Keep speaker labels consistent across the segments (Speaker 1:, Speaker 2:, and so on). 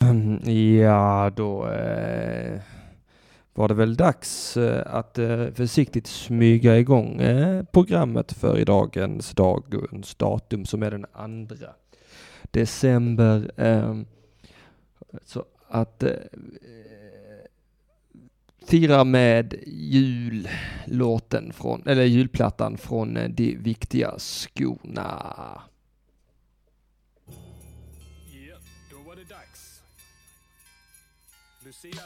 Speaker 1: Ja, då eh, var det väl dags eh, att eh, försiktigt smyga igång eh, programmet för i dagens dagens datum som är den andra december. Eh, så att eh, fira med jullåten från, eller julplattan från eh, De viktiga skorna.
Speaker 2: Ja, då var det dags. Lucia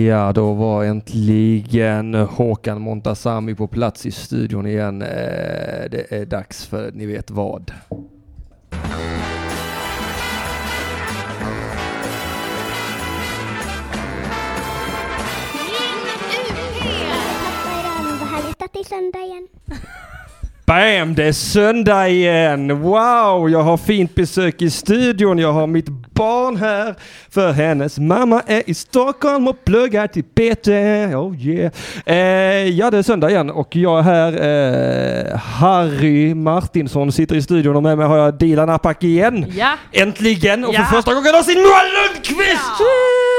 Speaker 1: Ja, då var äntligen Håkan Montazami på plats i studion igen. Eh, Det är dags för ni vet vad.
Speaker 3: Pappa, idag har vi hittat till söndag igen.
Speaker 1: Bam! Det är söndag igen! Wow! Jag har fint besök i studion. Jag har mitt barn här. För hennes mamma är i Stockholm och pluggar till PT. Oh yeah! Eh, ja, det är söndag igen och jag är här. Eh, Harry Martinsson sitter i studion och med mig har jag Dilan Apak igen.
Speaker 4: Ja,
Speaker 1: Äntligen! Och
Speaker 4: Ja.
Speaker 1: för första gången någonsin Moa Lundqvist!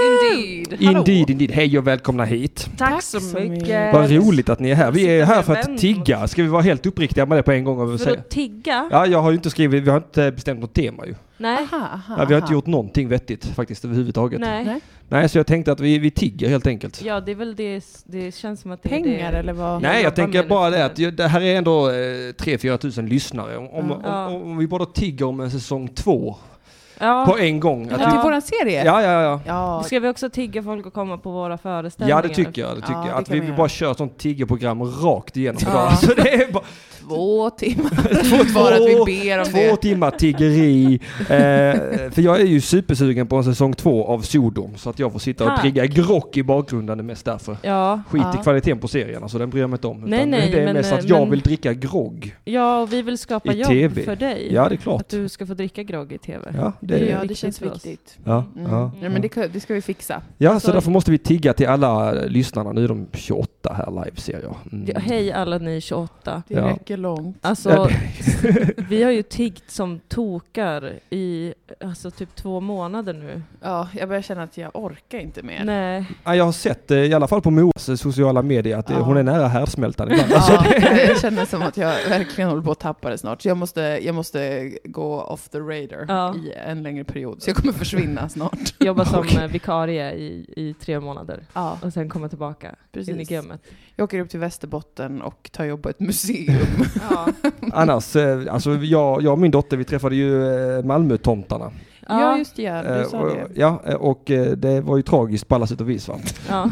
Speaker 4: indeed. Hallå.
Speaker 1: Indeed, indeed. Hej och välkomna hit.
Speaker 4: Tack, så mycket.
Speaker 1: Vad roligt att ni är här. Vi är
Speaker 4: Sitter
Speaker 1: här
Speaker 4: med
Speaker 1: för att
Speaker 4: vän.
Speaker 1: tigga. Ska vi vara helt uppriktiga med det på en gång? Och
Speaker 4: För
Speaker 1: säga?
Speaker 4: att tigga?
Speaker 1: Ja, jag har ju inte skrivit, vi har inte bestämt något tema ju.
Speaker 4: Nej.
Speaker 1: Ja, vi har inte gjort någonting vettigt faktiskt överhuvudtaget. Nej,
Speaker 4: Nej.
Speaker 1: så jag tänkte att vi, vi tigger helt enkelt.
Speaker 4: Ja, det är väl det, det känns som att det är
Speaker 5: Pengar
Speaker 4: det.
Speaker 5: eller vad?
Speaker 1: Nej, jag
Speaker 4: jobbar
Speaker 1: tänker
Speaker 4: med
Speaker 1: bara
Speaker 4: det.
Speaker 1: det att ju- det här är ändå eh, 3-4 tusen lyssnare. Om, om,
Speaker 4: Ja.
Speaker 1: om, om vi bara tigger om en säsong två på
Speaker 4: Ja.
Speaker 1: en gång. Att
Speaker 5: Ja.
Speaker 1: vi,
Speaker 5: Till våran serie?
Speaker 1: ja, ja, ja.
Speaker 5: Ja,
Speaker 4: Ska vi också tigga folk att komma på våra föreställningar?
Speaker 1: Ja det tycker jag, det tycker
Speaker 5: Ja,
Speaker 1: jag.
Speaker 5: det
Speaker 1: Att
Speaker 5: kan
Speaker 1: vi,
Speaker 5: man
Speaker 1: vi
Speaker 5: göra.
Speaker 1: bara kör sånt tiggerprogram rakt igenom.
Speaker 4: Ja.
Speaker 1: Bara. Alltså det är bara,
Speaker 5: två timmar.
Speaker 1: två,
Speaker 5: Bara att vi ber om
Speaker 1: två
Speaker 5: det.
Speaker 1: timmar tiggeri. Eh, för jag är ju supersugen på en säsong två av Sodom så att jag får sitta och
Speaker 4: Tack.
Speaker 1: dricka grock i bakgrunden det är mest därför.
Speaker 4: Ja,
Speaker 1: Skit
Speaker 5: Ja.
Speaker 1: i kvaliteten på serien, alltså den bryr jag mig inte om.
Speaker 4: Nej,
Speaker 1: utan
Speaker 4: nej,
Speaker 1: det är
Speaker 4: men,
Speaker 1: mest
Speaker 4: eh,
Speaker 1: att jag
Speaker 4: men-
Speaker 1: vill dricka grogg.
Speaker 4: ja och vi vill skapa
Speaker 1: I
Speaker 4: jobb
Speaker 1: TV.
Speaker 4: för dig.
Speaker 1: Ja, det är klart.
Speaker 4: Att du ska få dricka grogg i TV.
Speaker 1: Ja, det är, ja.
Speaker 5: Ja, det
Speaker 4: riktigt
Speaker 5: känns
Speaker 4: för oss.
Speaker 5: viktigt.
Speaker 1: Ja,
Speaker 5: Mm.
Speaker 1: ja.
Speaker 5: Ja, men det, kan- det ska vi fixa.
Speaker 1: ja, så
Speaker 4: Alltså-
Speaker 1: därför måste vi tigga till alla lyssnarna. Nu är de 28 här live ser jag. Mm.
Speaker 4: Ja, hej alla ni 28.
Speaker 5: Det
Speaker 1: Ja.
Speaker 5: räcker långt.
Speaker 1: Ja,
Speaker 4: Alltså, vi har ju tiggt som tokar i alltså, typ två månader nu.
Speaker 5: Ja, jag börjar känna att jag orkar inte mer.
Speaker 4: Nej.
Speaker 1: Ja, Jag har sett, eh, i alla fall på Moas eh, sociala medier, att eh,
Speaker 5: Ja.
Speaker 1: hon är nära härdsmältan ibland. Alltså,
Speaker 5: Ja, jag känner som att jag verkligen håller på att tappa det snart. Så jag måste, jag måste gå off the radar
Speaker 4: Ja.
Speaker 5: i en längre period. Så jag kommer försvinna snart.
Speaker 4: Jobba som eh, vikarie i, i tre månader
Speaker 5: Ja,
Speaker 4: och sen komma tillbaka in i
Speaker 5: precis.
Speaker 4: gamet.
Speaker 5: Jag åker upp till Västerbotten och tar jobb på ett museum.
Speaker 4: Ja.
Speaker 1: Annars, eh, alltså jag, jag och min dotter vi träffade ju eh, Malmötomtarna.
Speaker 5: Ja,
Speaker 4: Ja,
Speaker 5: just det, ja, du
Speaker 1: Eh,
Speaker 5: sa
Speaker 1: och,
Speaker 5: det.
Speaker 1: ja, eh, och eh, det var ju tragiskt på alla sätt och vis. Va?
Speaker 4: ja.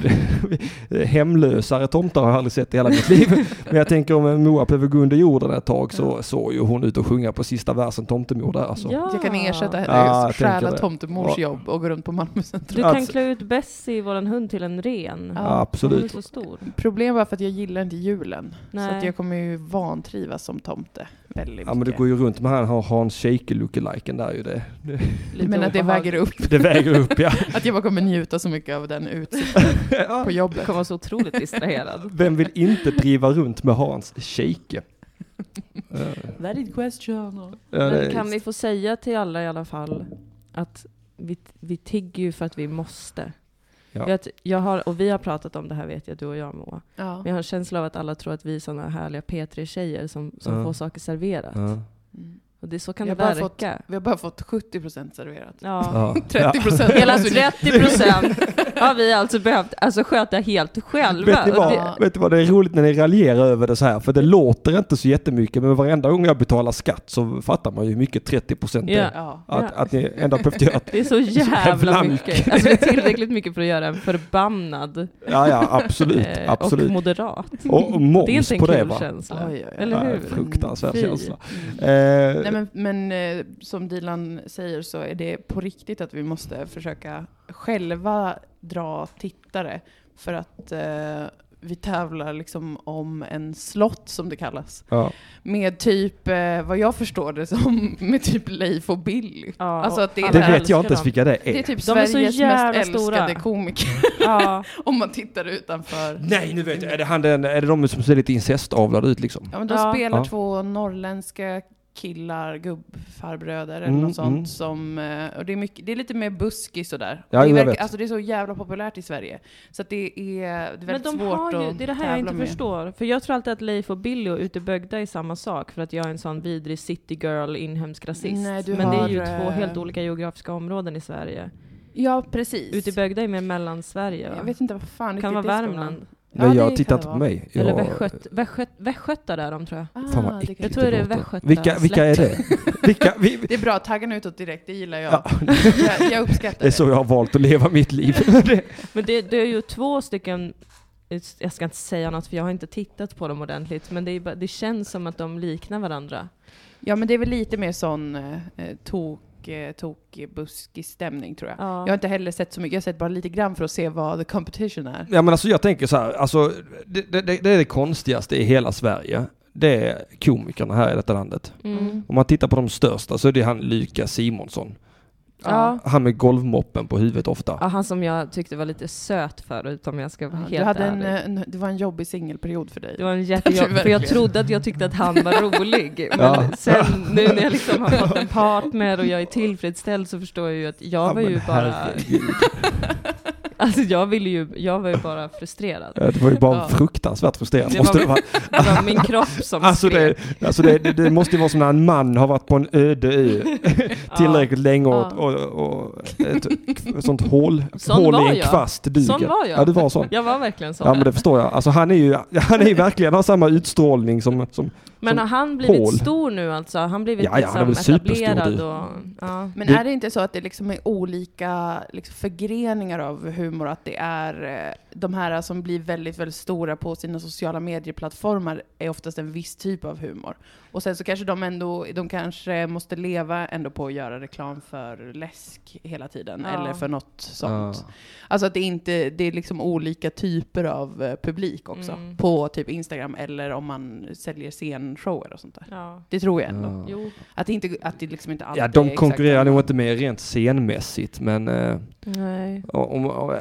Speaker 1: Eh, Hemlösare tomtar har jag aldrig sett i hela mitt liv. Men jag tänker om eh, Moa behöver gå under jorden ett tag så såg ju hon ut och sjunga på sista versen Tomtemor där alltså.
Speaker 4: Ja.
Speaker 5: Jag kan ersätta henne,
Speaker 1: Ja, jag
Speaker 5: ja,
Speaker 1: tänker
Speaker 5: stjäla
Speaker 1: det.
Speaker 5: tomtemors
Speaker 1: Ja.
Speaker 5: jobb och gå runt på Malmö central.
Speaker 4: Du kan
Speaker 1: Alltså-
Speaker 4: klä ut Bessie, vår hund, till en ren.
Speaker 5: Ja,
Speaker 1: Ja,
Speaker 4: Hon är
Speaker 1: absolut.
Speaker 4: så stor.
Speaker 5: Problem var för att jag gillar inte julen. Så
Speaker 4: Nej.
Speaker 5: att jag kommer ju vantrivas som tomte väldigt
Speaker 1: Ja men du
Speaker 5: mycket.
Speaker 1: går ju runt med han har Hans Scheike lookaliken där ju det. Det,
Speaker 5: Du menar att det väger upp?
Speaker 1: det väger upp ja.
Speaker 5: Att jag bara kommer njuta så mycket av den utsikten på
Speaker 4: Jag
Speaker 5: jobbet.
Speaker 4: kommer vara så otroligt distraherad.
Speaker 1: Vem vill inte driva runt med Hans Scheike? Eh,
Speaker 5: Valid question.
Speaker 1: ja, det-
Speaker 4: Men kan vi få säga till alla i alla fall att vi, vi tigger ju för att vi måste.
Speaker 1: Ja.
Speaker 4: Vet, jag har, och vi har pratat om det här vet jag, du och jag Moa.
Speaker 5: Ja.
Speaker 4: Men jag har en känsla av att alla tror att vi är sådana härliga P3-tjejer som, som
Speaker 1: Ja.
Speaker 4: får saker serverat.
Speaker 1: Ja.
Speaker 5: Mm.
Speaker 4: Och det, så kan
Speaker 5: Jag
Speaker 4: det
Speaker 5: har
Speaker 4: verka.
Speaker 5: bara fått- Vi har bara fått 70% serverat.
Speaker 4: Ja.
Speaker 1: Ja.
Speaker 5: 30%
Speaker 4: Hela
Speaker 5: av
Speaker 1: Alltså,
Speaker 5: oss är
Speaker 4: 30 procent har vi alltså behövt alltså, sköta helt själva.
Speaker 1: Vet ni,
Speaker 4: Och
Speaker 1: vad,
Speaker 4: det-
Speaker 1: vet ni vad, det är roligt när ni raljerar över det så här, för det låter inte så jättemycket, men varenda gång jag betalar skatt så fattar man ju hur mycket 30%
Speaker 4: Ja.
Speaker 1: är.
Speaker 5: Ja.
Speaker 1: Att,
Speaker 4: Ja.
Speaker 1: att ni ändå behövt göra...
Speaker 4: Det är så
Speaker 1: jävla
Speaker 4: jävla
Speaker 1: mycket.
Speaker 4: mycket. Alltså det är tillräckligt mycket för att göra en förbannad
Speaker 1: Ja, ja, absolut,
Speaker 4: eh, och
Speaker 1: absolut.
Speaker 4: moderat.
Speaker 1: Och, och
Speaker 4: Det är
Speaker 1: moms
Speaker 4: inte en
Speaker 1: på
Speaker 4: kul
Speaker 1: det va?
Speaker 4: känsla.
Speaker 5: Oj, oj, oj.
Speaker 4: Eller
Speaker 1: Ja,
Speaker 4: hur?
Speaker 1: fruktansvärd
Speaker 4: Fy.
Speaker 1: känsla.
Speaker 5: Mm.
Speaker 1: Eh,
Speaker 5: Nej, men, men eh, som Dilan säger så är det på riktigt att vi måste försöka själva dra tittare för att eh, vi tävlar liksom om en slott som det kallas.
Speaker 1: ja.
Speaker 5: Med typ, eh, vad jag förstår det som, med typ Leif och Billy.
Speaker 4: Ja,
Speaker 5: Alltså att det är,
Speaker 4: alla
Speaker 1: Det
Speaker 4: älskar
Speaker 1: vet jag inte ens
Speaker 4: dem.
Speaker 1: vilka det är.
Speaker 5: det är typ
Speaker 4: De är så
Speaker 5: Sveriges
Speaker 4: jävla
Speaker 5: mest
Speaker 4: stora.
Speaker 5: älskade komiker
Speaker 4: Ja,
Speaker 5: om man tittar utanför.
Speaker 1: Nej, nu vet jag. Är det, han, den, är det de som ser lite incestavlade ut liksom?
Speaker 5: Ja, men de
Speaker 4: Ja.
Speaker 5: spelar
Speaker 1: Ja.
Speaker 5: två norrländska killar, gubbfarbröder eller
Speaker 1: Mm,
Speaker 5: något sånt
Speaker 1: mm.
Speaker 5: som... eh, Och det, är mycket, det är lite mer buskis sådär.
Speaker 1: Ja,
Speaker 5: det,
Speaker 1: jag
Speaker 5: verkar,
Speaker 1: vet.
Speaker 5: alltså det är så jävla populärt i Sverige. Så att det är, det är
Speaker 4: Men
Speaker 5: väldigt
Speaker 4: de
Speaker 5: svårt
Speaker 4: har ju,
Speaker 5: att
Speaker 4: det är det här jag
Speaker 5: tävla
Speaker 4: inte
Speaker 5: med.
Speaker 4: förstår. För jag tror alltid att Leif och Billy och Ute i Bögda är samma sak, för att jag är en sån vidrig citygirl, inhemsk rasist.
Speaker 5: Nej, du
Speaker 4: Men det är ju
Speaker 5: har,
Speaker 4: två
Speaker 5: eh,
Speaker 4: helt olika geografiska områden i Sverige.
Speaker 5: Ja, precis.
Speaker 4: Ute i Bögda är mer mellansverige va?
Speaker 5: Jag vet inte vad fan
Speaker 4: Kan vara
Speaker 5: riktigt det ska vara.
Speaker 4: Värmland.
Speaker 5: Ja,
Speaker 1: Nej, jag
Speaker 5: det
Speaker 1: tittar inte
Speaker 5: kan det
Speaker 1: på
Speaker 5: vara.
Speaker 1: mig.
Speaker 4: Eller
Speaker 1: Jag-
Speaker 4: västgöt, västgöt, västgötar är de tror jag.
Speaker 5: Ah,
Speaker 1: Fan vad
Speaker 5: det,
Speaker 1: äckligt
Speaker 5: kan...
Speaker 4: Jag tror det är
Speaker 1: låter.
Speaker 4: Västgöta
Speaker 1: Vilka, vilka är det?
Speaker 4: släkt.
Speaker 1: Vilka, vi,
Speaker 5: det är bra, taggarna utåt direkt, det gillar jag.
Speaker 1: ja,
Speaker 5: jag, jag uppskattar
Speaker 1: det är så jag har valt att leva mitt liv. Det-
Speaker 4: Men det, det är ju två stycken, jag ska inte säga något för jag har inte tittat på dem ordentligt, men det, är, bara- det känns som att de liknar varandra.
Speaker 5: Ja, men det är väl lite mer sån eh, tok, eh, tok buskig stämning tror jag.
Speaker 4: Ja.
Speaker 5: Jag har inte heller sett så mycket, jag har sett bara lite grann för att se vad the competition är.
Speaker 1: Ja men alltså jag tänker så här, alltså, det, det, det det är det konstigaste i hela Sverige. Det är komikerna här i detta landet.
Speaker 4: Mm.
Speaker 1: Om man tittar på de största så är det han Lukas Simonsson.
Speaker 5: Ja.
Speaker 1: Han med golvmoppen på huvudet
Speaker 4: Ja,
Speaker 1: ofta.
Speaker 4: han som jag tyckte var lite söt förut om jag ska vara
Speaker 5: Du
Speaker 4: helt
Speaker 5: hade en,
Speaker 4: ärlig.
Speaker 5: eh, en, det var en jobbig singelperiod för dig.
Speaker 4: Det var en jättejobb, för
Speaker 5: Verkligen.
Speaker 4: jag trodde att jag tyckte att han var rolig. Men
Speaker 1: Ja.
Speaker 4: sen nu när jag liksom har fått en partner och jag är tillfredsställd så förstår jag ju att jag
Speaker 1: Ja,
Speaker 4: var
Speaker 1: men
Speaker 4: ju bara,
Speaker 1: herregud.
Speaker 4: alltså jag ville ju, jag var ju bara frustrerad.
Speaker 1: Ja, Det var ju bara
Speaker 5: Ja.
Speaker 1: fruktansvärt frustrerande.
Speaker 4: Det
Speaker 1: Måste
Speaker 4: var-
Speaker 1: det vara.
Speaker 4: Det var min kropp som
Speaker 1: Alltså, det,
Speaker 4: skrek.
Speaker 1: alltså det, det, det måste ju vara som när en man har varit på en öde ö tillräckligt länge och, och, och ett ett sånt hål,
Speaker 4: Sån
Speaker 1: hål
Speaker 4: var
Speaker 1: i en
Speaker 4: jag.
Speaker 1: kvast duger.
Speaker 4: Sån var jag.
Speaker 1: Ja, du var sån.
Speaker 4: Jag var verkligen sån.
Speaker 1: Ja men det förstår jag. Alltså han är ju, han är ju verkligen, har samma utstrålning som, som
Speaker 4: Men
Speaker 1: som
Speaker 4: har han blivit
Speaker 1: hål.
Speaker 4: stor nu alltså? Har Han blivit
Speaker 1: Ja, ja, han är
Speaker 4: liksom
Speaker 1: väl superstor,
Speaker 4: etablerad
Speaker 1: du.
Speaker 4: och... Ja.
Speaker 5: Men
Speaker 1: Det-
Speaker 5: är det inte så att det liksom är olika liksom, förgreningar av humor? Att det är eh, de här som blir väldigt, väldigt stora på sina sociala medieplattformar är oftast en viss typ av humor. Och sen så kanske de ändå, de kanske måste leva ändå på att göra reklam för läsk hela tiden.
Speaker 4: Ja.
Speaker 5: Eller för något sånt. Alltså att det är inte, det är liksom olika typer av eh, publik också.
Speaker 4: Mm.
Speaker 5: På typ Instagram eller om man säljer scenshower och sånt där.
Speaker 4: ja.
Speaker 5: Det tror jag ändå.
Speaker 1: Ja.
Speaker 4: Jo.
Speaker 5: Att det, inte, att det liksom inte alltid
Speaker 1: Ja,
Speaker 5: är
Speaker 1: de
Speaker 5: exakt
Speaker 1: konkurrerar
Speaker 5: samma.
Speaker 1: nog inte med rent scenmässigt, men eh,
Speaker 4: Nej.
Speaker 1: om, om, om,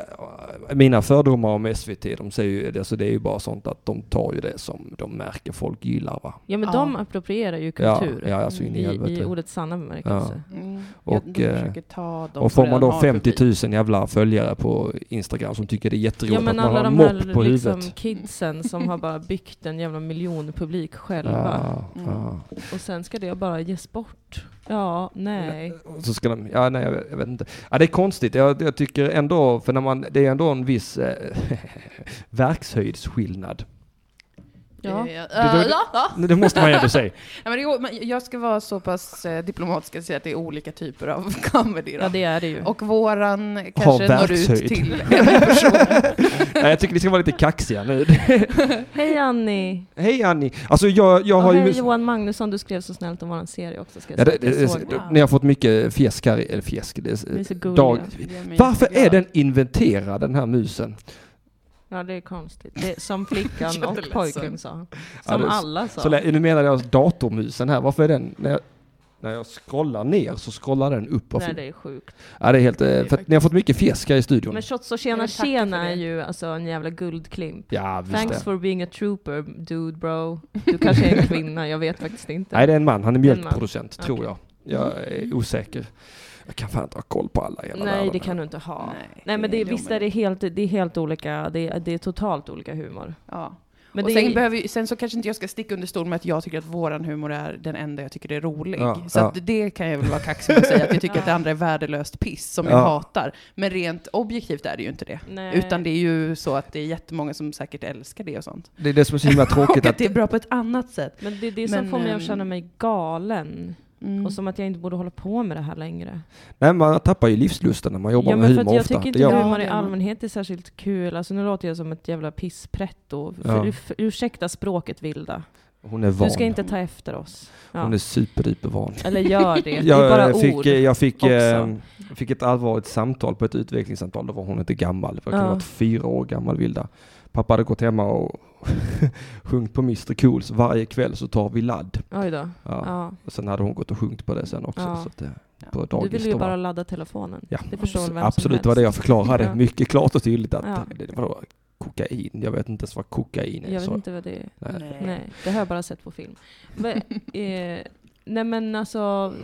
Speaker 1: mina fördomar om SVT, de säger ju, alltså det är ju bara sånt att de tar ju det som de märker folk gillar va.
Speaker 4: Ja men
Speaker 5: Ja.
Speaker 4: de approprierar ju
Speaker 1: Ja,
Speaker 4: kultur.
Speaker 1: ja alltså in i, helvete.
Speaker 4: I, I ordets sanna bemärkelse.
Speaker 5: Mm.
Speaker 1: Och,
Speaker 5: jag, de
Speaker 1: eh,
Speaker 5: försöker ta de
Speaker 1: och
Speaker 5: som
Speaker 1: får man
Speaker 5: redan
Speaker 1: då
Speaker 5: har
Speaker 1: 50
Speaker 5: publik.
Speaker 1: 000 jävla följare på Instagram som tycker det är
Speaker 4: Ja,
Speaker 1: jätteroligt att
Speaker 4: men
Speaker 1: man har
Speaker 4: alla
Speaker 1: en
Speaker 4: de här
Speaker 1: mopp på
Speaker 4: liksom
Speaker 1: huvudet.
Speaker 4: kidsen som har bara byggt en jävla miljonpublik själva.
Speaker 1: Ja,
Speaker 5: Mm.
Speaker 1: ja.
Speaker 4: Och sen ska det bara ges bort. Ja, nej.
Speaker 1: Och Så ska de, ja nej jag vet, jag vet inte. Ja det är konstigt, jag, jag tycker ändå, för när man, det är ändå en viss eh, verkshöjdsskillnad.
Speaker 4: Ja.
Speaker 5: Eh,
Speaker 1: Det var-
Speaker 5: eh, ja, ja.
Speaker 1: Det måste man ju ändå säga.
Speaker 5: Nej, men det är o- men jag ska vara så pass eh, diplomatisk att säga att det är olika typer av comedy. Då.
Speaker 4: Ja, det är det ju.
Speaker 5: Och våran kanske når ut
Speaker 1: verkshöjd.
Speaker 5: till en person.
Speaker 1: Nej, jag tycker vi ska vara lite kaxiga nu.
Speaker 4: Hej Annie!
Speaker 1: Hej Annie! Alltså jag, jag
Speaker 4: Och
Speaker 1: har
Speaker 4: hej
Speaker 1: ju...
Speaker 4: Johan Magnusson, du skrev så snällt om våran serie också. Ska jag
Speaker 1: Ja,
Speaker 4: säga
Speaker 1: det,
Speaker 4: att
Speaker 1: det,
Speaker 4: jag
Speaker 1: det,
Speaker 4: såg.
Speaker 1: ni har fått mycket fjäsk här, i- eller fjäsk. Det,
Speaker 4: Ni är så gulliga.
Speaker 1: dag. Varför är den inventerad den här musen?
Speaker 4: Ja, det är konstigt. Det, som flickan och
Speaker 5: Jätteledsen.
Speaker 4: pojken sa.
Speaker 1: Ja,
Speaker 4: Som
Speaker 1: det-
Speaker 4: alla sa.
Speaker 1: Så, lä- nu menar jag datormusen här, varför är den... När jag, när jag scrollar ner så scrollar den upp. Varför?
Speaker 4: Nej, det är sjukt.
Speaker 1: ja, det är helt... eh, För att ni har
Speaker 5: faktiskt-
Speaker 1: fått mycket fjäsk här i studion.
Speaker 4: Men Shots och
Speaker 5: Jag
Speaker 4: tjena
Speaker 5: vill tacka för
Speaker 4: tjena
Speaker 5: det.
Speaker 4: är ju alltså en jävla guldklimp.
Speaker 1: ja, visst
Speaker 4: Thanks
Speaker 1: det.
Speaker 4: for being a trooper, dude bro. Du kanske är en kvinna, jag vet faktiskt inte.
Speaker 1: Nej, det är en man. Han är
Speaker 4: Det är en
Speaker 1: mjölkproducent,
Speaker 4: man.
Speaker 1: tror jag. Jag är osäker. Jag kan fan inte ha koll på alla i hela
Speaker 4: Nej,
Speaker 1: världen.
Speaker 4: det kan du inte ha. Nej,
Speaker 5: Nej,
Speaker 4: men det, är- visst är det
Speaker 5: omöjligt.
Speaker 4: helt, det är helt olika, det är, det är totalt olika humor.
Speaker 5: Ja.
Speaker 4: Men
Speaker 5: och
Speaker 4: det
Speaker 5: sen,
Speaker 4: är,
Speaker 5: behöver, ju- sen så kanske inte jag ska sticka under stol med att jag tycker att våran humor är den enda jag tycker är rolig.
Speaker 1: Ja,
Speaker 5: så
Speaker 1: ja.
Speaker 5: Att det kan jag väl vara kaxig med att säga, att jag tycker
Speaker 4: Ja.
Speaker 5: att det andra är värdelöst piss som
Speaker 1: Ja.
Speaker 5: jag hatar. Men rent objektivt är det ju inte det.
Speaker 4: nej.
Speaker 5: Utan det är ju så att det är jättemånga som säkert älskar det och sånt.
Speaker 1: Det är det som är så himla tråkigt att...
Speaker 5: och att det är bra på ett annat sätt.
Speaker 4: Men det är det som
Speaker 5: Men,
Speaker 4: får mig
Speaker 5: ehm,
Speaker 4: att känna mig galen.
Speaker 5: Mm.
Speaker 4: Och som att jag inte borde hålla på med det här längre.
Speaker 1: Nej, man tappar ju livslusten när man jobbar
Speaker 4: ja,
Speaker 1: med
Speaker 4: men för
Speaker 1: humor
Speaker 4: att jag
Speaker 1: ofta.
Speaker 4: tycker
Speaker 1: Det gör
Speaker 4: inte
Speaker 1: man.
Speaker 4: humor
Speaker 5: Ja,
Speaker 4: i
Speaker 5: det är man.
Speaker 4: allmänhet är särskilt kul. Alltså nu låter jag som ett jävla pisspretto.
Speaker 1: Ja.
Speaker 4: För, för, ursäkta språket vilda.
Speaker 1: Hon är van.
Speaker 4: Du ska inte ta efter oss. Ja.
Speaker 1: Hon är superdupervan.
Speaker 4: Eller gör det. Det är bara
Speaker 1: Jag eh, fick,
Speaker 4: ord.
Speaker 1: jag fick,
Speaker 4: också.
Speaker 1: eh, fick ett allvarligt samtal på ett utvecklingssamtal. Då var hon inte gammal. Det kunde
Speaker 4: Ja.
Speaker 1: ha varit fyra år gammal Vilda. Pappa hade gått hemma och sjungit på Mr Cools. Varje kväll så tar vi ladd.
Speaker 4: Oj då.
Speaker 1: Ja.
Speaker 4: Ja.
Speaker 1: Och sen hade hon gått och sjungit på det sen också.
Speaker 4: Ja.
Speaker 1: Så att, eh,
Speaker 5: Ja.
Speaker 1: på
Speaker 4: Du
Speaker 1: dagis
Speaker 4: ville ju
Speaker 1: då, va?
Speaker 4: bara ladda telefonen.
Speaker 1: Ja,
Speaker 4: Det förstår väl vem som
Speaker 1: absolut. Det var
Speaker 4: helst.
Speaker 1: det jag förklarade.
Speaker 4: Ja.
Speaker 1: Mycket klart och tydligt att
Speaker 4: Ja.
Speaker 1: det, det var kokain. Jag vet inte ens vad kokain är.
Speaker 4: Jag vet
Speaker 1: så.
Speaker 4: inte vad det är.
Speaker 1: Nej.
Speaker 4: Nej, det har jag bara sett på film. Men, eh, Nej men alltså,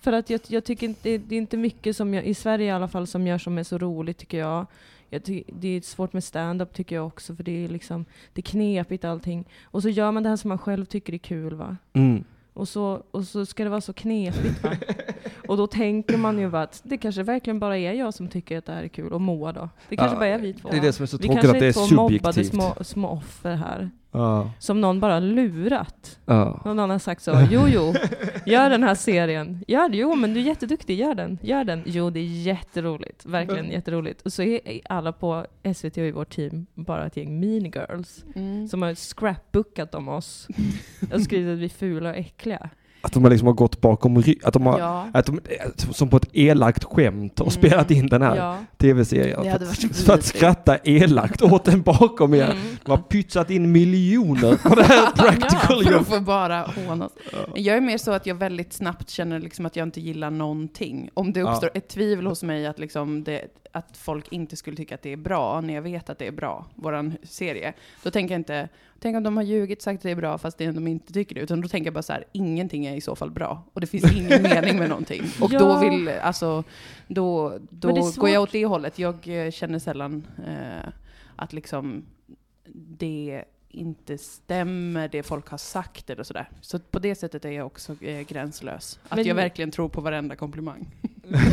Speaker 4: för att jag, jag tycker inte, det är inte mycket som jag, i Sverige i alla fall, som gör som är så roligt tycker jag. jag ty, det är svårt med stand-up tycker jag också, för det är liksom, det är knepigt allting. Och så gör man det här som man själv tycker är kul va.
Speaker 1: Mm.
Speaker 4: Och så, och så ska det vara så knepigt va. Och då tänker man ju bara att det kanske verkligen bara är jag som tycker att det här är kul, och Moa då. Det kanske
Speaker 1: Ja,
Speaker 4: bara är vi två.
Speaker 1: Det är det som är så
Speaker 4: vi
Speaker 1: tråkigt,
Speaker 4: kanske
Speaker 1: att det är
Speaker 4: två mobbade
Speaker 1: subjektivt.
Speaker 4: små, små offer här,
Speaker 1: Ja.
Speaker 4: som någon bara lurat.
Speaker 1: Ja.
Speaker 4: Någon annan har sagt så, jo jo, gör den här serien. Gör det, jo men du är jätteduktig, gör den, gör den. Jo det är jätteroligt, verkligen jätteroligt. Och så är är alla på SVT och i vårt team bara ett gäng mean girls.
Speaker 5: Mm.
Speaker 4: Som har scrapbookat om oss och skrivit att vi är fula och äckliga.
Speaker 1: Att de liksom har gått bakom rygg, att de har,
Speaker 5: Ja.
Speaker 1: att de, eh, som på ett elakt skämt har
Speaker 5: Mm.
Speaker 1: spelat in den här
Speaker 4: Ja.
Speaker 1: tv-serien.
Speaker 5: Det
Speaker 1: För,
Speaker 5: hade
Speaker 1: att-
Speaker 5: varit
Speaker 1: för att
Speaker 5: mysigt.
Speaker 1: skratta elakt åt den bakom er.
Speaker 4: Mm.
Speaker 5: Mm.
Speaker 1: De har pytsat in miljoner på det här practical
Speaker 5: För
Speaker 1: joke.
Speaker 5: att få bara hånas. Jag är mer så att jag väldigt snabbt känner liksom att jag inte gillar någonting. Om det
Speaker 1: Ja.
Speaker 5: uppstår ett tvivel hos mig att, liksom det, att folk inte skulle tycka att det är bra, när jag vet att det är bra, våran serie, då tänker jag inte, tänk om de har ljugit sagt att det är bra fast det, de inte tycker det, utan då tänker jag bara så här, ingenting är i så fall bra. Och det finns ingen mening med någonting. Och
Speaker 4: Ja.
Speaker 5: då vill, alltså, då,
Speaker 4: Men det är
Speaker 5: då
Speaker 4: svårt.
Speaker 5: går jag åt det hållet. Jag eh, känner sällan eh, att liksom det inte stämmer det folk har sagt eller sådär. Så på det sättet är jag också eh, gränslös. Att
Speaker 4: Men-
Speaker 5: jag verkligen tror på varenda komplimang.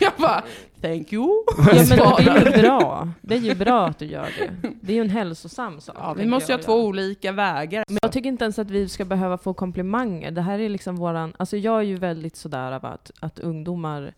Speaker 5: jag bara, thank you.
Speaker 4: Ja men
Speaker 5: Svarar.
Speaker 4: det är ju bra, det är ju bra att du gör det. Det är ju en hälsosam sak.
Speaker 5: Ja, vi
Speaker 4: tänker
Speaker 5: måste ju
Speaker 4: jag
Speaker 5: ha
Speaker 4: göra.
Speaker 5: två olika vägar.
Speaker 4: Men jag tycker inte ens att vi ska behöva få komplimanger. Det här är liksom våran... Alltså jag är ju väldigt sådär av att, att ungdomar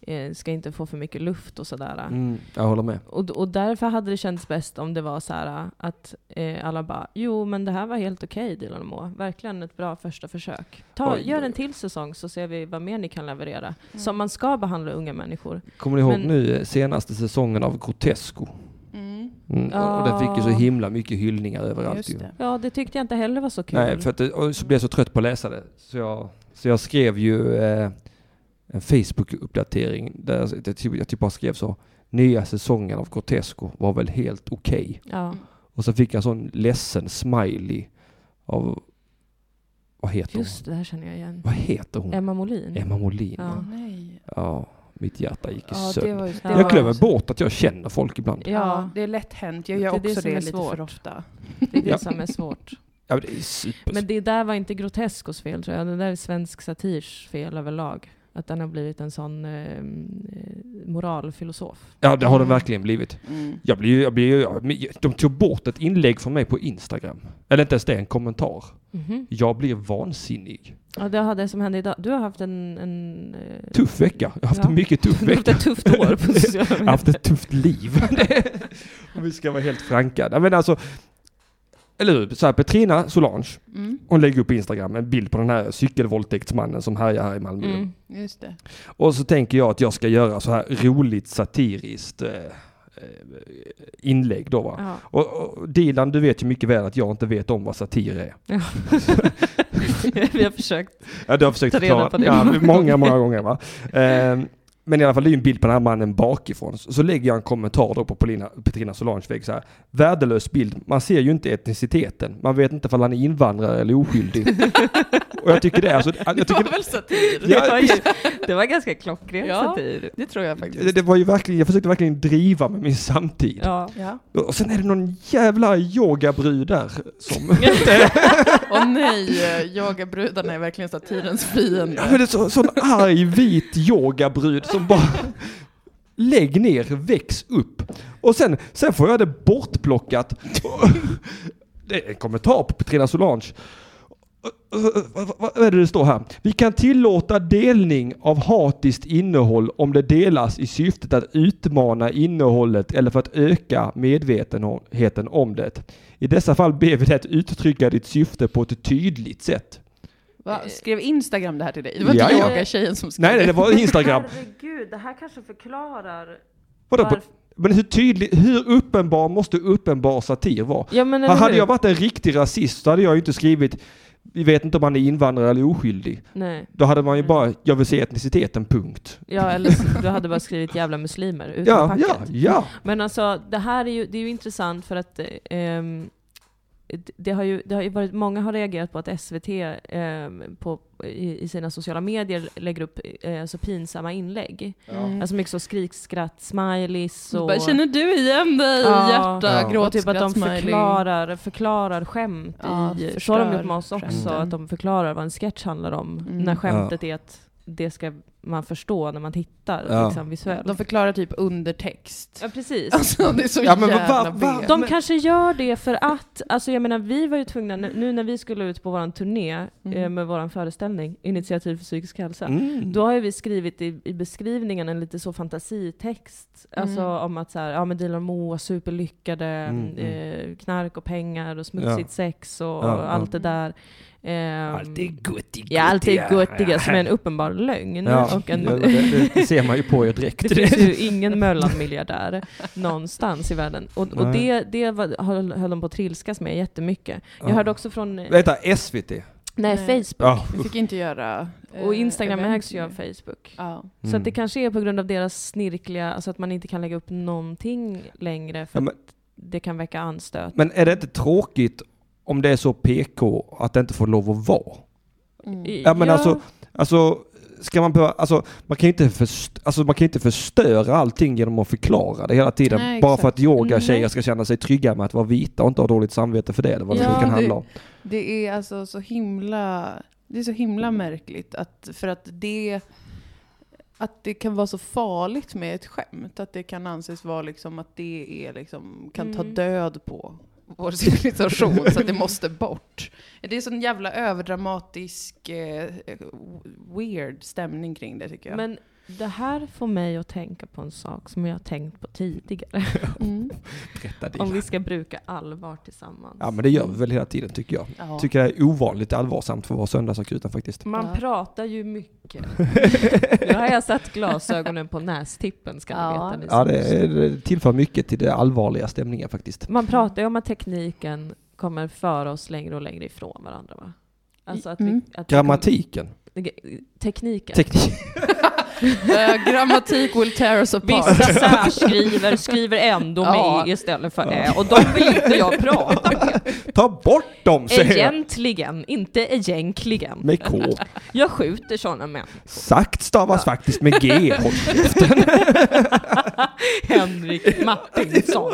Speaker 4: eh, ska inte få för mycket luft och sådär.
Speaker 1: Mm, jag håller med.
Speaker 4: Och, och därför hade det känts bäst om det var så här att eh, alla bara “Jo, men det här var helt okej Dilan och Moa. Verkligen ett bra första försök. Ta,
Speaker 1: Oj,
Speaker 4: gör
Speaker 1: oj,
Speaker 4: en till säsong så ser vi vad mer ni kan leverera.” Som man ska behandla unga människor.
Speaker 1: Kommer ni ihåg
Speaker 4: Men-
Speaker 1: nu eh, senaste säsongen av Grotesco?
Speaker 5: Mm,
Speaker 1: Mm, och- Och den fick ju så
Speaker 4: Ja.
Speaker 1: himla mycket hyllningar överallt ju.
Speaker 5: just det.
Speaker 4: Ja, det tyckte jag inte heller var så kul.
Speaker 1: Nej, för att, det- och så blev jag så trött på att läsa det. Så jag, så jag skrev ju eh, en Facebook-uppdatering där jag, jag, typ, jag typ bara skrev så. Nya säsongen av Grotesco var väl helt okej.
Speaker 4: ja.
Speaker 1: Och så fick jag en sån ledsen smiley av, vad heter
Speaker 4: Just det, det här känner jag igen.
Speaker 1: hon? Vad heter hon?
Speaker 4: Emma Molin.
Speaker 1: Mm. Emma Molin.
Speaker 4: Ja.
Speaker 1: Ja.
Speaker 5: Nej.
Speaker 1: mitt hjärta gick i
Speaker 5: Ja, det
Speaker 1: sönder.
Speaker 5: var just, det
Speaker 4: Jag
Speaker 5: var
Speaker 1: Jag glömmer
Speaker 5: just-
Speaker 1: bort att jag känner folk ibland.
Speaker 5: Ja,
Speaker 4: Ja,
Speaker 5: det är lätt hänt. Jag
Speaker 4: Det
Speaker 5: gör
Speaker 4: är det
Speaker 5: också
Speaker 4: som
Speaker 5: det,
Speaker 4: är
Speaker 5: lite
Speaker 4: svårt.
Speaker 5: för ofta.
Speaker 4: det är
Speaker 1: Ja.
Speaker 4: det som är svårt.
Speaker 1: Ja, men det är super.
Speaker 4: Men det där var inte Groteskos fel tror jag. Det där är svensk satirs fel överlag. Att den har blivit en sån eh, eh, moralfilosof.
Speaker 1: ja, det har det verkligen blivit.
Speaker 5: Mm.
Speaker 1: Jag blir, ju- jag blir, ju- jag, men de tog bort ett inlägg från mig på Instagram. Eller inte ens det, en kommentar. Jag blir vansinnig.
Speaker 4: Ja, det har det som hände idag. Du har haft en... en eh,
Speaker 1: Tuff vecka. Jag har haft
Speaker 4: Ja.
Speaker 1: en mycket tuff
Speaker 4: du har haft
Speaker 1: vecka.
Speaker 4: ett tufft år på sociala
Speaker 1: Jag har
Speaker 4: medier.
Speaker 1: haft ett tufft liv. Om vi ska vara helt franka. Nej, men alltså, eller hur? Så här, Petrina Solange,
Speaker 5: Mm,
Speaker 1: hon lägger upp på Instagram en bild på den här cykelvåldtäktsmannen som härjar här i Malmö.
Speaker 4: Mm.
Speaker 5: just det.
Speaker 1: Och så tänker jag att jag ska göra så här roligt satiriskt eh, eh, inlägg då va.
Speaker 4: Ja.
Speaker 1: Och, och Dilan, du vet ju mycket väl att jag inte vet om vad satir är.
Speaker 4: Vi har försökt.
Speaker 1: Ja, du har försökt
Speaker 4: Ta
Speaker 1: förklara.
Speaker 4: reda på det
Speaker 1: ja,
Speaker 4: många
Speaker 1: många, många gånger va. Ehm, men i alla fall, det är ju en bild på den här mannen bakifrån. Så, så lägger jag en kommentar då på Polina, Petrina Solanges vägg så här. Värdelös bild. Man ser ju inte etniciteten. Man vet inte om han är invandrare eller oskyldig. och jag tycker det är alltså, jag
Speaker 5: Det
Speaker 1: tycker
Speaker 5: var väl satir?
Speaker 1: Ja,
Speaker 4: det, var ju, det var ganska klockren
Speaker 5: Ja.
Speaker 4: satir.
Speaker 5: Det tror jag
Speaker 1: det,
Speaker 5: faktiskt.
Speaker 1: det var ju verkligen, jag försökte verkligen driva med min samtid.
Speaker 4: Ja.
Speaker 5: Ja.
Speaker 1: Och sen är det någon jävla yogabrud där som...
Speaker 5: Och nej, eh, yogabrudarna är verkligen satirens
Speaker 1: Ja, men
Speaker 5: fiende.
Speaker 1: det är så, sån arg vit yogabrud som bara... Lägg ner, väx upp. Och sen, sen får jag det bortplockat. Det är en kommentar på Petrina Solange. Vad- vad- Vad är det det står här? Vi kan tillåta delning av hatiskt innehåll om det delas i syftet att utmana innehållet eller för att öka medvetenheten om det. I dessa fall ber vi dig att uttrycka ditt syfte på ett tydligt sätt.
Speaker 5: Va? Skrev Instagram det här till dig? Det var inte
Speaker 1: Ja, ja.
Speaker 5: yogatjejen som skrev
Speaker 1: Nej, nej, det var Instagram.
Speaker 4: Herregud, det här kanske förklarar...
Speaker 1: Vadå? på- Men hur tydlig, hur uppenbar måste uppenbar satir vara?
Speaker 4: Ja, men eller
Speaker 1: hade
Speaker 4: hur?
Speaker 1: jag varit en riktig rasist så hade jag ju inte skrivit vi vet inte om han är invandrare eller oskyldig.
Speaker 4: Nej.
Speaker 1: Då hade man ju
Speaker 4: Mm.
Speaker 1: bara, jag vill se etniciteten, punkt.
Speaker 4: Ja, eller så- du hade bara skrivit jävla muslimer utan
Speaker 1: Ja,
Speaker 4: packet.
Speaker 1: ja, ja.
Speaker 4: Men alltså, det här är ju, det är ju intressant för att eh, ehm, det har ju, det har ju varit, många har reagerat på att SVT eh, på, i, i sina sociala medier lägger upp eh, så pinsamma inlägg.
Speaker 5: Mm.
Speaker 4: Alltså mycket så skrik, skratt, smileys
Speaker 5: Så
Speaker 4: och...
Speaker 5: bara, känner du igen dig
Speaker 4: Ja.
Speaker 5: hjärta?
Speaker 1: Ja.
Speaker 5: Gråt,
Speaker 4: och typ att de
Speaker 5: skratt, smiley.
Speaker 4: förklarar, förklarar skämt.
Speaker 5: Ja,
Speaker 4: i, så
Speaker 5: förstör
Speaker 4: har de gjort med oss också,
Speaker 5: skämten.
Speaker 4: att de förklarar vad en sketch handlar om.
Speaker 5: Mm.
Speaker 4: När skämtet är att det ska man förstå när man tittar
Speaker 1: Ja.
Speaker 4: liksom, visuellt.
Speaker 5: De förklarar typ undertext.
Speaker 4: ja, precis.
Speaker 5: Alltså det är så
Speaker 1: Ja, men vad-
Speaker 5: jävla
Speaker 1: vad- vad-
Speaker 5: B.
Speaker 4: De
Speaker 1: Men-
Speaker 4: kanske gör det för att, alltså jag menar vi var ju tvungna, nu nu när vi skulle ut på våran turné eh, med våran föreställning, Initiativ för psykisk hälsa,
Speaker 1: Mm.
Speaker 4: Eh, då har ju vi skrivit i, i beskrivningen en lite så fantasitext, alltså
Speaker 5: Mm.
Speaker 4: om att så här, ja men Dilan och Moa, superlyckade,
Speaker 1: Mm,
Speaker 4: Eh, knark och pengar och smutsigt sex och,
Speaker 1: Ja, ja.
Speaker 4: allt det där. Eh,
Speaker 1: Alltid guttiga.
Speaker 4: Ja, alltid göttiga, som är en uppenbar lögn.
Speaker 1: Ja,
Speaker 4: Och en,
Speaker 1: det, det, det ser man ju på er direkt.
Speaker 4: det finns ju ingen mellanmiljardär någonstans i världen. Och, och
Speaker 1: Nej.
Speaker 4: det, det var, höll, höll de på att trilskas med jättemycket. Jag
Speaker 1: Ja.
Speaker 4: hörde också från eh,
Speaker 1: Vänta, SVT?
Speaker 4: nej,
Speaker 5: Nej.
Speaker 4: Facebook
Speaker 1: Ja.
Speaker 5: Vi fick inte göra... eh,
Speaker 4: och Instagram
Speaker 5: event
Speaker 4: ägs ju
Speaker 5: nu.
Speaker 4: av Facebook.
Speaker 5: Ja.
Speaker 4: Så
Speaker 1: Mm.
Speaker 4: att det kanske är på grund av deras snirkliga, alltså att man inte kan lägga upp någonting längre för
Speaker 1: Ja, men-
Speaker 4: att det kan väcka anstöt.
Speaker 1: Men är det inte tråkigt om det är så PK att det inte får lov att vara?
Speaker 5: Mm.
Speaker 4: I-
Speaker 1: Ja men alltså, alltså ska man behöva, alltså man kan ju inte, först, alltså, man kan ju inte förstöra allting genom att förklara det hela tiden.
Speaker 5: Nej,
Speaker 1: bara för
Speaker 5: exakt. Mm.
Speaker 1: att yogatjejer
Speaker 4: Nej.
Speaker 1: ska känna sig trygga med att vara vita och inte ha dåligt samvete för det eller vad det
Speaker 4: Ja,
Speaker 1: nu kan
Speaker 5: det-
Speaker 1: handla om.
Speaker 5: Det är alltså så himla... Det är så himla märkligt att, för att det... Att det kan vara så farligt med ett skämt. Att det kan anses vara liksom att det är liksom, kan ta
Speaker 4: Mm.
Speaker 5: död på vår civilisation så att det måste bort. Det är sån jävla överdramatisk eh, weird stämning kring det tycker jag.
Speaker 4: Men det här får mig att tänka på en sak som jag har tänkt på tidigare.
Speaker 5: Mm.
Speaker 1: Berätta det.
Speaker 4: Om vi ska bruka allvar tillsammans.
Speaker 1: Ja men det gör vi väl hela tiden tycker jag.
Speaker 5: Ja.
Speaker 1: Tycker det är ovanligt allvarsamt för att vara söndagsakuten faktiskt.
Speaker 4: Man
Speaker 5: Ja.
Speaker 4: pratar ju mycket.
Speaker 5: Mm.
Speaker 4: Nu har jag satt glasögonen på nästippen ska ni
Speaker 5: Ja.
Speaker 4: veta. ni
Speaker 1: Ja
Speaker 4: som lyssnar.
Speaker 1: det, det tillför mycket till den allvarliga stämningen faktiskt.
Speaker 5: Mm.
Speaker 4: Man pratar ju om att tekniken kommer föra oss längre och längre ifrån varandra va? Alltså att vi,
Speaker 5: Mm.
Speaker 4: att vi
Speaker 1: Grammatiken.
Speaker 4: kommer- tekniken.
Speaker 1: Teknik.
Speaker 5: Eh, grammatik will tear us apart.
Speaker 4: Vissa särskriver, skriver ändå med
Speaker 5: Ja.
Speaker 4: e istället för ä och de vill inte jag prata med.
Speaker 1: Ta bort dem säger jag!
Speaker 4: Egentligen, inte egentligen.
Speaker 1: Med K.
Speaker 4: Jag skjuter sådana män.
Speaker 1: Sakt stavas faktiskt med G. Håll
Speaker 4: Henrik Martinsson.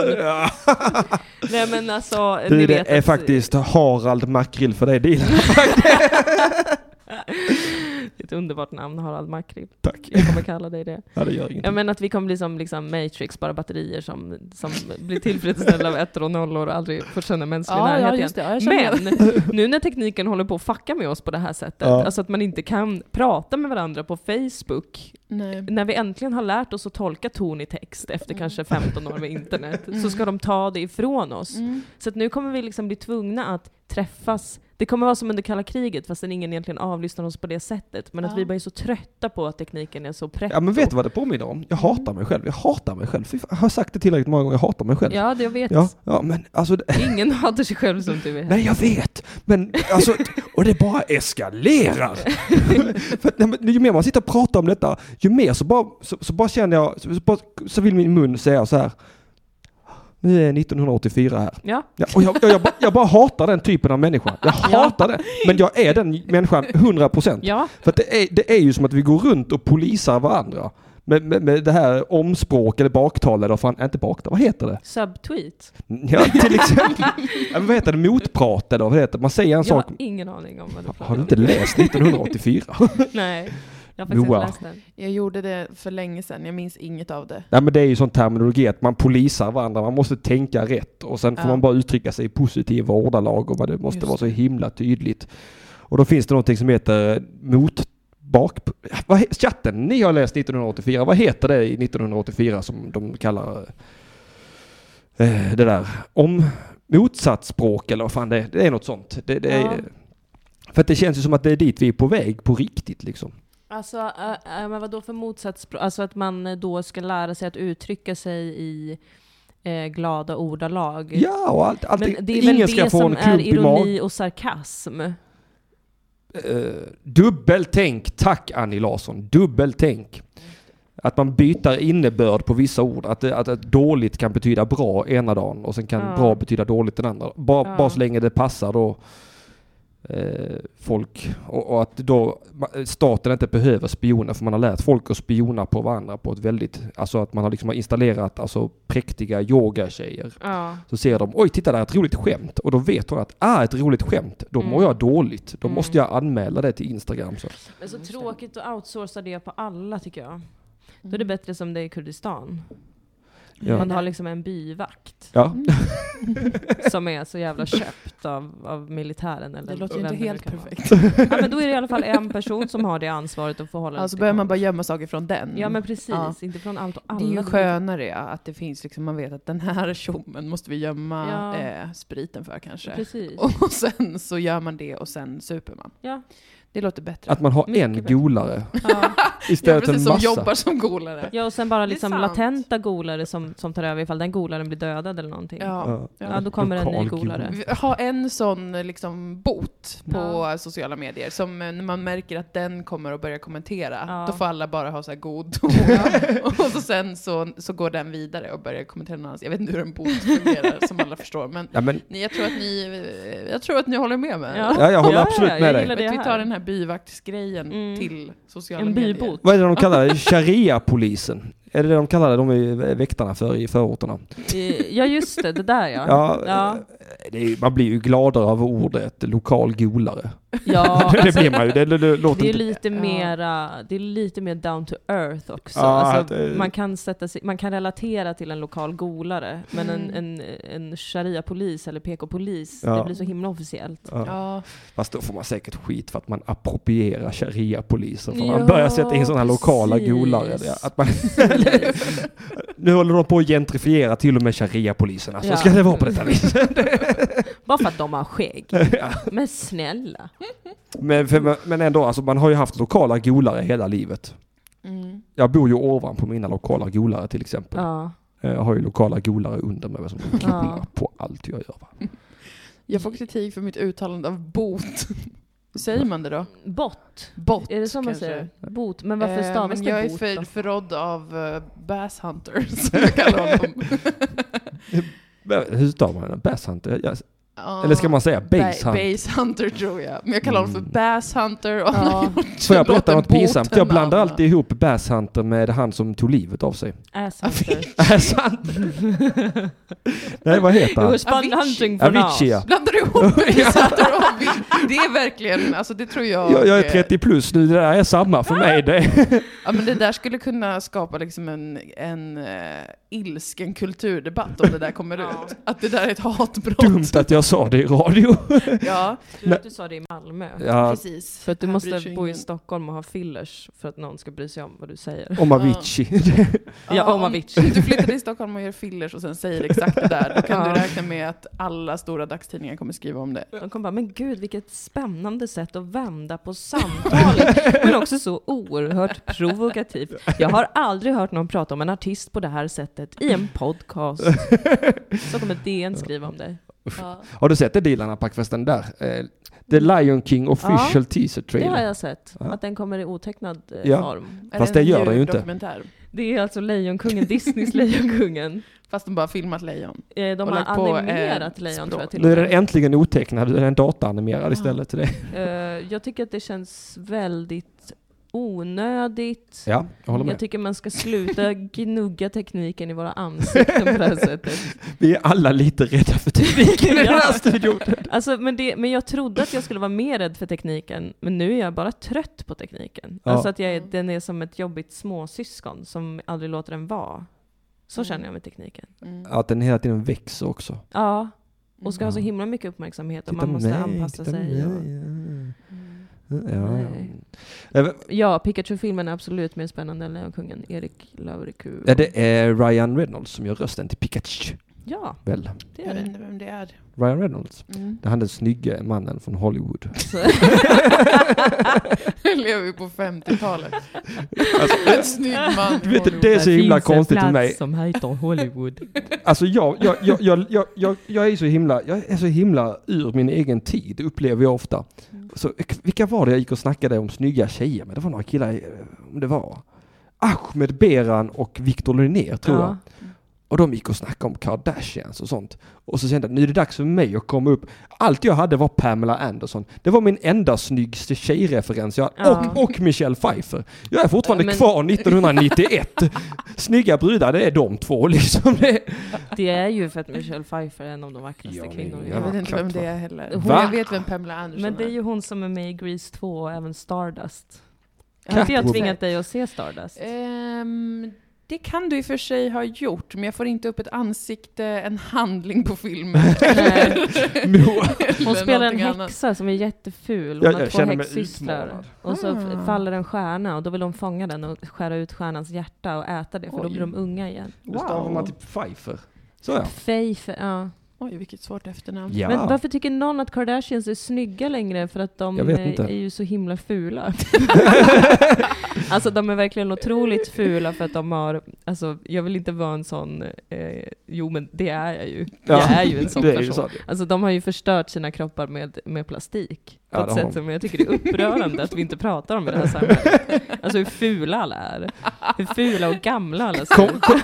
Speaker 4: Nej men alltså,
Speaker 1: Du,
Speaker 4: ni
Speaker 1: det
Speaker 4: vet
Speaker 1: är
Speaker 4: att-
Speaker 1: faktiskt Harald Makrill för dig Dilan.
Speaker 4: Ett underbart namn, Harald Makrill.
Speaker 1: Tack.
Speaker 4: Jag kommer kalla dig det.
Speaker 1: Ja, det gör ingenting.
Speaker 4: Ja men att vi kommer bli som liksom Matrix, bara batterier som, som blir tillfredsställda av ettor och nollor och aldrig får känna mänsklig
Speaker 5: Ja,
Speaker 4: närhet
Speaker 5: ja,
Speaker 4: igen.
Speaker 5: just det. Ja, jag känner
Speaker 4: Men nu när tekniken håller på att fucka med oss på det här sättet,
Speaker 1: Ja.
Speaker 4: alltså att man inte kan prata med varandra på Facebook,
Speaker 5: Nej.
Speaker 4: när vi äntligen har lärt oss att tolka ton i text efter
Speaker 5: Mm.
Speaker 4: kanske 15 år med internet, så ska de ta det ifrån oss.
Speaker 5: Mm.
Speaker 4: Så att nu kommer vi liksom bli tvungna att träffas. Det kommer vara som under kalla kriget fastän ingen egentligen avlyssnar oss på det sättet. Men
Speaker 5: Ja.
Speaker 4: att vi bara är så trötta på att tekniken är så pretto.
Speaker 1: Ja men vet du vad det påminner om? Jag hatar mig själv, jag hatar mig själv. Fy fan, Jag har sagt det tillräckligt många gånger, jag hatar mig själv.
Speaker 4: Ja, det jag vet.
Speaker 1: ja, ja, men alltså, det-
Speaker 4: Ingen hatar sig själv som du är.
Speaker 1: nej jag vet, men alltså, och det bara eskalerar. För, att, nej, men, ju mer man sitter och pratar om detta, ju mer så bara, så, så bara känner jag, så, så, bara, så vill min mun säga så här, nu är 1984 här.
Speaker 4: Ja.
Speaker 1: Ja, och jag, jag, jag, bara, jag bara hatar den typen av människa. Jag hatar det. Men jag är den människan 100 procent.
Speaker 4: Ja.
Speaker 1: För att det, är, det är ju som att vi går runt och polisar varandra. Med, med, med det här omspråk eller baktal eller vad fan, inte baktal, vad heter det?
Speaker 4: Subtweet.
Speaker 1: Ja, till exempel. ja, men vad heter det? Motprat eller vad heter det? Man säger en
Speaker 4: Jag
Speaker 1: sak.
Speaker 4: har ingen aning om vad du pratar
Speaker 1: Har du inte läst 1984?
Speaker 4: om. Nej. Jag har faktiskt
Speaker 1: Moa.
Speaker 4: inte läst den.
Speaker 5: Jag gjorde det för länge sedan, jag minns inget av det.
Speaker 1: Nej men det är ju sån terminologi att man polisar varandra, man måste tänka rätt och sen får
Speaker 5: Ja.
Speaker 1: man bara uttrycka sig i positiva ordalag och vad det måste
Speaker 5: Just
Speaker 1: vara så
Speaker 5: det.
Speaker 1: himla tydligt. Och då finns det någonting som heter mot bak... Vad he, chatten, ni har läst 1984, vad heter det i 1984 som de kallar eh, det där? Om motsatsspråk eller vad fan det är, det är något sånt. Det, det är,
Speaker 4: Ja.
Speaker 1: För att det känns ju som att det är dit vi är på väg på riktigt liksom.
Speaker 4: Alltså, äh, äh, men vadå för motsatsspråk? Alltså att man eh, då ska lära sig att uttrycka sig i eh, glada ordalag.
Speaker 1: Ja, och allt, allt,
Speaker 4: men det är
Speaker 1: ingen
Speaker 4: väl
Speaker 1: ska
Speaker 4: det
Speaker 1: få en
Speaker 4: som är
Speaker 1: klump i magen.
Speaker 4: ironi och sarkasm?
Speaker 1: Eh, dubbeltänk, tack Annie Larsson. Dubbeltänk. Att man byter innebörd på vissa ord. Att, det- att, att dåligt kan betyda bra ena dagen och sen kan
Speaker 4: Ja.
Speaker 1: bra betyda dåligt den andra. Bara,
Speaker 4: Ja.
Speaker 1: bara så länge det passar då eh, folk. Och, och att då ma- staten inte behöver spioner för man har lärt folk att spiona på varandra på ett väldigt, alltså att man har liksom har installerat alltså präktiga yogatjejer.
Speaker 4: Ja.
Speaker 1: Så ser de, oj titta där är ett roligt skämt. Och då vet hon att, ah ett roligt skämt, då mår
Speaker 4: Mm.
Speaker 1: jag dåligt. Då
Speaker 4: Mm.
Speaker 1: måste jag anmäla det till Instagram. Så.
Speaker 4: Men så
Speaker 5: Just det.
Speaker 4: tråkigt att outsourca det på alla tycker jag. Då
Speaker 5: Mm.
Speaker 4: är det bättre som det är i Kurdistan.
Speaker 1: Ja.
Speaker 4: Man har liksom en byvakt
Speaker 1: Ja.
Speaker 4: som är så jävla köpt av, av militären eller
Speaker 5: Det låter ju
Speaker 4: vem
Speaker 5: inte
Speaker 4: nu
Speaker 5: helt
Speaker 4: kan vara.
Speaker 5: perfekt.
Speaker 4: Ja, men då är det i alla fall en person som har det ansvaret att få hålla
Speaker 5: Alltså
Speaker 4: det
Speaker 5: börjar man
Speaker 4: igång.
Speaker 5: bara gömma saker från den.
Speaker 4: Ja men precis,
Speaker 5: Ja.
Speaker 4: inte från allt och alla.
Speaker 5: det är ju skönare ja, att det finns liksom, man vet att den här tjommen måste vi gömma
Speaker 4: Ja.
Speaker 5: eh, spriten för kanske.
Speaker 4: Precis.
Speaker 5: Och sen så gör man det och sen super man.
Speaker 4: Ja.
Speaker 5: Det låter bättre.
Speaker 1: Att man har
Speaker 4: Mycket
Speaker 1: en
Speaker 4: bättre.
Speaker 1: golare
Speaker 4: Ja.
Speaker 5: ja,
Speaker 1: istället för
Speaker 5: precis,
Speaker 1: en
Speaker 5: som
Speaker 1: massa.
Speaker 5: jobbar som golare.
Speaker 4: ja och sen bara
Speaker 5: Det är
Speaker 4: liksom
Speaker 5: sant.
Speaker 4: latenta golare som, som tar över ifall den golaren blir dödad eller någonting. Ja.
Speaker 5: Ja.
Speaker 1: Ja.
Speaker 5: Ja.
Speaker 4: då kommer en ny
Speaker 1: Lokal
Speaker 4: golare.
Speaker 5: Vi har en sån eh, liksom bot på
Speaker 4: Ja.
Speaker 5: eh, sociala medier som eh, när man märker att den kommer att börja kommentera,
Speaker 4: Ja.
Speaker 5: då får alla bara ha så här god ton. och så sen så, så går den vidare och börjar kommentera någon annans. Jag vet inte hur en bot fungerar som alla förstår, men
Speaker 1: Ja, men,
Speaker 5: ni, jag, tror att ni, eh, jag tror att ni håller med mig.
Speaker 4: Ja.
Speaker 1: ja, jag håller
Speaker 4: Ja,
Speaker 1: absolut
Speaker 4: ja, jag
Speaker 1: med dig.
Speaker 4: gillar
Speaker 5: Att
Speaker 4: det
Speaker 5: vi
Speaker 4: här.
Speaker 5: tar den här byvaktsgrejen
Speaker 4: Mm.
Speaker 5: till sociala
Speaker 4: En
Speaker 5: medier.
Speaker 4: bybot.
Speaker 1: Vad är det de kallar det? Sharia-polisen? Är det det de kallar det? De är väktarna för i förorterna.
Speaker 4: Eh, Ja just det, det där ja.
Speaker 1: Ja,
Speaker 4: ja.
Speaker 1: eh, Det är, man blir ju gladare av ordet lokal golare.
Speaker 4: ja alltså,
Speaker 1: det blir man ju. Det, det, det låter
Speaker 4: Det är
Speaker 1: inte...
Speaker 4: lite
Speaker 5: Ja.
Speaker 4: mera, det är lite mer down to earth också.
Speaker 1: Ja, eh,
Speaker 4: alltså,
Speaker 1: det-
Speaker 4: man, kan sätta sig, man kan relatera till en lokal golare, men
Speaker 5: Mm.
Speaker 4: en, en, en sharia-polis eller PK-polis,
Speaker 1: Ja.
Speaker 4: det blir så himla officiellt.
Speaker 1: Ja.
Speaker 5: Ja.
Speaker 1: Fast då får man säkert skit för att man approprierar sharia-polisen. För
Speaker 4: Ja,
Speaker 1: man börjar sätta in sådana här lokala
Speaker 4: precis.
Speaker 1: golare. Det- Att man, nu håller de på att gentrifiera till och med sharia-polisen. Alltså,
Speaker 4: Ja.
Speaker 1: Ska det vara på detta viset?
Speaker 4: Bara för att de har skägg.
Speaker 1: Ja.
Speaker 4: Men snälla.
Speaker 1: Men, för, men ändå, alltså, man har ju haft lokala golare hela livet.
Speaker 5: Mm.
Speaker 1: Jag bor ju ovanpå mina lokala golare till exempel.
Speaker 4: Ja.
Speaker 1: Eh, Jag har ju lokala golare under mig som golar på allt jag gör. Va?
Speaker 5: Jag får kritik för mitt uttalande av bot. Säger man det då?
Speaker 4: Bott.
Speaker 5: Bot
Speaker 4: Är det så man
Speaker 5: kanske.
Speaker 4: säger? Bot. Men varför
Speaker 5: Eh,
Speaker 4: stavas
Speaker 5: men
Speaker 4: det
Speaker 5: jag
Speaker 4: bot
Speaker 5: är
Speaker 4: då?
Speaker 5: för, förrådd av uh, Bass Hunter, som jag kallar honom.
Speaker 1: Men Hur stavar man den? Bass hunter? Ja,
Speaker 5: Ja,
Speaker 1: Eller ska man säga
Speaker 5: ba-
Speaker 1: bass hunter?
Speaker 5: Bass Hunter tror jag. Men jag kallar honom för
Speaker 1: Mm.
Speaker 5: Bass Hunter och han har
Speaker 4: Ja,
Speaker 5: gjort
Speaker 1: Får jag berätta
Speaker 5: låten
Speaker 1: något pinsamt?
Speaker 5: Boten
Speaker 1: Jag blandar
Speaker 5: Mamma.
Speaker 1: alltid ihop bass hunter med han som tog livet av sig.
Speaker 4: Äh, asshunter.
Speaker 1: Bass hunter? Nej, vad heter
Speaker 4: It
Speaker 1: han?
Speaker 4: was fun
Speaker 5: Avicii.
Speaker 4: hunting for now.
Speaker 1: Avicii ja.
Speaker 5: Blandar du ihop Bass Hunter och Avicii? Det är verkligen, alltså det tror jag.
Speaker 1: jag, jag är
Speaker 5: eh,
Speaker 1: 30 plus nu, det där är samma för mig. Det är
Speaker 5: Ja men det där skulle kunna skapa liksom en, en eh, ilsken kulturdebatt om det där kommer
Speaker 4: Ja.
Speaker 5: ut. Att det där är ett hatbrott.
Speaker 1: dumt att jag sa det i radio.
Speaker 5: Ja,
Speaker 4: Tur att du sa det i Malmö.
Speaker 1: Ja,
Speaker 5: precis.
Speaker 4: För att du
Speaker 5: Här bryr sig
Speaker 4: måste bo i
Speaker 5: ingen.
Speaker 4: Stockholm och ha fillers för att någon ska bry sig om vad du säger.
Speaker 1: om Avicii.
Speaker 4: Ja, om Avicii.
Speaker 5: Du flyttar till Stockholm och gör fillers och sen säger exakt det där. Då kan
Speaker 4: Ja.
Speaker 5: du räkna med att alla stora dagstidningar kommer skriva om det.
Speaker 4: De kommer bara, men gud vilket spännande sätt att vända på samtalet. Men också så oerhört provokativt. Jag har aldrig hört någon prata om en artist på det här sättet i en podcast. Så kommer DN skriva om dig.
Speaker 1: Har du sett det Dilan Apak-festen där? Eh, The Lion King official teaser
Speaker 4: Det
Speaker 1: trailer.
Speaker 4: har jag sett,
Speaker 1: Ja.
Speaker 4: att den kommer i otecknad eh,
Speaker 1: Ja.
Speaker 4: form.
Speaker 5: Är
Speaker 1: Fast
Speaker 5: en
Speaker 1: det gör den ju inte.
Speaker 5: djurdokumentär?
Speaker 4: Det är alltså Lejonkungen, Disneys Lejonkungen.
Speaker 5: Fast de bara filmat lejon.
Speaker 4: Eh, De
Speaker 5: Och
Speaker 4: har
Speaker 5: lagt på, eh,
Speaker 4: animerat lejon tror jag till
Speaker 1: Nu är
Speaker 4: och
Speaker 1: den
Speaker 4: med.
Speaker 1: äntligen otecknad, nu är den dataanimerad istället. Till det.
Speaker 4: Eh, Jag tycker att det känns väldigt onödigt.
Speaker 1: Ja, jag håller
Speaker 4: Jag
Speaker 1: med.
Speaker 4: tycker man ska sluta gnugga tekniken i våra ansikten på det här sättet.
Speaker 1: Vi är alla lite rädda för tekniken i den här
Speaker 4: Ja.
Speaker 1: studion.
Speaker 4: Alltså, men, det, men jag trodde att jag skulle vara mer rädd för tekniken, men nu är jag bara trött på tekniken.
Speaker 1: Ja.
Speaker 4: Alltså att jag, är- den är som ett jobbigt småsyskon som aldrig låter den vara. Så
Speaker 5: Mm.
Speaker 4: känner jag med tekniken.
Speaker 1: Att den hela tiden växer också.
Speaker 4: Ja, och ska ha så
Speaker 1: Mm.
Speaker 4: himla mycket uppmärksamhet och
Speaker 1: Titta
Speaker 4: man
Speaker 1: på
Speaker 4: måste
Speaker 1: mig, titta
Speaker 4: anpassa
Speaker 1: på
Speaker 4: sig. Och...
Speaker 1: mig,
Speaker 5: Mm.
Speaker 1: Ja, ja.
Speaker 4: Nej.
Speaker 1: ja. Eh,
Speaker 4: Ja, Pikachu-filmen är absolut mer spännande än Lejonkungen. Erik Lauriku.
Speaker 1: ja, Det är Ryan Reynolds som gör rösten till Pikachu,
Speaker 4: Ja,
Speaker 1: väl?
Speaker 4: det
Speaker 5: Jag
Speaker 4: är
Speaker 5: vet
Speaker 4: det.
Speaker 5: inte vem det är.
Speaker 1: Ryan Reynolds.
Speaker 5: Mm.
Speaker 1: Det är han den snygge mannen från Hollywood.
Speaker 5: lever vi på 50-talet. en snygg man.
Speaker 1: Du vet, Alltså, det är så himla konstigt för mig.
Speaker 4: som heter Hollywood.
Speaker 1: Alltså jag, jag, jag, jag, jag, jag, jag är så himla, jag är så himla ur min egen tid, upplever jag ofta. Så, vilka var det jag gick och snackade om snygga tjejer med? Det var några killar, eh, om det var. Ahmed Beran och Victor Linnér tror jag.
Speaker 4: ja.
Speaker 1: Och de gick och snackade om Kardashians och sånt. Och så kände jag, nu är det dags för mig att komma upp. Allt jag hade var Pamela Anderson. Det var min enda snyggaste tjejreferens jag hade.
Speaker 4: Ja.
Speaker 1: Och, och Michelle Pfeiffer. Jag är fortfarande
Speaker 4: Äh, men-
Speaker 1: kvar 1991. Snygga brudar, det är de två liksom. Det är...
Speaker 4: Det är ju för att Michelle Pfeiffer är en av de vackraste
Speaker 1: Ja, men-
Speaker 4: kvinnorna vi
Speaker 1: Ja,
Speaker 5: Jag vet
Speaker 4: har.
Speaker 5: inte vem det är heller.
Speaker 4: Hon-
Speaker 5: Jag vet vem Pamela Anderson
Speaker 4: Men det är ju hon som är med i Grease 2 och även Stardust. Har inte jag
Speaker 1: Catwoman.
Speaker 4: tvingat dig att se Stardust?
Speaker 1: Eh,
Speaker 5: Ehm, det kan du i och för sig ha gjort, men jag får inte upp ett ansikte, en handling på filmen.
Speaker 4: Nej.
Speaker 1: Mo-
Speaker 4: Hon
Speaker 5: Eller
Speaker 4: Eh, spelar en
Speaker 5: någonting annat.
Speaker 4: häxa som är jätteful. Hon
Speaker 1: Jag-
Speaker 4: har
Speaker 1: jag
Speaker 4: två
Speaker 1: känner mig
Speaker 4: häxsystrar.
Speaker 1: utmanad.
Speaker 4: Och så f-
Speaker 5: Ah.
Speaker 4: faller en stjärna och då vill de fånga den och skära ut stjärnans hjärta och äta det för då
Speaker 5: Oj.
Speaker 4: blir de unga igen.
Speaker 1: Då stavar man typ- till Pfeiffer. Så ja.
Speaker 4: Faith, ja.
Speaker 5: Oj, vilket svårt efternamn.
Speaker 1: ja.
Speaker 4: Men varför tycker någon att Kardashians är snygga längre för att de
Speaker 1: Jag vet
Speaker 4: eh,
Speaker 1: inte.
Speaker 4: är ju så himla fula? alltså de är verkligen otroligt fula för att de har, alltså jag vill inte vara en sån, eh, jo men det är jag ju. Jag är ju en sån
Speaker 1: det är
Speaker 4: person.
Speaker 1: ju så.
Speaker 4: Alltså de har ju förstört sina kroppar med, med plastik.
Speaker 1: Ja,
Speaker 4: På
Speaker 1: det
Speaker 4: ett
Speaker 1: har de.
Speaker 4: sätt som jag tycker det är upprörande att vi inte pratar om i det här samhället. Alltså hur fula alla är. Hur fula och gamla alla ser
Speaker 1: Kom,
Speaker 4: ut.
Speaker 1: kom,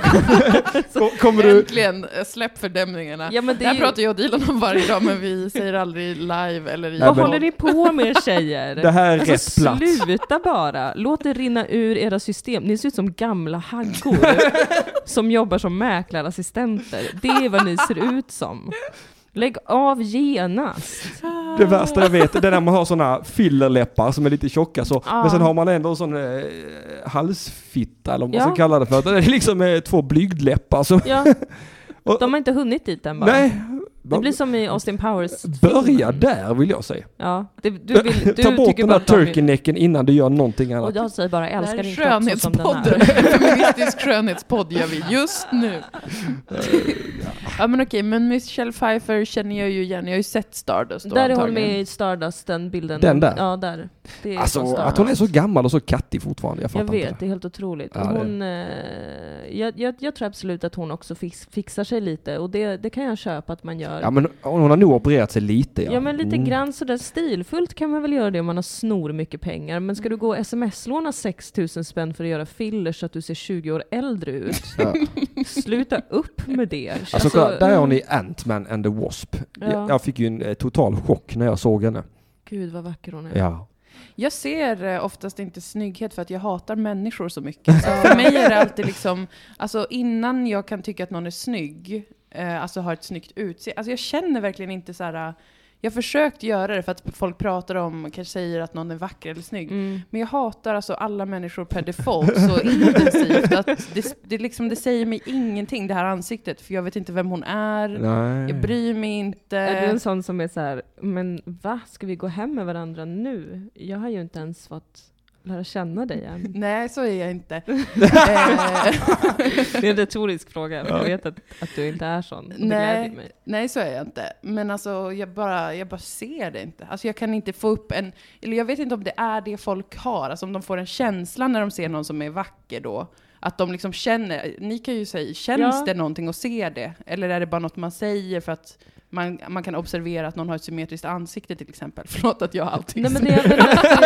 Speaker 1: kom, kommer du...
Speaker 5: Äntligen, eh, släpp fördämningarna.
Speaker 4: Ja, men det
Speaker 5: det här
Speaker 4: är ju,
Speaker 5: pratar jag och Dilan om varje dag, men vi säger aldrig live eller i
Speaker 1: Nej,
Speaker 4: vad
Speaker 1: men-
Speaker 4: håller ni på med er tjejer?
Speaker 1: Det här är rätt plats.
Speaker 4: Alltså, sluta bara! Låt det rinna ur era system. Ni ser ut som gamla haggor som jobbar som mäklarassistenter. Det är vad ni ser ut som. Lägg av genast!
Speaker 1: Det värsta jag vet, det är när man har sådana fillerläppar som är lite tjocka så,
Speaker 4: Ja.
Speaker 1: men sen har man ändå en sån eh, halsfitta eller vad man
Speaker 4: Ja.
Speaker 1: ska kalla det för. Det är liksom eh, två blygdläppar som...
Speaker 4: Ja,
Speaker 1: Och,
Speaker 4: de har inte hunnit dit än bara.
Speaker 1: nej,
Speaker 4: Det blir som i Austin Powers.
Speaker 1: börja där vill jag säga.
Speaker 4: Ja, det, du vill, du
Speaker 1: Ta bort
Speaker 4: tycker
Speaker 1: den
Speaker 4: bara
Speaker 1: där
Speaker 4: att de är-
Speaker 1: turkeynecken innan du gör någonting
Speaker 4: Och
Speaker 1: annat.
Speaker 4: jag säger bara, jag
Speaker 5: Det här
Speaker 4: älskar
Speaker 5: är
Speaker 4: din kropp så som den
Speaker 5: skönhetspodden.
Speaker 4: är.
Speaker 5: En Feministisk skönhetspodd gör vi just nu.
Speaker 1: Eh,
Speaker 5: ja men okej, men Michelle Pfeiffer känner jag ju igen. Jag har ju sett Stardust då
Speaker 4: Där är hon
Speaker 5: antagligen.
Speaker 4: med i Stardust, den bilden.
Speaker 1: Den där?
Speaker 4: Ja, där. Det är från
Speaker 1: Alltså
Speaker 4: Stardust.
Speaker 1: att hon är så gammal och så kattig fortfarande, jag
Speaker 4: Jag
Speaker 1: fattar
Speaker 4: vet,
Speaker 1: inte.
Speaker 4: det är helt otroligt.
Speaker 1: Ja, det-
Speaker 4: hon, eh, jag, jag, jag tror absolut att hon också fix, fixar sig lite och det, det kan jag köpa att man gör.
Speaker 1: Ja men hon har nog opererat sig lite
Speaker 4: Ja, men lite grann sådär stilfullt kan man väl göra det om man har snor mycket pengar. Men ska du gå och sms-låna 6000 spänn för att göra fillers så att du ser 20 år äldre ut?
Speaker 1: Ja.
Speaker 4: Sluta upp med det.
Speaker 1: Alltså, kolla, där är hon i Ant-Man and the Wasp.
Speaker 4: mm. Ja.
Speaker 1: Jag, jag fick ju en eh, total chock när jag såg henne.
Speaker 4: Gud vad vacker hon är.
Speaker 1: Ja.
Speaker 5: Jag ser eh, oftast inte snygghet för att jag hatar människor så mycket. Så för mig är det alltid liksom, alltså innan jag kan tycka att någon är snygg, eh, alltså har ett snyggt utseende. Alltså jag känner verkligen inte så här. eh, Jag har försökt göra det för att folk pratar om, kanske säger att någon är vacker eller snygg.
Speaker 4: Mm.
Speaker 5: Men jag hatar alltså alla människor per default så intensivt att det, det, liksom, det säger mig ingenting det här ansiktet för jag vet inte vem hon
Speaker 4: Mm.
Speaker 5: är,
Speaker 1: Nej.
Speaker 5: jag bryr mig inte.
Speaker 4: Är du en sån som är så här, men va, ska vi gå hem med varandra nu? Jag har ju inte ens fått lära känna dig än.
Speaker 5: Nej, så är jag inte. eh,
Speaker 4: Det är en retorisk fråga, för jag vet att, att du inte är sån. Och Det
Speaker 5: Nej.
Speaker 4: gläder mig.
Speaker 5: nej, så är jag inte. Men alltså, jag bara, jag bara ser det inte. Alltså, jag kan inte få upp en... Eller jag vet inte om det är det folk har. Alltså, om de får en känsla när de ser någon som är vacker då. Att de liksom känner... Ni kan ju säga, känns
Speaker 4: Ja.
Speaker 5: det någonting att se det? Eller är det bara något man säger för att man, man kan observera att någon har ett symmetriskt ansikte till exempel? Förlåt att jag har autism.
Speaker 4: Nej, men det är väl att, eh,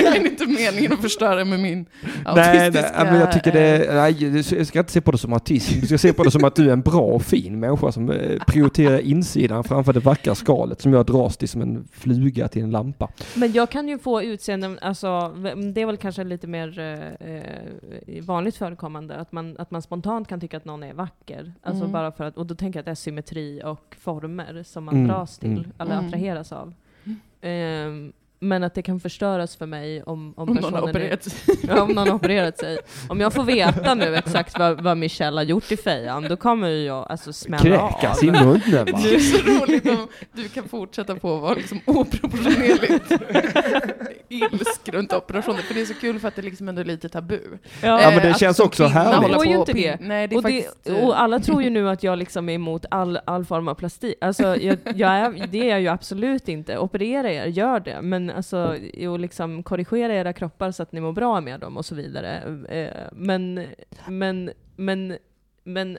Speaker 5: det är inte meningen att förstöra med min
Speaker 1: Nej, nej,
Speaker 5: autistiska,
Speaker 1: men jag tycker det
Speaker 5: eh,
Speaker 1: är, nej, jag ska inte se på det som autism. Du ska se på det som att du är en bra och fin människa som eh, prioriterar insidan framför det vackra skalet som jag dras till som en fluga till en lampa.
Speaker 4: Men jag kan ju få utseenden, alltså, v- det är väl kanske lite mer eh, eh, vanligt förekommande, att man, att man spontant kan tycka att någon är vacker. Alltså
Speaker 5: Mm.
Speaker 4: bara för att, och då tänker jag att det är symmetri och former som man
Speaker 1: Mm,
Speaker 4: dras till,
Speaker 1: mm.
Speaker 4: eller
Speaker 5: Mm.
Speaker 4: attraheras av. Ehm, men att det kan förstöras för mig om, om,
Speaker 5: Om någon har
Speaker 4: personen är-
Speaker 5: opererat
Speaker 4: Ja, om någon har opererat sig. Om jag får veta nu exakt vad, vad Michelle har gjort i fejan, då kommer ju jag alltså smälla av.
Speaker 1: Kräkas i munnen va?
Speaker 5: Det är så roligt om du kan fortsätta på att vara liksom oproportionerligt ilsk runt operationer. För det är så kul för att det liksom ändå är lite tabu. Eh,
Speaker 4: Ja.
Speaker 1: men det
Speaker 5: att
Speaker 1: känns
Speaker 5: som
Speaker 1: också
Speaker 5: kvinna
Speaker 1: härligt.
Speaker 5: hålla
Speaker 4: Det går ju
Speaker 5: på
Speaker 4: inte
Speaker 5: och
Speaker 4: det.
Speaker 5: pin- Nej, det är
Speaker 4: och,
Speaker 5: faktiskt... eh,
Speaker 4: det, och alla tror ju nu att jag liksom är emot all, all form av plastik. Alltså, jag, jag är, det är jag ju absolut inte. Operera er, gör det. Men alltså, och liksom korrigera era kroppar så att ni mår bra med dem och så vidare. Eh, Men, men, men, men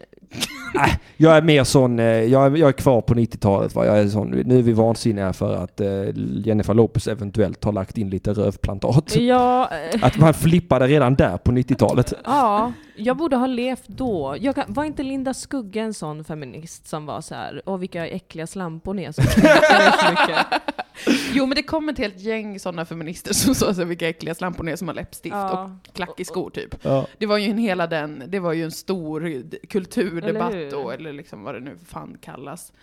Speaker 1: Äh, jag är mer sån, eh, jag är, jag är kvar på 90-talet va. Jag är sån, nu är vi vansinniga för att eh, Jennifer Lopez eventuellt har lagt in lite rövplantat.
Speaker 4: Ja, eh,
Speaker 1: Att man flippade redan där på 90-talet.
Speaker 4: ja, jag borde ha levt då. Jag kan, var inte Linda Skugge en sån feminist som var så här, åh vilka äckliga slampor ni är som knäcker så mycket.
Speaker 5: Jo men det kom ett helt gäng sådana feminister som sa så här, vilka äckliga slampor ni är som har läppstift
Speaker 4: Ja.
Speaker 5: och klack i skor typ.
Speaker 1: Ja.
Speaker 5: Det var ju en hela den, det var ju en stor d- kulturdebatt
Speaker 4: Eller hur?
Speaker 5: då, eller liksom vad det nu för fan kallas.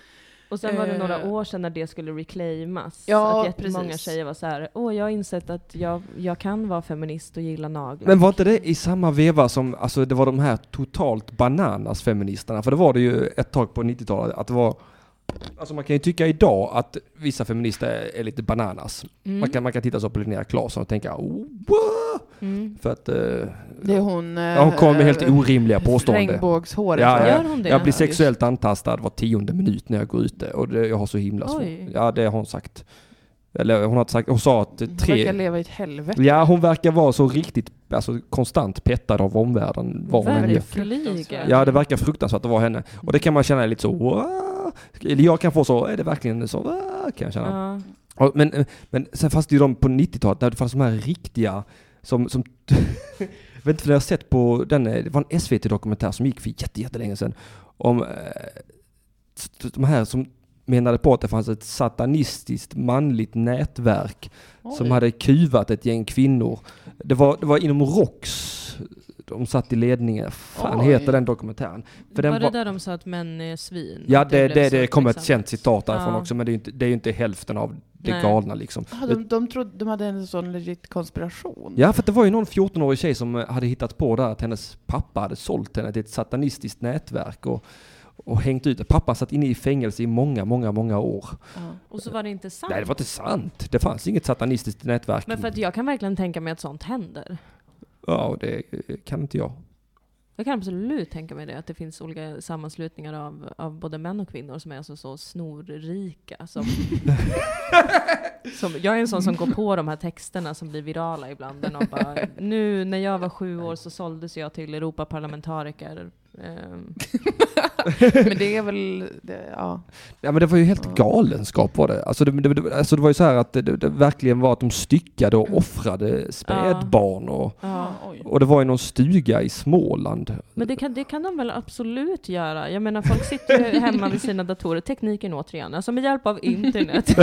Speaker 4: Och sen var det några
Speaker 5: Eh.
Speaker 4: år sedan när det skulle reclaimas.
Speaker 5: Ja,
Speaker 4: att jättemånga
Speaker 5: precis.
Speaker 4: tjejer var så här, åh jag har insett att jag, jag kan vara feminist och gilla naglar.
Speaker 1: Men var inte det i samma veva som, alltså det var de här totalt bananas feministerna? För det var det ju ett tag på 90-talet att det var, alltså man kan ju tycka idag att vissa feminister är, är lite bananas.
Speaker 4: Mm.
Speaker 1: Man, kan, man kan titta så på Linnea Claesson och tänka oh, wow!
Speaker 4: Mm.
Speaker 1: För att eh,
Speaker 5: Det är hon...
Speaker 1: ja, hon kommer med helt
Speaker 4: äh,
Speaker 5: eh,
Speaker 1: orimliga påståenden.
Speaker 5: Regnbågshåret.
Speaker 1: Ja,
Speaker 5: tror jag.
Speaker 1: ja.
Speaker 4: Gör hon det?
Speaker 1: Jag blir
Speaker 5: just.
Speaker 1: sexuellt antastad var tionde minut när jag går ute och det, jag har så himla svårt.
Speaker 4: Oj.
Speaker 1: Ja, det har hon sagt. Eller hon har inte sagt, hon sa att eh,
Speaker 5: Hon verkar
Speaker 1: tre...
Speaker 5: leva i ett helvete.
Speaker 1: Ja, hon verkar vara så riktigt, alltså konstant pettad av omvärlden. Var hon än är.
Speaker 4: Verkligen.
Speaker 1: Ja, det verkar fruktansvärt att vara henne. Och det kan man känna lite så, "Wow." eller jag kan få så, är det verkligen så, "Wow?" kan jag känna.
Speaker 4: Ja.
Speaker 1: Och, men, eh, men sen fanns det ju de på 90-talet, där det fanns de här riktiga, som, som jag vet inte om jag har sett på den, eh, det var en SVT-dokumentär som gick för jätte, jättelänge sedan, om eh, st- de här som menade på att det fanns ett satanistiskt manligt nätverk som hade kuvat ett gäng kvinnor. Det var, det var inom ROX, de satt i ledningen, fan
Speaker 5: Oj.
Speaker 1: heter den dokumentären? För den
Speaker 4: var det
Speaker 1: var-
Speaker 4: där de sa att män är svin?
Speaker 1: Ja,
Speaker 4: Att
Speaker 1: det,
Speaker 4: blev
Speaker 1: det,
Speaker 4: så,
Speaker 1: det kommer ett
Speaker 4: liksom.
Speaker 1: känt citat därifrån
Speaker 4: Ja.
Speaker 1: också, men det är ju inte, det är ju inte hälften av det
Speaker 4: Nej.
Speaker 1: galna liksom.
Speaker 5: Ah, de, de trodde de hade en sån legit konspiration.
Speaker 1: Ja, för att det var ju någon 14-årig tjej som eh, hade hittat på där att hennes pappa hade sålt henne till ett satanistiskt nätverk och, och hängt ut Pappan satt inne i fängelse i många, många, många år.
Speaker 5: Ja.
Speaker 4: Och så var det inte sant.
Speaker 1: Nej, det var inte sant. Det fanns inget satanistiskt nätverk.
Speaker 4: Men för att jag kan verkligen tänka mig att sånt händer.
Speaker 1: Ja, och det eh, kan inte jag.
Speaker 4: Jag kan absolut tänka mig det, att det finns olika sammanslutningar av, av både män och kvinnor som är alltså så snorrika. Som, som, jag är en sån som går på de här texterna som blir virala ibland. där någon bara, nu när jag var sju år så såldes jag till Europaparlamentariker. Ehm,
Speaker 5: Men det är väl, det, ja.
Speaker 1: Ja men det var ju helt galenskap var det. Alltså det, det, det, alltså det var ju så här att det, det, det verkligen var att de styckade och offrade spädbarn och,
Speaker 4: ja.
Speaker 5: oj.
Speaker 1: och det var ju någon stuga i Småland.
Speaker 4: Men det kan, det kan de väl absolut göra? Jag menar, folk sitter ju hemma vid sina datorer. Tekniken återigen, alltså med hjälp av internet.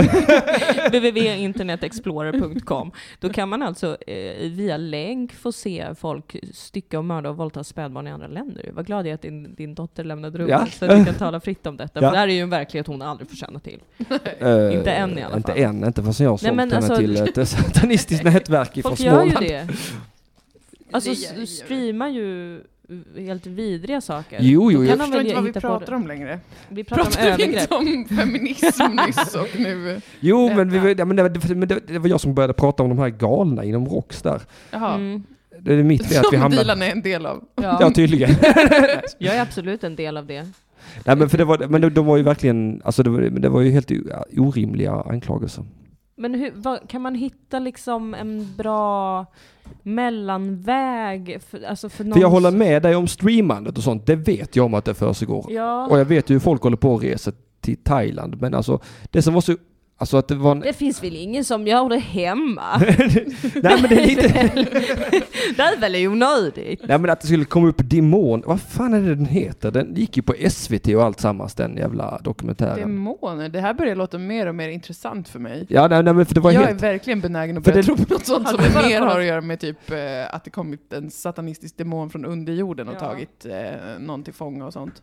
Speaker 4: www.internetexplorer.com. Då kan man alltså eh, via länk få se folk stycka och mörda och våldta spädbarn i andra länder. Vad glad jag är att din, din dotter lämnade rummet
Speaker 1: Ja.
Speaker 4: så att vi kan tala fritt om
Speaker 1: Ja.
Speaker 4: detta. För det här är ju en verklighet hon aldrig får känna till.
Speaker 1: Eh,
Speaker 4: Inte än i alla
Speaker 1: Inte
Speaker 4: fall.
Speaker 1: än, inte förrän jag har sålt
Speaker 4: men
Speaker 1: henne
Speaker 4: alltså-
Speaker 1: till ett satanistiskt nätverk ifrån
Speaker 4: Folk gör
Speaker 1: Småland.
Speaker 4: ju det. Alltså
Speaker 5: Det gör-
Speaker 4: s- streamar ju helt vidriga saker.
Speaker 1: Jo, jo,
Speaker 4: Då
Speaker 1: jo.
Speaker 4: kan
Speaker 5: Jag
Speaker 4: de
Speaker 5: förstår
Speaker 4: väl
Speaker 5: inte vad vi
Speaker 4: hitta på
Speaker 5: pratar
Speaker 4: det.
Speaker 5: om längre.
Speaker 4: Vi pratar om
Speaker 5: Pratade vi
Speaker 4: övergrepp.
Speaker 5: inte om feminism nyss och nu...
Speaker 1: Jo, men, vi, ja, men, det, var- men det, det var jag som började prata om de här galna inom Rox där.
Speaker 5: Jaha.
Speaker 4: Mm.
Speaker 1: Det är mitt fel att vi
Speaker 5: Som
Speaker 1: hamnade...
Speaker 5: Dilan är en del av.
Speaker 1: Ja, tydligen.
Speaker 4: Jag är absolut en del av det.
Speaker 1: Nej, men för det var, men de, de var ju verkligen, alltså det var, men det var ju helt o- orimliga anklagelser.
Speaker 4: Men hur, vad, kan man hitta liksom en bra mellanväg? För, alltså för, någon
Speaker 1: För jag håller
Speaker 4: som-
Speaker 1: med dig om streamandet och sånt, det vet jag om att det försiggår.
Speaker 4: Ja,
Speaker 1: Och jag vet ju hur folk håller på och reser till Thailand, men alltså det som var så, alltså att det var en,
Speaker 4: det finns väl ingen som gör det hemma?
Speaker 1: nej men det är lite,
Speaker 4: det är väl onödigt?
Speaker 1: nej men att det skulle komma upp demon, vad fan är det den heter? Den gick ju på SVT och allt sammans den jävla dokumentären.
Speaker 5: Demoner, det här börjar låta mer och mer intressant för mig.
Speaker 1: Ja nej, nej men för det var
Speaker 5: Jag är
Speaker 1: helt,
Speaker 5: verkligen benägen att
Speaker 1: För
Speaker 5: börja
Speaker 1: det-
Speaker 5: tro på något sånt som
Speaker 4: Hade bara
Speaker 5: mer
Speaker 4: kollat-
Speaker 5: har att göra med typ eh, att det kommit en satanistisk demon från underjorden och
Speaker 4: Ja.
Speaker 5: tagit eh, någon till fånga och sånt.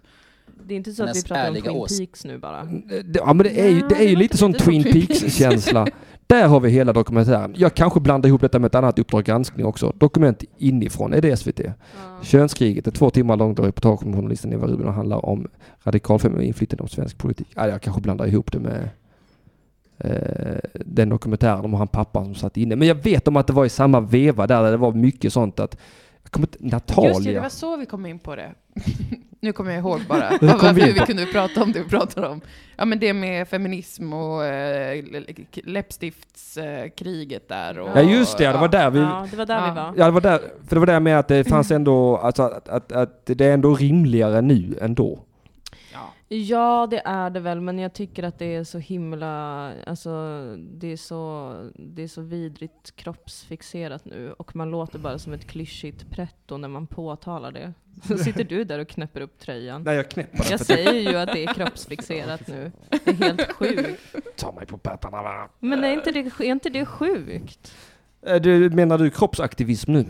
Speaker 4: Det är inte så att vi
Speaker 6: Hennes
Speaker 4: pratar om
Speaker 6: ärliga
Speaker 4: Twin
Speaker 6: ås-
Speaker 4: Peaks nu bara.
Speaker 1: det, ja men det är ju, det är ju
Speaker 5: Ja,
Speaker 1: lite
Speaker 5: det
Speaker 1: sån
Speaker 5: låter
Speaker 1: Twin
Speaker 5: lite som Twin Peaks.
Speaker 1: Peaks-känsla. Där har vi hela dokumentären. Jag kanske blandar ihop detta med ett annat Uppdrag granskning också. Dokument inifrån, är det SVT? Könskriget, ett två timmar långt reportage om journalisten Eva Rubin och handlar om radikalfeminism och inflytande om svensk politik. Ah, jag kanske blandar ihop det med eh, den dokumentären om han pappan som satt inne. Men jag vet om att det var i samma veva där, där det var mycket sånt att jag kommer inte,
Speaker 5: Just det, det var
Speaker 1: Natalia.
Speaker 5: så vi kom in på det. nu kommer jag ihåg bara
Speaker 1: Hur kom
Speaker 5: varför
Speaker 1: vi in
Speaker 5: vi,
Speaker 1: på?
Speaker 5: kunde prata om det vi pratade om. Ja men det med feminism och eh, läppstiftskriget där. Och,
Speaker 1: Ja just det, ja, det var där vi...
Speaker 4: Ja, det var där
Speaker 5: Ja.
Speaker 4: vi var.
Speaker 1: Ja, det var där, för det var där med att det fanns ändå, alltså att, att, att det är ändå rimligare nu än då.
Speaker 5: Ja.
Speaker 4: Ja, det är det väl, men jag tycker att det är så himla... Alltså, det är så, det är så vidrigt kroppsfixerat nu och man låter bara som ett klyschigt pretto när man påtalar det. Så sitter du där och knäpper upp tröjan.
Speaker 1: Nej, jag knäpper den
Speaker 4: Jag
Speaker 1: för det
Speaker 4: säger ju att det är kroppsfixerat nu. Det är helt sjukt.
Speaker 1: tar mig på pattarna. va?
Speaker 4: Men är inte det, är inte det sjukt?
Speaker 1: Eh, Du, menar du kroppsaktivism nu?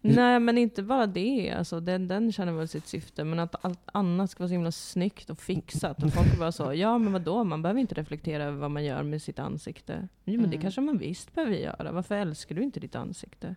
Speaker 4: Nej, men inte bara det. Alltså, den, den känner väl sitt syfte. Men att allt annat ska vara så himla snyggt och fixat. Och folk är bara så, ja men vadå, man behöver inte reflektera över vad man gör med sitt ansikte. Jo men det
Speaker 5: Mm.
Speaker 4: kanske man visst behöver göra. Varför älskar du inte ditt ansikte?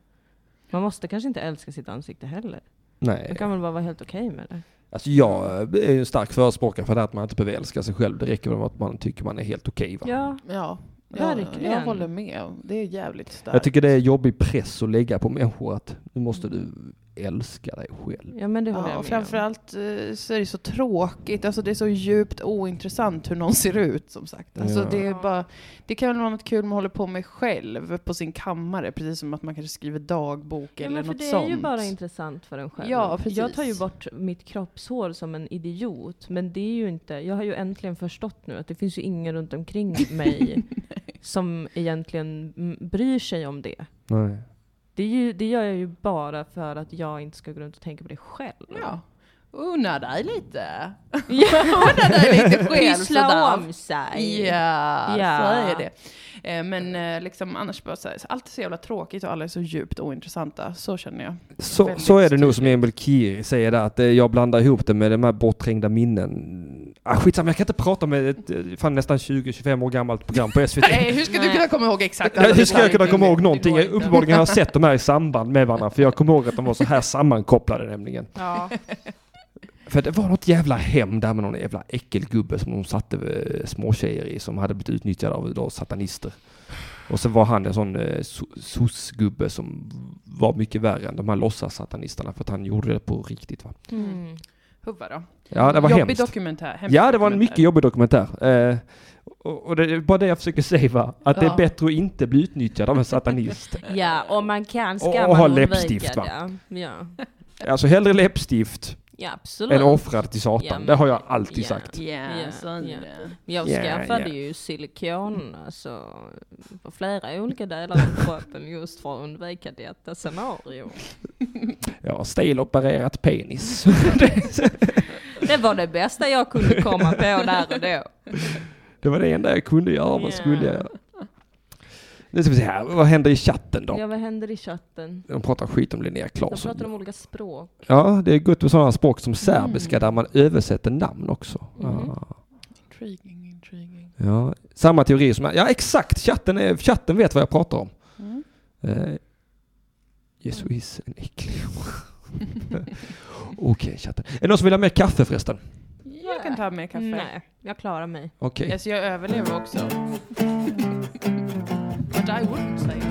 Speaker 4: Man måste kanske inte älska sitt ansikte heller.
Speaker 1: Nej.
Speaker 4: Man
Speaker 5: Eh.
Speaker 4: kan väl bara vara helt okej med det.
Speaker 1: Alltså jag är ju en stark förespråkare för det här att man inte behöver älska sig själv. Det räcker med att man tycker man är helt okej. va?
Speaker 4: Ja,
Speaker 5: Ja, jag,
Speaker 4: Verkligen.
Speaker 5: jag håller med. Det är jävligt starkt.
Speaker 1: jag tycker det är jobbig press att lägga på människor att nu måste du älska dig själv.
Speaker 4: ja men det håller
Speaker 5: Ja, och
Speaker 4: jag med om.
Speaker 5: framförallt eh, så är det så tråkigt, alltså det är så djupt ointressant hur någon ser ut som sagt. Alltså
Speaker 1: Ja.
Speaker 5: det, är bara, det kan väl vara något kul man håller på med själv på sin kammare, precis som att man kanske skriver dagbok
Speaker 4: Ja,
Speaker 5: eller
Speaker 4: men för
Speaker 5: något
Speaker 4: det
Speaker 5: sånt.
Speaker 4: är ju bara intressant för en själv.
Speaker 5: Ja, precis.
Speaker 4: Jag tar ju bort mitt kroppshår som en idiot, men det är ju inte... Jag har ju äntligen förstått nu att det finns ju ingen runt omkring mig som egentligen mm, bryr sig om det.
Speaker 1: Nej.
Speaker 4: Det, är ju, det gör jag ju bara för att jag inte ska gå runt och tänka på det själv.
Speaker 5: Ja. Unna dig lite.
Speaker 4: Ja.
Speaker 5: Unna dig lite själv
Speaker 4: Pyssla
Speaker 5: sådär.
Speaker 4: om sig!
Speaker 5: Ja,
Speaker 4: Ja.
Speaker 5: så är det. Eh, Men eh, liksom, annars bara så här, allt är så jävla tråkigt och alla är så djupt ointressanta. Så känner jag.
Speaker 1: Så,
Speaker 5: Väldigt
Speaker 1: så är det nog som
Speaker 5: tydligt.
Speaker 1: Emil Kiri säger där, att eh, jag blandar ihop det med de här bortträngda minnen. Ah, skitsamma, jag kan inte prata med ett eh, fan, nästan 20-25 år gammalt program på SVT.
Speaker 5: Nej, hur ska du
Speaker 4: Nej.
Speaker 5: kunna komma ihåg exakt?
Speaker 1: Ja,
Speaker 5: alla
Speaker 1: hur ska jag
Speaker 5: detaljer?
Speaker 1: kunna komma ihåg
Speaker 5: Det
Speaker 1: någonting?
Speaker 5: går inte.
Speaker 1: Uppenbarligen har jag sett de här i samband med varandra, för jag kommer ihåg att de var så här sammankopplade nämligen.
Speaker 5: Ja.
Speaker 1: För det var något jävla hem där med någon jävla äckelgubbe som de satte eh, småtjejer i som hade blivit utnyttjade av då satanister. Och så var han en sån eh, so- soc-gubbe som var mycket värre än de här låtsas-satanisterna för att han gjorde det på riktigt va.
Speaker 4: Mm.
Speaker 5: Huvva då.
Speaker 1: Ja, det var
Speaker 5: Jobbig
Speaker 1: hemskt.
Speaker 5: dokumentär. hemsk
Speaker 1: Ja, det var en
Speaker 5: dokumentär.
Speaker 1: mycket jobbig dokumentär. Eh, och och det är bara det jag försöker säga va, att det är
Speaker 5: Ja.
Speaker 1: bättre att inte bli utnyttjad av en satanist.
Speaker 4: Ja, om man kan ska
Speaker 1: Och- och
Speaker 4: man
Speaker 1: ha
Speaker 4: undvika
Speaker 1: läppstift, va?
Speaker 4: det. Ja.
Speaker 1: Alltså hellre läppstift
Speaker 4: ja, absolut.
Speaker 1: än offrad till
Speaker 4: Ja,
Speaker 1: Satan.
Speaker 4: men-
Speaker 1: Det har jag alltid
Speaker 4: ja.
Speaker 1: sagt.
Speaker 4: Ja,
Speaker 5: Ja, så är
Speaker 4: ja.
Speaker 5: det.
Speaker 4: Jag
Speaker 1: Ja, ja.
Speaker 4: skaffade ju silikon alltså, på flera olika delar av kroppen just för att undvika detta scenario.
Speaker 1: Jag har stelopererat penis.
Speaker 4: Det var det bästa jag kunde komma på där och då.
Speaker 1: Det var det enda jag kunde göra.
Speaker 4: Ja.
Speaker 1: Vad skulle jag göra? Nu ska vi se här. Vad händer i chatten då?
Speaker 4: Ja, vad händer i chatten?
Speaker 1: De pratar skit om Linnea
Speaker 4: De
Speaker 1: Claesson.
Speaker 4: pratar om olika språk.
Speaker 1: Ja, det är gott med sådana språk som serbiska där man översätter namn också.
Speaker 4: Mhm.
Speaker 1: Ja.
Speaker 5: Intriguing, intriguing.
Speaker 1: Ja. Samma teori som... Ja, exakt! Chatten, är, chatten vet vad jag pratar om.
Speaker 5: Mm.
Speaker 1: Eh, yes, who is an äcklig... Okej, chatten. Är det någon som vill ha mer kaffe förresten?
Speaker 5: Jag kan ta mer kaffe.
Speaker 4: Nej, jag klarar mig.
Speaker 1: Okej.
Speaker 5: Yes, jag överlever också. But I wouldn't say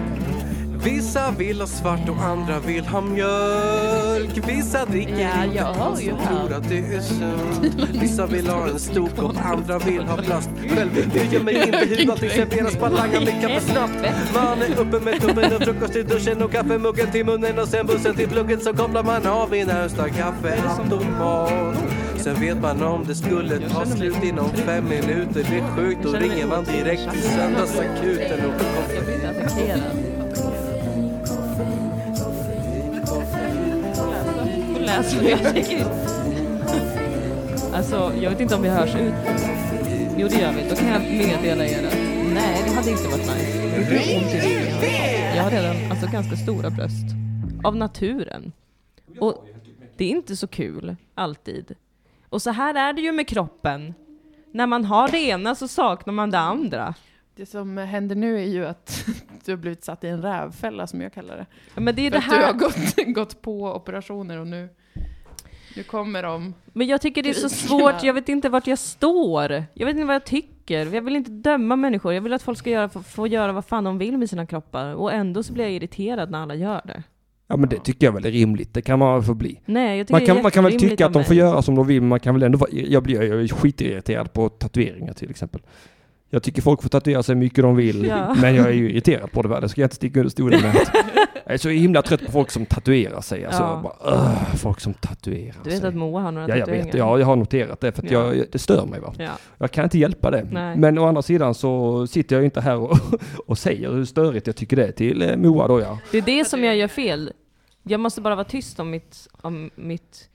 Speaker 6: Vissa vill ha svart och andra vill ha mjölk Vissa dricker
Speaker 5: Ja,
Speaker 6: inte
Speaker 5: jag hör
Speaker 6: alls
Speaker 5: ju
Speaker 6: och
Speaker 5: här.
Speaker 6: tror att det är sunt Vissa vill ha en stor kopp, andra vill ha plast Själv bryr jag mig inte hur allting serveras, bara langar mycket kaffe snabbt Man är uppe med tummen och frukost i duschen och kaffemuggen till munnen och sen bussen till plugget så kopplar man av i närmsta kaffeautomat Sen vet man om det skulle ta slut inom fem minuter, det är sjukt Då ringer man direkt till söndagsakuten och
Speaker 4: Jag blir inte attackerad. Hon läser vad jag tycker. Alltså, jag vet inte om vi hörs ut. Jo, det gör vi. Då kan jag meddela er att nej, det hade inte varit nice. Jag har redan alltså, ganska stora bröst. Av naturen. Och det är inte så kul, alltid. Och så här är det ju med kroppen. När man har det ena så saknar man det andra.
Speaker 5: Det som händer nu är ju att du har blivit satt i en rävfälla som jag kallar det.
Speaker 4: Ja, Men det är
Speaker 5: För
Speaker 4: det
Speaker 5: att du
Speaker 4: här.
Speaker 5: har gått, gått på operationer och nu, nu kommer de.
Speaker 4: Men jag tycker det är så
Speaker 5: Krig.
Speaker 4: svårt, jag vet inte vart jag står. Jag vet inte vad jag tycker. Jag vill inte döma människor. Jag vill att folk ska göra, få, få göra vad fan de vill med sina kroppar. Och ändå så blir jag irriterad när alla gör det.
Speaker 1: Ja, men det tycker jag väl är rimligt. Det kan man väl få bli.
Speaker 4: Nej, jag tycker
Speaker 1: Man
Speaker 4: det
Speaker 1: kan,
Speaker 4: är
Speaker 1: man kan väl
Speaker 4: jätterimligt
Speaker 1: tycka att
Speaker 4: av
Speaker 1: de får
Speaker 4: mig.
Speaker 1: göra som de vill, men man kan väl ändå vara, jag blir jag är skitirriterad på tatueringar till exempel. Jag tycker folk får tatuera sig hur mycket de vill,
Speaker 4: Ja.
Speaker 1: men jag är ju irriterad på det va, det ska jag inte sticka under stolen med. att Jag är så himla trött på folk som tatuerar sig. Alltså,
Speaker 4: Ja.
Speaker 1: bara, "Ugh, folk som tatuerar
Speaker 4: Du vet
Speaker 1: sig.
Speaker 4: att Moa har några
Speaker 1: Ja, jag vet.
Speaker 4: tatueringar?
Speaker 1: Ja, jag har noterat det för att
Speaker 4: Ja.
Speaker 1: jag, det stör mig. Va?
Speaker 4: Ja.
Speaker 1: Jag kan inte hjälpa det.
Speaker 4: Nej.
Speaker 1: Men å andra sidan så sitter jag ju inte här och, och säger hur störigt jag tycker det är till eh, Moa då ja.
Speaker 4: Det är det som jag gör fel. Jag måste bara vara tyst om mitt... Om mitt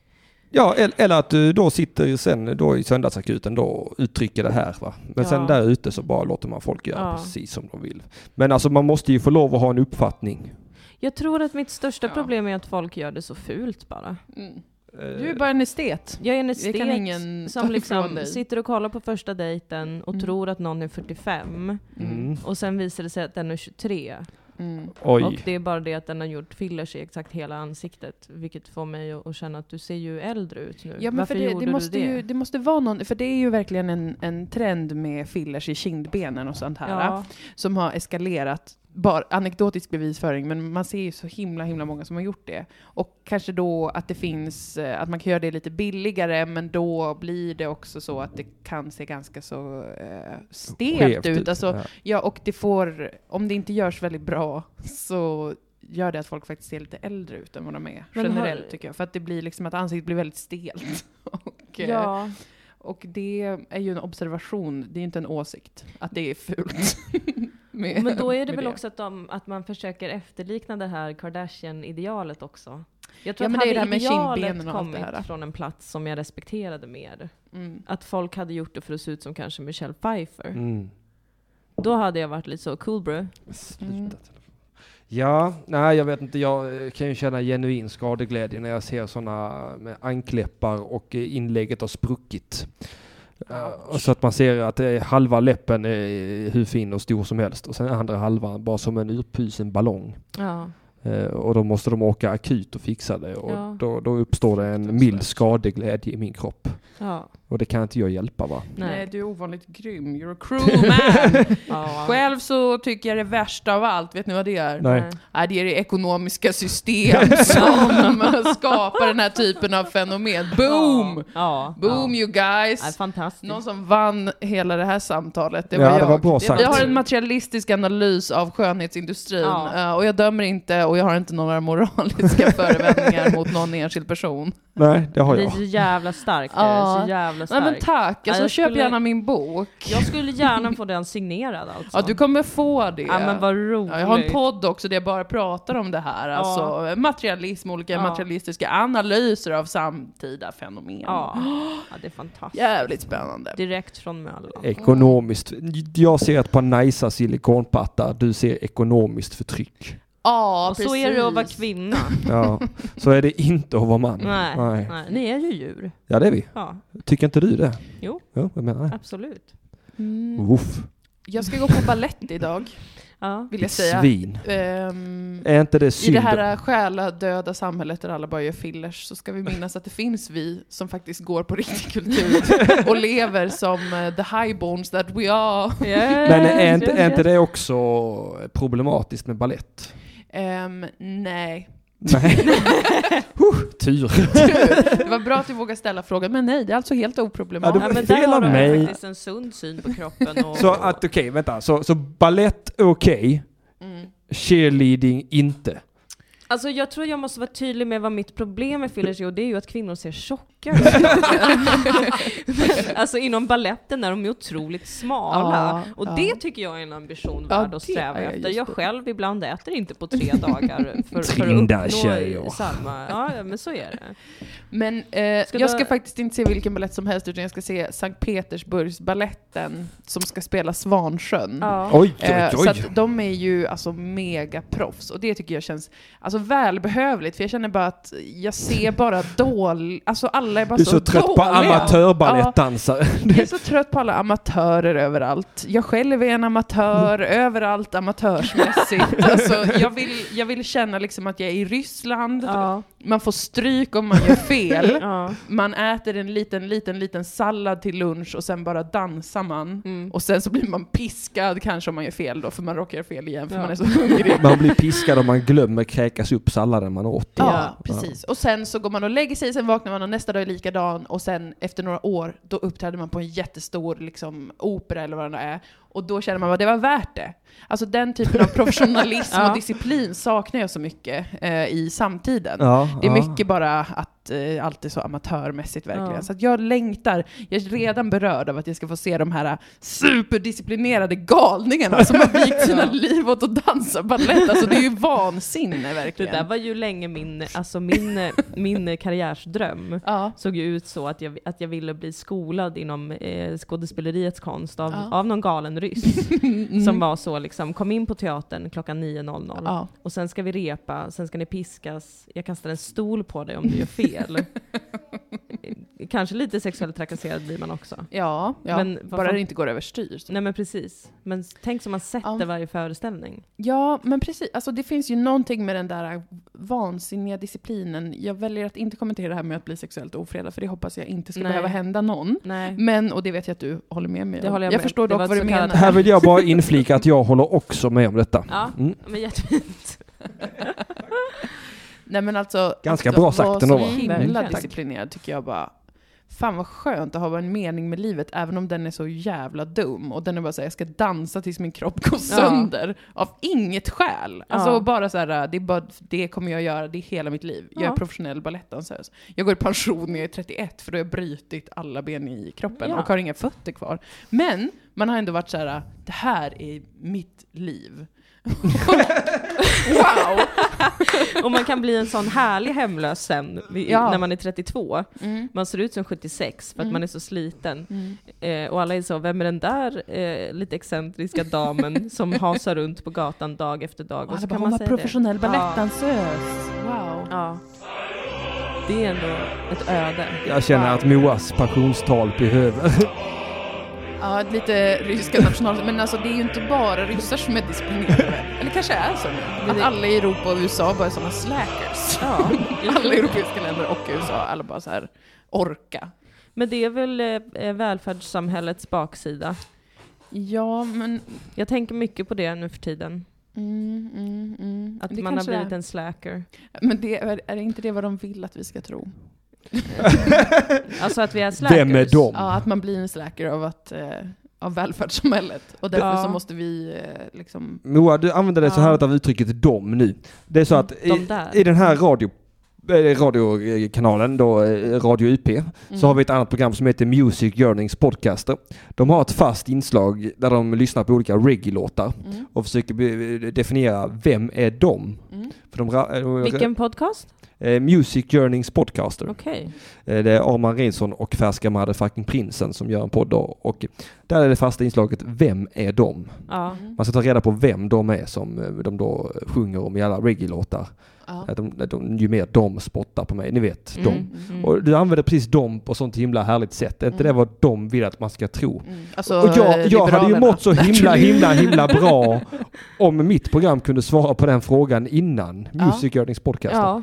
Speaker 1: Ja, el- eller att du då sitter sen då i söndagsakuten då och uttrycker det här va. Men sen
Speaker 4: Ja.
Speaker 1: där ute så bara låter man folk göra
Speaker 4: Ja.
Speaker 1: precis som de vill. Men alltså man måste ju få lov att ha en uppfattning.
Speaker 4: jag tror att mitt största
Speaker 5: Ja.
Speaker 4: problem är att folk gör det så fult bara.
Speaker 5: Mm.
Speaker 1: Eh,
Speaker 5: Du är bara en estet.
Speaker 4: Jag är en
Speaker 5: Det kan
Speaker 4: estet
Speaker 5: ingen ta
Speaker 4: som
Speaker 5: ifrån
Speaker 4: liksom
Speaker 5: dig.
Speaker 4: sitter och kollar på första dejten och
Speaker 5: Mm.
Speaker 4: tror att någon är 45
Speaker 1: Mm.
Speaker 4: och sen visar det sig att den är 23.
Speaker 5: Mm.
Speaker 1: Oj.
Speaker 4: Och det är bara det att den har gjort fillers i exakt hela ansiktet, vilket får mig att, att känna att du ser ju äldre ut nu.
Speaker 5: Ja, men
Speaker 4: Varför
Speaker 5: för det,
Speaker 4: gjorde
Speaker 5: det, måste
Speaker 4: du det?
Speaker 5: Ju, det måste vara någon, för det är ju verkligen en, en trend med fillers i kindbenen och sånt här.
Speaker 4: ja.
Speaker 5: Som har eskalerat. Bara anekdotisk bevisföring, men man ser ju så himla himla många som har gjort det. Och kanske då att det finns, eh, att man kan göra det lite billigare, men då blir det också så att det kan se ganska så eh,
Speaker 1: Skevt
Speaker 5: stelt ut. Alltså,
Speaker 1: ja.
Speaker 5: Ja, och det får, om det inte görs väldigt bra så gör det att folk faktiskt ser lite äldre ut än vad de är.
Speaker 4: Men har-
Speaker 5: generellt tycker jag. För att det blir liksom att ansiktet blir väldigt stelt. Och, eh,
Speaker 4: ja.
Speaker 5: och det är ju en observation, det är inte en åsikt, att det är fult. med-
Speaker 4: Men då är det
Speaker 5: med
Speaker 4: väl också att, de, att man försöker efterlikna det här Kardashian-idealet också. Jag tror
Speaker 5: Ja, men
Speaker 4: att
Speaker 5: det
Speaker 4: hade
Speaker 5: är det här med
Speaker 4: idealet
Speaker 5: kindbenen och allt det
Speaker 4: kommit
Speaker 5: här.
Speaker 4: från en plats som jag respekterade mer,
Speaker 5: Mm.
Speaker 4: att folk hade gjort det för att se ut som kanske Michelle Pfeiffer,
Speaker 1: Mm.
Speaker 4: då hade jag varit lite så cool bro.
Speaker 1: Sluta. Ja, nej jag vet inte. Jag eh, kan ju känna genuin skadeglädje när jag ser sådana med ankläppar och eh, inlägget har spruckit. Eh, och så att man ser att eh, halva läppen är eh, hur fin och stor som helst och sen andra halvan bara som en urpusen ballong.
Speaker 4: Ja.
Speaker 1: Eh, och då måste de åka akut och fixa det och
Speaker 4: Ja.
Speaker 1: då, då uppstår det en mild skadeglädje i min kropp.
Speaker 4: Ja.
Speaker 1: Och det kan inte jag hjälpa va?
Speaker 5: Nej.
Speaker 4: Nej.
Speaker 5: du är ovanligt grym. You're a cruel man!
Speaker 4: Ja.
Speaker 5: Själv så tycker jag det värsta av allt, vet ni vad det är?
Speaker 1: Nej.
Speaker 5: Nej, det är det ekonomiska system som skapar den här typen av fenomen. Boom!
Speaker 4: Ja.
Speaker 5: Boom
Speaker 4: ja.
Speaker 5: you
Speaker 4: Ja,
Speaker 5: guys!
Speaker 4: fantastiskt.
Speaker 5: Någon som vann hela det här samtalet, det
Speaker 1: Ja,
Speaker 5: var
Speaker 1: det
Speaker 5: jag.
Speaker 1: var bra sagt.
Speaker 5: Jag har en materialistisk analys av skönhetsindustrin
Speaker 4: Ja.
Speaker 5: eh, och jag dömer inte och jag har inte några moraliska förevändningar mot någon enskild person.
Speaker 1: Nej, det har
Speaker 4: Det är
Speaker 1: jag.
Speaker 4: så jävla starkt.
Speaker 5: Ja.
Speaker 4: Det är så jävla
Speaker 5: Nej
Speaker 4: starkt.
Speaker 5: men tack, alltså,
Speaker 4: Ja, jag
Speaker 5: köp
Speaker 4: skulle-
Speaker 5: gärna min bok.
Speaker 4: Jag skulle gärna få den signerad alltså.
Speaker 5: Ja, du kommer få det.
Speaker 4: ja men vad roligt.
Speaker 5: Ja, jag har en podd också där jag bara pratar om det här. Alltså materialism, olika
Speaker 4: Ja.
Speaker 5: materialistiska analyser av samtida fenomen.
Speaker 4: Ja. ja, det är fantastiskt.
Speaker 5: Jävligt spännande.
Speaker 4: Direkt från Möllan.
Speaker 1: Ekonomiskt. Jag ser ett par najsa silikonpattar, du ser ekonomiskt förtryck.
Speaker 5: Ja,
Speaker 4: och
Speaker 5: precis.
Speaker 4: så är det att vara kvinna.
Speaker 1: Ja, så är det inte att vara man.
Speaker 4: nej, nej, ni är ju djur.
Speaker 1: Ja, det är vi.
Speaker 4: Ja,
Speaker 1: Tycker inte du det?
Speaker 4: Jo.
Speaker 1: Ja, jag menar det.
Speaker 4: absolut.
Speaker 5: Mm.
Speaker 1: Woof.
Speaker 5: Jag ska gå på ballett idag,
Speaker 4: Ja.
Speaker 5: vill jag
Speaker 1: Ditt
Speaker 5: säga.
Speaker 1: svin.
Speaker 5: Ehm,
Speaker 1: Är inte det
Speaker 5: I
Speaker 1: synd?
Speaker 5: det här själadöda samhället där alla bara gör fillers så ska vi minnas att det finns vi som faktiskt går på riktig kultur och lever som eh, the highborns that we are.
Speaker 1: Men är inte, är inte det också problematiskt med ballett?
Speaker 5: Ehm, nej.
Speaker 1: Nej. huh, tur.
Speaker 5: Det var bra att du vågade ställa frågan, men nej, det är alltså helt
Speaker 1: Ja,
Speaker 5: oproblematiskt.
Speaker 1: det
Speaker 4: Ja,
Speaker 1: var
Speaker 4: men
Speaker 1: fel
Speaker 4: där har
Speaker 1: av
Speaker 4: de
Speaker 1: mig.
Speaker 4: ju faktiskt en sund syn på kroppen. Och,
Speaker 1: Så att okej, vänta. Så, så ballett okej,
Speaker 5: Mm.
Speaker 1: cheerleading inte.
Speaker 4: Alltså jag tror jag måste vara tydlig med vad mitt problem med fillers är och det är ju att kvinnor ser tjocka ut. Alltså inom balletten är de ju otroligt smala.
Speaker 5: Ja,
Speaker 4: och
Speaker 5: ja.
Speaker 4: det tycker jag är en ambition
Speaker 5: Ja,
Speaker 4: värd att
Speaker 5: det
Speaker 4: sträva
Speaker 5: är
Speaker 4: efter.
Speaker 5: just
Speaker 4: Jag
Speaker 5: det.
Speaker 4: själv ibland äter inte på tre dagar för, för att
Speaker 1: Trinda
Speaker 4: uppnå
Speaker 1: tjejer.
Speaker 4: samma. Ja men så är det.
Speaker 5: Men eh,
Speaker 4: Ska
Speaker 5: jag
Speaker 4: du-
Speaker 5: ska faktiskt inte se vilken ballett som helst utan jag ska se Sankt Petersburgsballetten som ska spela Svansjön.
Speaker 4: Ja.
Speaker 1: Oj, oj,
Speaker 5: Eh, Så
Speaker 1: oj.
Speaker 5: att de är ju alltså mega proffs och det tycker jag känns alltså, välbehövligt för jag känner bara att jag ser bara dålig, alltså alla är bara
Speaker 1: Du är så trött på
Speaker 5: dåliga.
Speaker 1: amatörbalettdansare.
Speaker 5: Jag är så trött på alla amatörer överallt. Jag själv är en amatör
Speaker 1: Mm.
Speaker 5: överallt amatörsmässigt. Alltså, jag, vill, jag vill känna liksom att jag är i Ryssland,
Speaker 4: Ja.
Speaker 5: man får stryk om man gör fel.
Speaker 4: Ja.
Speaker 5: Man äter en liten, liten, liten sallad till lunch och sen bara dansar man.
Speaker 4: Mm.
Speaker 5: Och sen så blir man piskad kanske om man gör fel då, för man råkar göra fel igen för
Speaker 4: Ja.
Speaker 5: man är så hungrig.
Speaker 1: Man blir piskad om man glömmer kräkas upp salladen man åt.
Speaker 5: Ja,
Speaker 4: Ja.
Speaker 5: precis. Och sen så går man och lägger sig, sen vaknar man och nästa dag är likadan och sen efter några år, då uppträder man på en jättestor liksom, opera eller vad det nu är. Och då känner man att det var värt det. Alltså den typen av professionalism
Speaker 4: Ja.
Speaker 5: och disciplin saknar jag så mycket eh, i samtiden.
Speaker 1: Ja,
Speaker 5: Det är
Speaker 1: ja.
Speaker 5: mycket bara att eh, allt är så amatörmässigt verkligen.
Speaker 4: Ja.
Speaker 5: Så att jag längtar, jag är redan berörd av att jag ska få se de här eh, superdisciplinerade galningarna som har vikt sina
Speaker 4: Ja.
Speaker 5: liv åt att dansa balett. Alltså det är ju vansinne
Speaker 4: Det
Speaker 5: verkligen.
Speaker 4: där var ju länge min, alltså min, min karriärsdröm.
Speaker 5: ja.
Speaker 4: såg ju ut så att jag, att jag ville bli skolad inom eh, skådespeleriets konst av,
Speaker 5: Ja. Mm.
Speaker 4: av någon galen ryss. Som var så liksom, kom in på teatern klockan 9.00
Speaker 5: Ja.
Speaker 4: och sen ska vi repa, sen ska ni piskas, jag kastar en stol på dig om du gör fel. Eh, Kanske lite sexuellt trakasserad blir man också.
Speaker 5: Ja, ja.
Speaker 4: Men vad
Speaker 5: bara
Speaker 4: fan-
Speaker 5: det inte går överstyr.
Speaker 4: Nej men precis. Men tänk som man sätter
Speaker 5: Ja.
Speaker 4: varje föreställning.
Speaker 5: Ja, men precis. Alltså, det finns ju någonting med den där vansinniga disciplinen. Jag väljer att inte kommentera det här med att bli sexuellt ofredad, för det hoppas jag inte ska
Speaker 4: Nej.
Speaker 5: behöva hända någon.
Speaker 4: Nej.
Speaker 5: Men, och det vet jag att du håller med mig om.
Speaker 4: Det håller jag med.
Speaker 5: förstår
Speaker 4: Det
Speaker 5: dock
Speaker 4: var ett
Speaker 5: vad du
Speaker 4: så kallat-
Speaker 5: menar.
Speaker 1: Här vill jag bara inflika att jag håller också med om detta.
Speaker 4: Ja,
Speaker 1: Mm.
Speaker 4: men jättefint.
Speaker 5: Nej, men alltså,
Speaker 1: Ganska
Speaker 5: alltså,
Speaker 1: bra sagt
Speaker 5: var
Speaker 1: ändå,
Speaker 5: så
Speaker 1: va?
Speaker 5: himla
Speaker 4: Verkligen.
Speaker 5: disciplinerad tycker jag bara. Fan vad skönt att ha en mening med livet, även om den är så jävla dum. Och den är bara såhär, jag ska dansa tills min kropp går sönder. Av inget skäl. Alltså
Speaker 4: Ja.
Speaker 5: bara såhär, det, är bara- det kommer jag göra, det är hela mitt liv. Jag är
Speaker 4: Ja.
Speaker 5: professionell balettdansös. Jag går i pension när jag är 31, för då har jag brutit alla ben i kroppen
Speaker 4: Ja.
Speaker 5: och har inga fötter kvar. Men man har ändå varit såhär, det här är mitt liv. wow!
Speaker 4: Och man kan bli en sån härlig hemlös sen vid-
Speaker 5: Ja.
Speaker 4: när man är 32.
Speaker 5: Mm.
Speaker 4: Man ser ut som 76 för att man är så sliten.
Speaker 5: Mm.
Speaker 4: Eh, och alla är så, vem är den där eh, lite excentriska damen som hasar runt på gatan dag efter dag?
Speaker 5: Alltså,
Speaker 4: Och så kan man säga det.
Speaker 5: balettdansös. Wow.
Speaker 4: Ja. Det är ändå ett öde.
Speaker 1: Jag känner att Moas passionstal behöver.
Speaker 5: Ja, lite ryska national... Men alltså det är ju inte bara ryssar som är disciplinerade. Eller kanske är så nu. Att alla i Europa och USA bara är sådana slackers.
Speaker 4: Ja.
Speaker 5: Alla europeiska länder och USA, alla bara så här orka.
Speaker 4: Men det är väl eh, välfärdssamhällets baksida.
Speaker 5: Ja, men...
Speaker 4: Jag tänker mycket på det nu för tiden.
Speaker 5: Mm, mm, mm.
Speaker 4: Att
Speaker 5: Det
Speaker 4: man har
Speaker 5: kanske det
Speaker 4: blivit
Speaker 5: är.
Speaker 4: en slacker.
Speaker 5: Men det, är, är det inte det vad de vill att vi ska tro?
Speaker 4: Alltså att vi är slackers.
Speaker 1: Vem är de?
Speaker 5: Ja, att man blir en slacker av, att, eh, av välfärdssamhället. Och därför
Speaker 4: Ja.
Speaker 5: så måste vi eh, liksom...
Speaker 1: Moa, du använder det så
Speaker 4: Ja.
Speaker 1: här av uttrycket dom nu. Det är så att
Speaker 4: De
Speaker 1: i,
Speaker 4: där.
Speaker 1: i den här radio eh, radiokanalen då, eh, Radio UP,
Speaker 5: Mm.
Speaker 1: så har vi ett annat program som heter Music Yearnings Podcaster. De har ett fast inslag där de lyssnar på olika reggae-låtar
Speaker 5: Mm.
Speaker 1: och försöker be- definiera vem är de?
Speaker 5: Mm.
Speaker 1: För de ra- eh,
Speaker 4: Vilken podcast?
Speaker 1: eh, Music Yearnings Podcaster.
Speaker 4: Okej.
Speaker 1: Eh, Det är Arman Rensson och Färska Motherfucking Prinsen som gör en podd då. och där är det fasta inslaget Vem är de?
Speaker 4: Ja.
Speaker 5: mm.
Speaker 1: Man ska ta reda på vem de är som eh, de då sjunger om i alla reggae-låtar.
Speaker 5: Ja.
Speaker 1: Att de, att de, ju mer de spottar på mig, ni vet,
Speaker 4: Mm.
Speaker 1: de.
Speaker 4: Mm.
Speaker 1: Och du använder precis de på sånt himla härligt sätt. Är inte
Speaker 5: Mm.
Speaker 1: det vad de vill att man ska tro?
Speaker 5: Mm. Alltså,
Speaker 1: och jag, jag hade ju
Speaker 5: Liberalerna.
Speaker 1: mått så himla, himla, himla bra om mitt program kunde svara på den frågan innan
Speaker 5: Ja.
Speaker 1: Music Yearnings Podcast.
Speaker 4: Ja.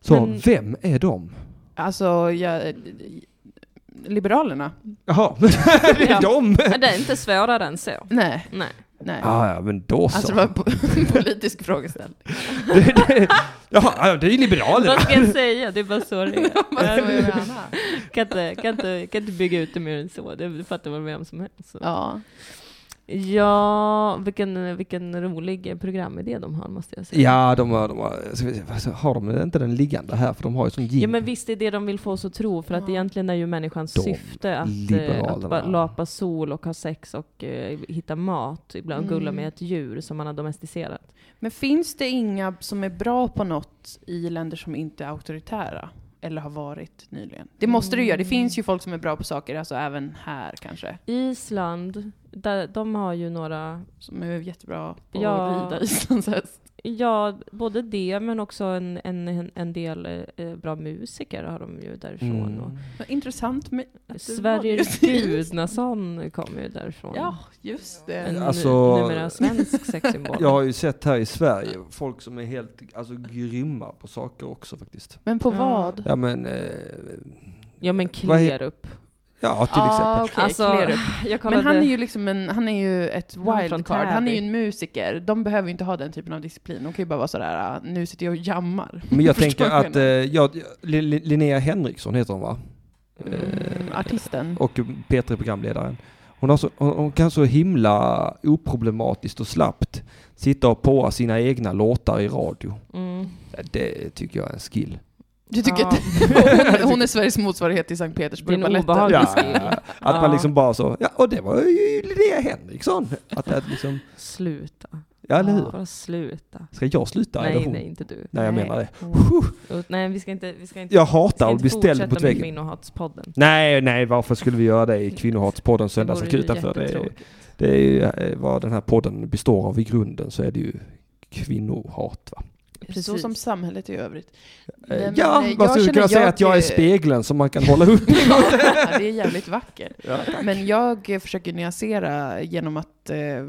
Speaker 1: så
Speaker 4: men-
Speaker 1: vem är de?
Speaker 5: Alltså, jag, Liberalerna?
Speaker 1: Jaha, det är
Speaker 4: Ja.
Speaker 1: de!
Speaker 4: Det är inte svårare än så.
Speaker 5: Nej,
Speaker 4: Nej.
Speaker 5: nej.
Speaker 1: Ah, ja, men då så.
Speaker 5: Alltså det var en po- politisk frågeställning.
Speaker 1: det, det, ja, ja, det är ju liberalerna.
Speaker 4: Vad ska jag säga? Det är bara så det är. Jag
Speaker 5: Ja.
Speaker 4: kan inte, kan, inte, kan inte bygga ut det mer än så. Det fattar väl vem som helst. Så.
Speaker 5: Ja.
Speaker 4: Ja, vilken, vilken rolig programidé de har måste jag säga.
Speaker 1: Ja, de har, de har, ska vi se, alltså, har de inte den liggande här? För de har ju sån gin.
Speaker 4: Ja men visst det är det de vill få oss att tro för att
Speaker 5: Ja.
Speaker 4: egentligen är ju människans
Speaker 1: De
Speaker 4: syfte att, eh,
Speaker 1: liberalerna.
Speaker 4: att bara lapa sol och ha sex och eh, hitta mat. Ibland
Speaker 5: Mm.
Speaker 4: gulla med ett djur som man har domesticerat.
Speaker 5: Men finns det inga som är bra på något i länder som inte är auktoritära? Eller har varit nyligen? Det måste det ju göra. Det finns ju folk som är bra på saker, alltså även här kanske.
Speaker 4: Island, där, de har ju några
Speaker 5: Som är jättebra på
Speaker 4: Ja.
Speaker 5: att rida islandshäst.
Speaker 4: Ja, både det men också en, en, en del eh, bra musiker har de ju därifrån.
Speaker 1: Mm.
Speaker 5: Vad Intressant med...
Speaker 4: Och
Speaker 5: det var
Speaker 4: Sverrir
Speaker 5: just Island.
Speaker 4: Gudnason kommer ju därifrån.
Speaker 5: Ja, just
Speaker 4: En
Speaker 5: det.
Speaker 4: nu-
Speaker 1: Alltså-
Speaker 4: numera svensk sexsymbol.
Speaker 1: Jag har ju sett här i Sverige folk som är helt alltså, grymma på saker också faktiskt.
Speaker 5: Men på
Speaker 4: Ja.
Speaker 5: vad?
Speaker 1: Ja men, eh,
Speaker 4: ja men
Speaker 1: Vad he-
Speaker 4: Klerup.
Speaker 1: ja till exempel.
Speaker 5: Ah, okej,
Speaker 4: Alltså,
Speaker 5: Klerup.
Speaker 4: Jag kollade,
Speaker 5: Men han är ju liksom en, han är ju ett
Speaker 4: Han är från
Speaker 5: wildcard, han är ju
Speaker 4: Täby.
Speaker 5: en musiker. De behöver ju inte ha den typen av disciplin, de kan ju bara vara sådär, "Ah, nu sitter jag och jammar.
Speaker 1: Men jag
Speaker 5: Förstår
Speaker 1: tänker
Speaker 5: vad jag
Speaker 1: att, eh, jag, Li- Li- Linnea Henriksson heter hon va? Eh,
Speaker 5: Mm, artisten.
Speaker 1: och P3-programledaren. Hon, har så, hon, hon kan så himla oproblematiskt och slappt sitta och påa sina egna låtar i radio.
Speaker 4: Mm.
Speaker 1: Det tycker jag är en skill.
Speaker 5: Du tycker
Speaker 4: Ja.
Speaker 5: att hon, hon är Sveriges motsvarighet till Sankt
Speaker 4: Det är en
Speaker 5: Petersburg-baletten?
Speaker 4: obehaglig
Speaker 1: Ja,
Speaker 4: skill.
Speaker 1: att
Speaker 4: Ja.
Speaker 1: man liksom bara så, ja och det var ju Linnea Henriksson. Att det är liksom,
Speaker 4: Sluta.
Speaker 1: ja eller hur?
Speaker 4: Bara sluta.
Speaker 1: Ska jag sluta eller
Speaker 4: nej,
Speaker 1: hon?
Speaker 4: nej, inte du.
Speaker 1: Nej, jag menar det.
Speaker 4: Ut- Nej, vi ska inte, vi ska inte,
Speaker 1: Jag
Speaker 4: vi ska
Speaker 1: hatar att
Speaker 4: inte
Speaker 1: bli ställd
Speaker 4: fortsätta
Speaker 1: mot
Speaker 4: med
Speaker 1: väggen.
Speaker 4: Kvinnohatspodden.
Speaker 1: Nej, nej, varför skulle vi göra det i Kvinnohatspodden
Speaker 4: vore ju
Speaker 1: Söndagsakuten? För det, är-
Speaker 4: jättetråkigt.
Speaker 1: det är ju eh, vad den här podden består av i grunden så är det ju kvinnohat va?
Speaker 5: Så
Speaker 4: Precis.
Speaker 5: som samhället i övrigt.
Speaker 1: Eh,
Speaker 5: Nej, men,
Speaker 1: ja,
Speaker 5: eh,
Speaker 1: man
Speaker 5: jag
Speaker 1: skulle
Speaker 5: känner
Speaker 1: kunna säga att jag är
Speaker 5: eh,
Speaker 1: spegeln som man kan hålla upp.
Speaker 5: Ja, det är jävligt vackert.
Speaker 1: Ja,
Speaker 5: men jag eh, försöker nyansera genom att eh, eh,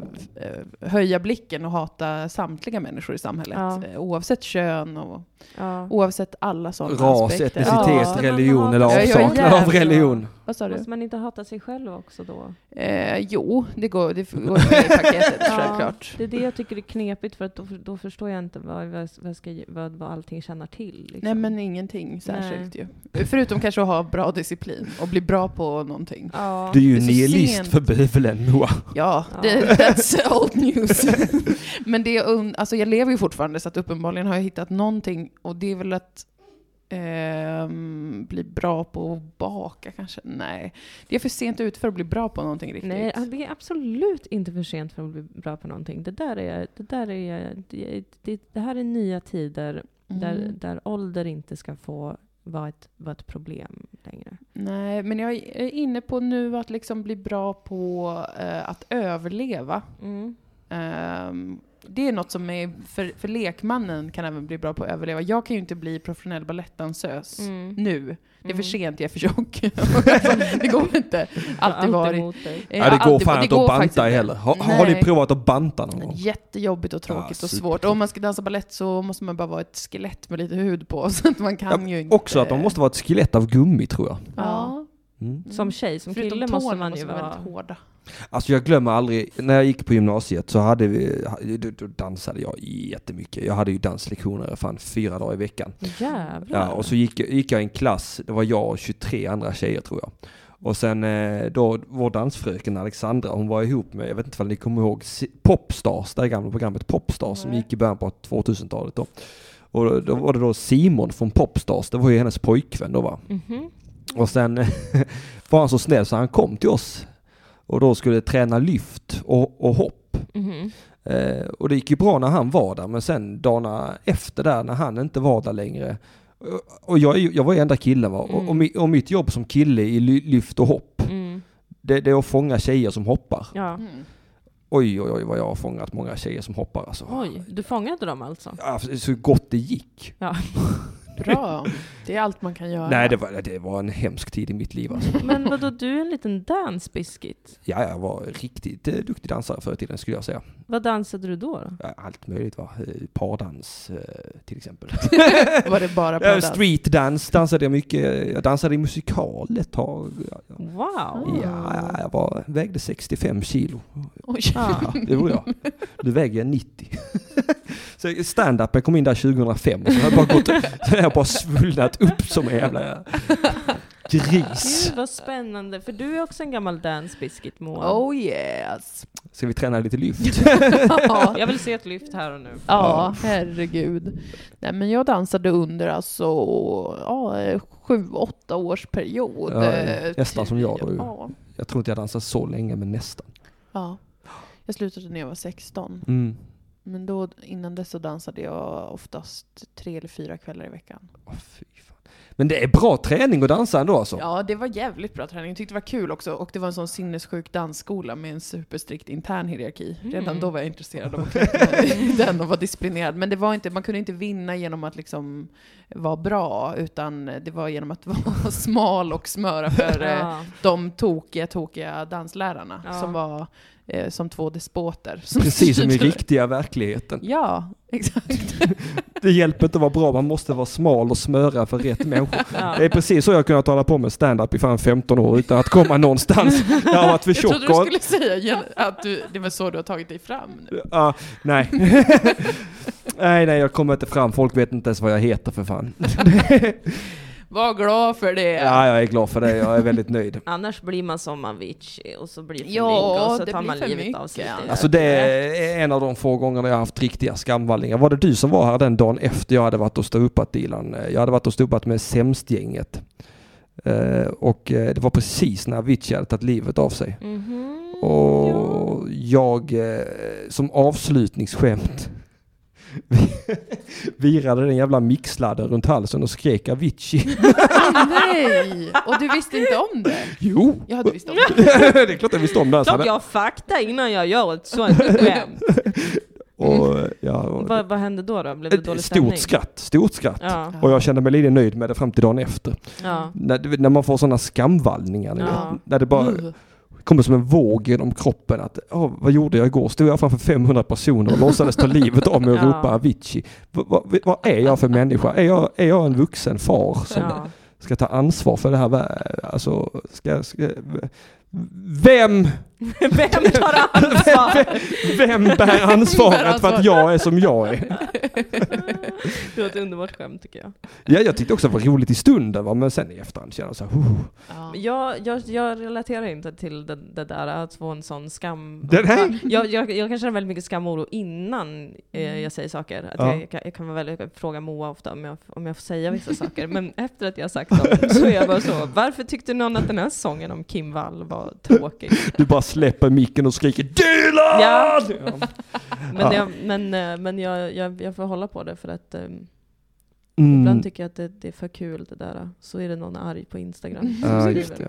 Speaker 5: höja blicken och hata samtliga människor i samhället.
Speaker 4: Ja.
Speaker 5: Eh, Oavsett kön och
Speaker 4: Ja.
Speaker 5: oavsett alla sådana
Speaker 1: Ras,
Speaker 5: aspekter.
Speaker 1: etnicitet,
Speaker 4: Ja.
Speaker 1: religion eller
Speaker 5: Ja, jag är
Speaker 1: avsaknad av
Speaker 5: jävla-
Speaker 1: religion.
Speaker 5: Vad sa du?
Speaker 4: Måste man inte hata sig själv också då?
Speaker 5: Eh, jo, det går, det går med i paketet
Speaker 4: Ja.
Speaker 5: självklart.
Speaker 4: Det är det jag tycker är knepigt för att då, då förstår jag inte vad, vad, vad, ska, vad, vad allting tjänar till. Liksom.
Speaker 5: Nej men ingenting särskilt ju. Förutom kanske att ha bra disciplin och bli bra på någonting.
Speaker 4: Ja.
Speaker 1: Du är ju
Speaker 5: Det är så
Speaker 1: nihilist
Speaker 5: sent.
Speaker 1: för bövelen Moa.
Speaker 5: Ja,
Speaker 4: Ja.
Speaker 5: det, that's old news. Men det, är un- alltså jag lever ju fortfarande så att uppenbarligen har jag hittat någonting och det är väl att ehm, bli bra på att baka kanske? Nej, det är för sent ut för att bli bra på någonting riktigt.
Speaker 4: Nej, det är absolut inte för sent för att bli bra på någonting. Det där är, det där är, det, det, det här är nya tider
Speaker 5: Mm.
Speaker 4: där, där ålder inte ska få vara ett, vara ett problem längre.
Speaker 5: Nej, men jag är inne på nu att liksom bli bra på eh, att överleva. Ehm, det är något som är för, för lekmannen kan även bli bra på att överleva. Jag kan ju inte bli professionell balettdansös nu. Mm. Det
Speaker 4: Mm.
Speaker 5: är för sent, jag är för tjock. alltså, det går inte. Alltid varit.
Speaker 4: emot dig.
Speaker 5: Eh,
Speaker 1: Ja, det går
Speaker 5: alltid-
Speaker 1: fan inte att
Speaker 5: faktiskt
Speaker 1: banta
Speaker 5: inte.
Speaker 1: heller. Har, har ni
Speaker 5: Nej.
Speaker 1: provat att banta någon gång?
Speaker 5: Jättejobbigt och tråkigt
Speaker 1: Ja,
Speaker 5: och svårt. Och om man ska dansa ballett så måste man bara vara ett skelett med lite hud på. Så att man kan ju inte...
Speaker 1: Också att de måste vara ett skelett av gummi tror jag.
Speaker 5: Ja.
Speaker 1: Mm.
Speaker 4: Som tjej, som
Speaker 5: Förutom
Speaker 4: kille
Speaker 5: tårna
Speaker 4: måste man ju
Speaker 5: vara väldigt
Speaker 4: vara...
Speaker 5: hårda.
Speaker 1: Alltså jag glömmer aldrig, när jag gick på gymnasiet så hade vi, då- då dansade jag jättemycket. Jag hade ju danslektioner fan fyra dagar i veckan.
Speaker 4: Jävlar.
Speaker 1: Ja, och så gick, gick jag i en klass, det var jag och 23 andra tjejer tror jag. Och sen eh, då, vår dansfröken Alexandra, hon var ihop med, jag vet inte om ni kommer ihåg, Si- Popstars, det här gamla programmet Popstars som
Speaker 4: Nej.
Speaker 1: gick i början på 2000-talet då. Och då, då var det då Simon från Popstars, det var ju hennes pojkvän då va.
Speaker 4: Mhm.
Speaker 1: Och sen var han så snäll så han kom till oss och då skulle träna lyft och, och hopp.
Speaker 4: Mhm.
Speaker 1: Eh, och det gick ju bra när han var där men sen dagarna efter där när han inte var där längre och- och jag, är ju- jag var ju enda killen va? Och, och, mi, och mitt jobb som kille i ly, lyft och hopp
Speaker 4: Mm.
Speaker 1: det, det är att fånga tjejer som hoppar.
Speaker 4: Ja.
Speaker 5: Mm.
Speaker 1: Oj oj oj vad jag har fångat många tjejer som hoppar alltså.
Speaker 4: Oj, du fångade dem alltså?
Speaker 1: Ja, Så gott det gick.
Speaker 5: Bra. Det är allt man kan göra.
Speaker 1: Nej det var, det var en hemsk tid i mitt liv alltså.
Speaker 4: Men vadå, du är en liten dance biscuit.
Speaker 1: Ja, jag var riktigt eh, duktig dansare förr i tiden skulle jag säga.
Speaker 4: Vad dansade du då? då?
Speaker 1: Ja, allt möjligt va. Eh, Pardans eh, till exempel.
Speaker 5: Var det bara på
Speaker 1: Ja,
Speaker 5: dans?
Speaker 1: Streetdance dansade jag mycket. Jag dansade i musikal ett tag. Ah.
Speaker 4: Wow!
Speaker 1: Ja, jag var, vägde 65 kilo.
Speaker 5: Oj.
Speaker 1: Ja, det gjorde jag. Nu väger jag 90. Så stand-upen kom in där 2005 och sen har jag bara, gått, sen har jag bara svullnat upp som en jävla gris.
Speaker 4: Gud vad spännande, för du är också en gammal dance biscuit Moa.
Speaker 5: Oh yes.
Speaker 1: Ska vi träna lite lyft?
Speaker 5: ja,
Speaker 4: Jag vill se ett lyft här och nu.
Speaker 5: ja, herregud. Nej, men jag dansade under alltså ja, sju, åtta års period.
Speaker 1: Ja,
Speaker 5: eh,
Speaker 1: nästan som jag då ju.
Speaker 5: Ja,
Speaker 1: Jag tror inte jag dansade så länge men nästan.
Speaker 5: ja. Jag slutade när jag var 16.
Speaker 1: Mm.
Speaker 5: Men då, innan dess så dansade jag oftast tre eller fyra kvällar i veckan.
Speaker 1: Åh, fy fan. Men det är bra träning att dansa ändå alltså.
Speaker 5: Ja, det var jävligt bra träning. Jag tyckte det var kul också. Och det var en sån sinnessjuk dansskola med en superstrikt intern hierarki.
Speaker 4: Mm.
Speaker 5: Redan då var jag intresserad av att klättra i den och var disciplinerad. Men det var inte, man kunde inte vinna genom att liksom vara bra, utan det var genom att vara smal och smöra för eh,
Speaker 4: Ja.
Speaker 5: de tokiga, tokiga danslärarna
Speaker 4: Ja.
Speaker 5: som var eh, som två despoter. Som
Speaker 1: Precis som i
Speaker 5: styrde.
Speaker 1: riktiga verkligheten.
Speaker 5: Ja, exakt.
Speaker 1: Det hjälper inte att vara bra, man måste vara smal och smöra för rätt människor. Det är
Speaker 4: Ja.
Speaker 1: precis så jag har kunnat hålla på med stand-up i fan 15 år utan att komma någonstans. Jag har varit för
Speaker 5: Jag
Speaker 1: tjock.
Speaker 5: trodde du
Speaker 1: och-
Speaker 5: skulle säga gen- att du, det var så du har tagit dig fram nu.
Speaker 1: Ja, nej. nej, nej, jag kommer inte fram. Folk vet inte ens vad jag heter för fan.
Speaker 5: Var glad för det.
Speaker 1: Ja, jag är glad för det. Jag är väldigt nöjd.
Speaker 4: Annars blir man som Avicii och så blir det för
Speaker 5: Ja,
Speaker 4: mycket och så
Speaker 5: det
Speaker 4: tar
Speaker 5: blir
Speaker 4: man
Speaker 5: för
Speaker 4: livet av
Speaker 5: mycket,
Speaker 4: sig.
Speaker 5: ja.
Speaker 4: lite.
Speaker 1: Alltså det är en av de få gångerna jag har haft riktiga skamvallningar. Var det du som var här den dagen efter jag hade varit och ståuppat Dilan? Jag hade varit och ståuppat med Sämstgänget. Eh, och eh, det var precis när Avicii hade tagit livet av sig.
Speaker 4: Mhm.
Speaker 1: Och jag eh, som avslutningsskämt virade den jävla mixladden runt halsen och skrek Avicii.
Speaker 5: Åh, nej! Och du visste inte om det?
Speaker 1: Jo,
Speaker 5: Jag hade visst om det.
Speaker 1: det är klart jag visste om det. här, så
Speaker 4: Klart
Speaker 1: hade-
Speaker 4: jag har fakta innan jag gör ett sånt skämt.
Speaker 1: Och, eh, ja, och-
Speaker 4: Mm. vad, vad hände då? då? Blev det
Speaker 1: Ett
Speaker 4: dålig stämning?
Speaker 1: stort skratt, stort skratt.
Speaker 4: Ja,
Speaker 1: Och jag kände mig lite nöjd med det fram till dagen efter.
Speaker 4: ja.
Speaker 1: När, du vet, när man får sådana skamvallningar. ni vet.
Speaker 4: Ja.
Speaker 1: När det bara
Speaker 5: Uh.
Speaker 1: kommer som en våg genom kroppen. Att, "Åh, vad gjorde jag igår? Stod jag framför 500 personer och låtsades ta livet av mig och
Speaker 4: Ja.
Speaker 1: ropa Avicii. Vad- vad- vad är jag för människa? Är jag, är jag en vuxen far som
Speaker 4: ja.
Speaker 1: ska ta ansvar för det här? vä- Alltså, ska, ska, vem,
Speaker 4: Vem tar ansvar?
Speaker 1: vem bär ansvaret för att jag är som jag är?
Speaker 4: det var ett underbart skämt tycker jag.
Speaker 1: Ja, jag tyckte också det var roligt i stunden, va? men sen i efterhand kände jag så här, "Huh."
Speaker 5: Ja.
Speaker 4: Jag, jag, jag relaterar inte till det, det där att få en sån skam.
Speaker 1: Den här-
Speaker 4: Jag, jag, jag kan känna väldigt mycket skam och oro innan eh, jag säger saker. Att
Speaker 1: Mm. Ja.
Speaker 4: jag, jag, kan- jag kan vara väldigt, jag frågar Moa ofta om jag, om jag får säga vissa saker, men efter att jag har sagt dem så är jag bara så, varför tyckte någon att den här sången om Kim Wall var tråkig?
Speaker 1: du bara släpper micken och skriker Dylan!
Speaker 4: Ja.
Speaker 1: Ja.
Speaker 4: Men, jag, men, eh, men jag, jag, jag får hålla på det för att eh,
Speaker 1: Mm.
Speaker 4: ibland tycker jag att det, det är för kul det där. Så är det någon arg på Instagram som
Speaker 1: Ja,
Speaker 4: skriver.
Speaker 1: just det.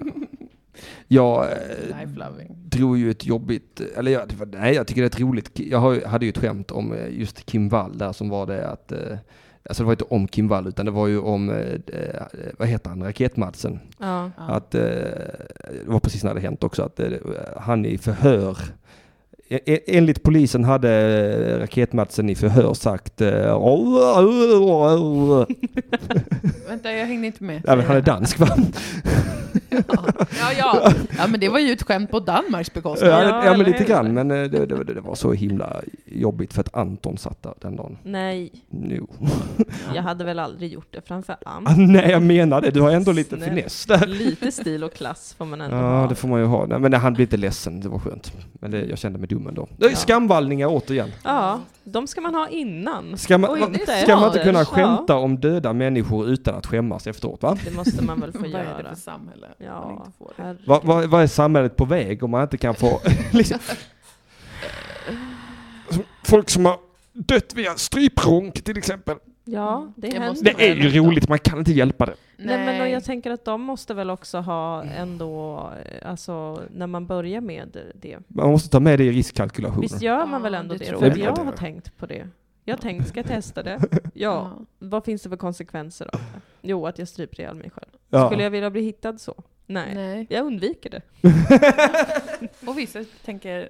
Speaker 1: Jag eh,
Speaker 5: Life loving.
Speaker 1: drog ju ett jobbigt, eller jag, det var, nej jag tycker det är ett roligt, jag har, ju- hade ju ett skämt om eh, just Kim Wall där som var det att, eh, alltså det var inte om Kim Wall utan det var ju om, eh, eh, vad heter han, Raketmadsen.
Speaker 4: Ja.
Speaker 5: Ja.
Speaker 1: Att, eh, det var precis när det hänt också, att eh, han i förhör E- e- Enligt polisen hade eh, Raketmadsen i förhör sagt... eh,
Speaker 5: Vänta, jag hängde inte med.
Speaker 1: Ja, men han är dansk va?
Speaker 5: Ja, ja. ja, men det var ju ett skämt på Danmarks
Speaker 1: Ja,
Speaker 5: bekostnad.
Speaker 4: Ja,
Speaker 1: ja, men
Speaker 4: eller
Speaker 1: lite
Speaker 4: hur?
Speaker 1: grann. Men eh, det, det, det var så himla jobbigt för att Anton satt där den dagen.
Speaker 4: Nej,
Speaker 1: Jo.
Speaker 4: jag hade väl aldrig gjort det framför Am.
Speaker 1: Ah, nej, jag menar det. Du har ändå lite
Speaker 4: Snäll.
Speaker 1: finess där.
Speaker 4: Lite stil och klass får man ändå
Speaker 1: Ja,
Speaker 4: ha.
Speaker 1: det får man ju ha. Nej, men nej, han blev inte ledsen. Det var skönt. Men det, jag kände mig dum ändå. Det är
Speaker 4: Ja.
Speaker 1: Skamvallningar återigen.
Speaker 4: Ja, de ska man ha innan.
Speaker 1: Ska man,
Speaker 4: Oj,
Speaker 1: man-
Speaker 4: det är
Speaker 1: ska man inte
Speaker 4: Anders.
Speaker 1: kunna skämta om döda människor utan att skämmas efteråt? Va?
Speaker 4: Det måste man väl få
Speaker 5: Vad är det
Speaker 4: göra.
Speaker 5: för samhälle? om man
Speaker 4: Ja,
Speaker 5: inte får det?
Speaker 4: herregud.
Speaker 1: Vad vad- vad är samhället på väg om man inte kan få... liksom, folk som har dött via stryprånk till exempel.
Speaker 4: Ja, det
Speaker 5: Det måste
Speaker 4: händer.
Speaker 1: Det är ju roligt, man kan inte hjälpa det.
Speaker 4: Nej. men och jag tänker att de måste väl också ha ändå, eh, alltså när man börjar med det.
Speaker 1: Man måste ta med det i riskkalkylationen.
Speaker 4: Visst gör man
Speaker 5: Ja,
Speaker 4: väl ändå
Speaker 5: det
Speaker 4: det?
Speaker 5: tror
Speaker 4: För
Speaker 1: jag.
Speaker 4: jag, har tänkt på det. Jag har tänkt, ska jag testa det? Ja. Vad finns det för konsekvenser av det? Jo, att jag stryper ihjäl mig själv.
Speaker 1: Ja.
Speaker 4: Skulle jag vilja bli hittad så? Nej.
Speaker 5: Nej.
Speaker 4: Jag undviker det.
Speaker 5: Och vissa tänker,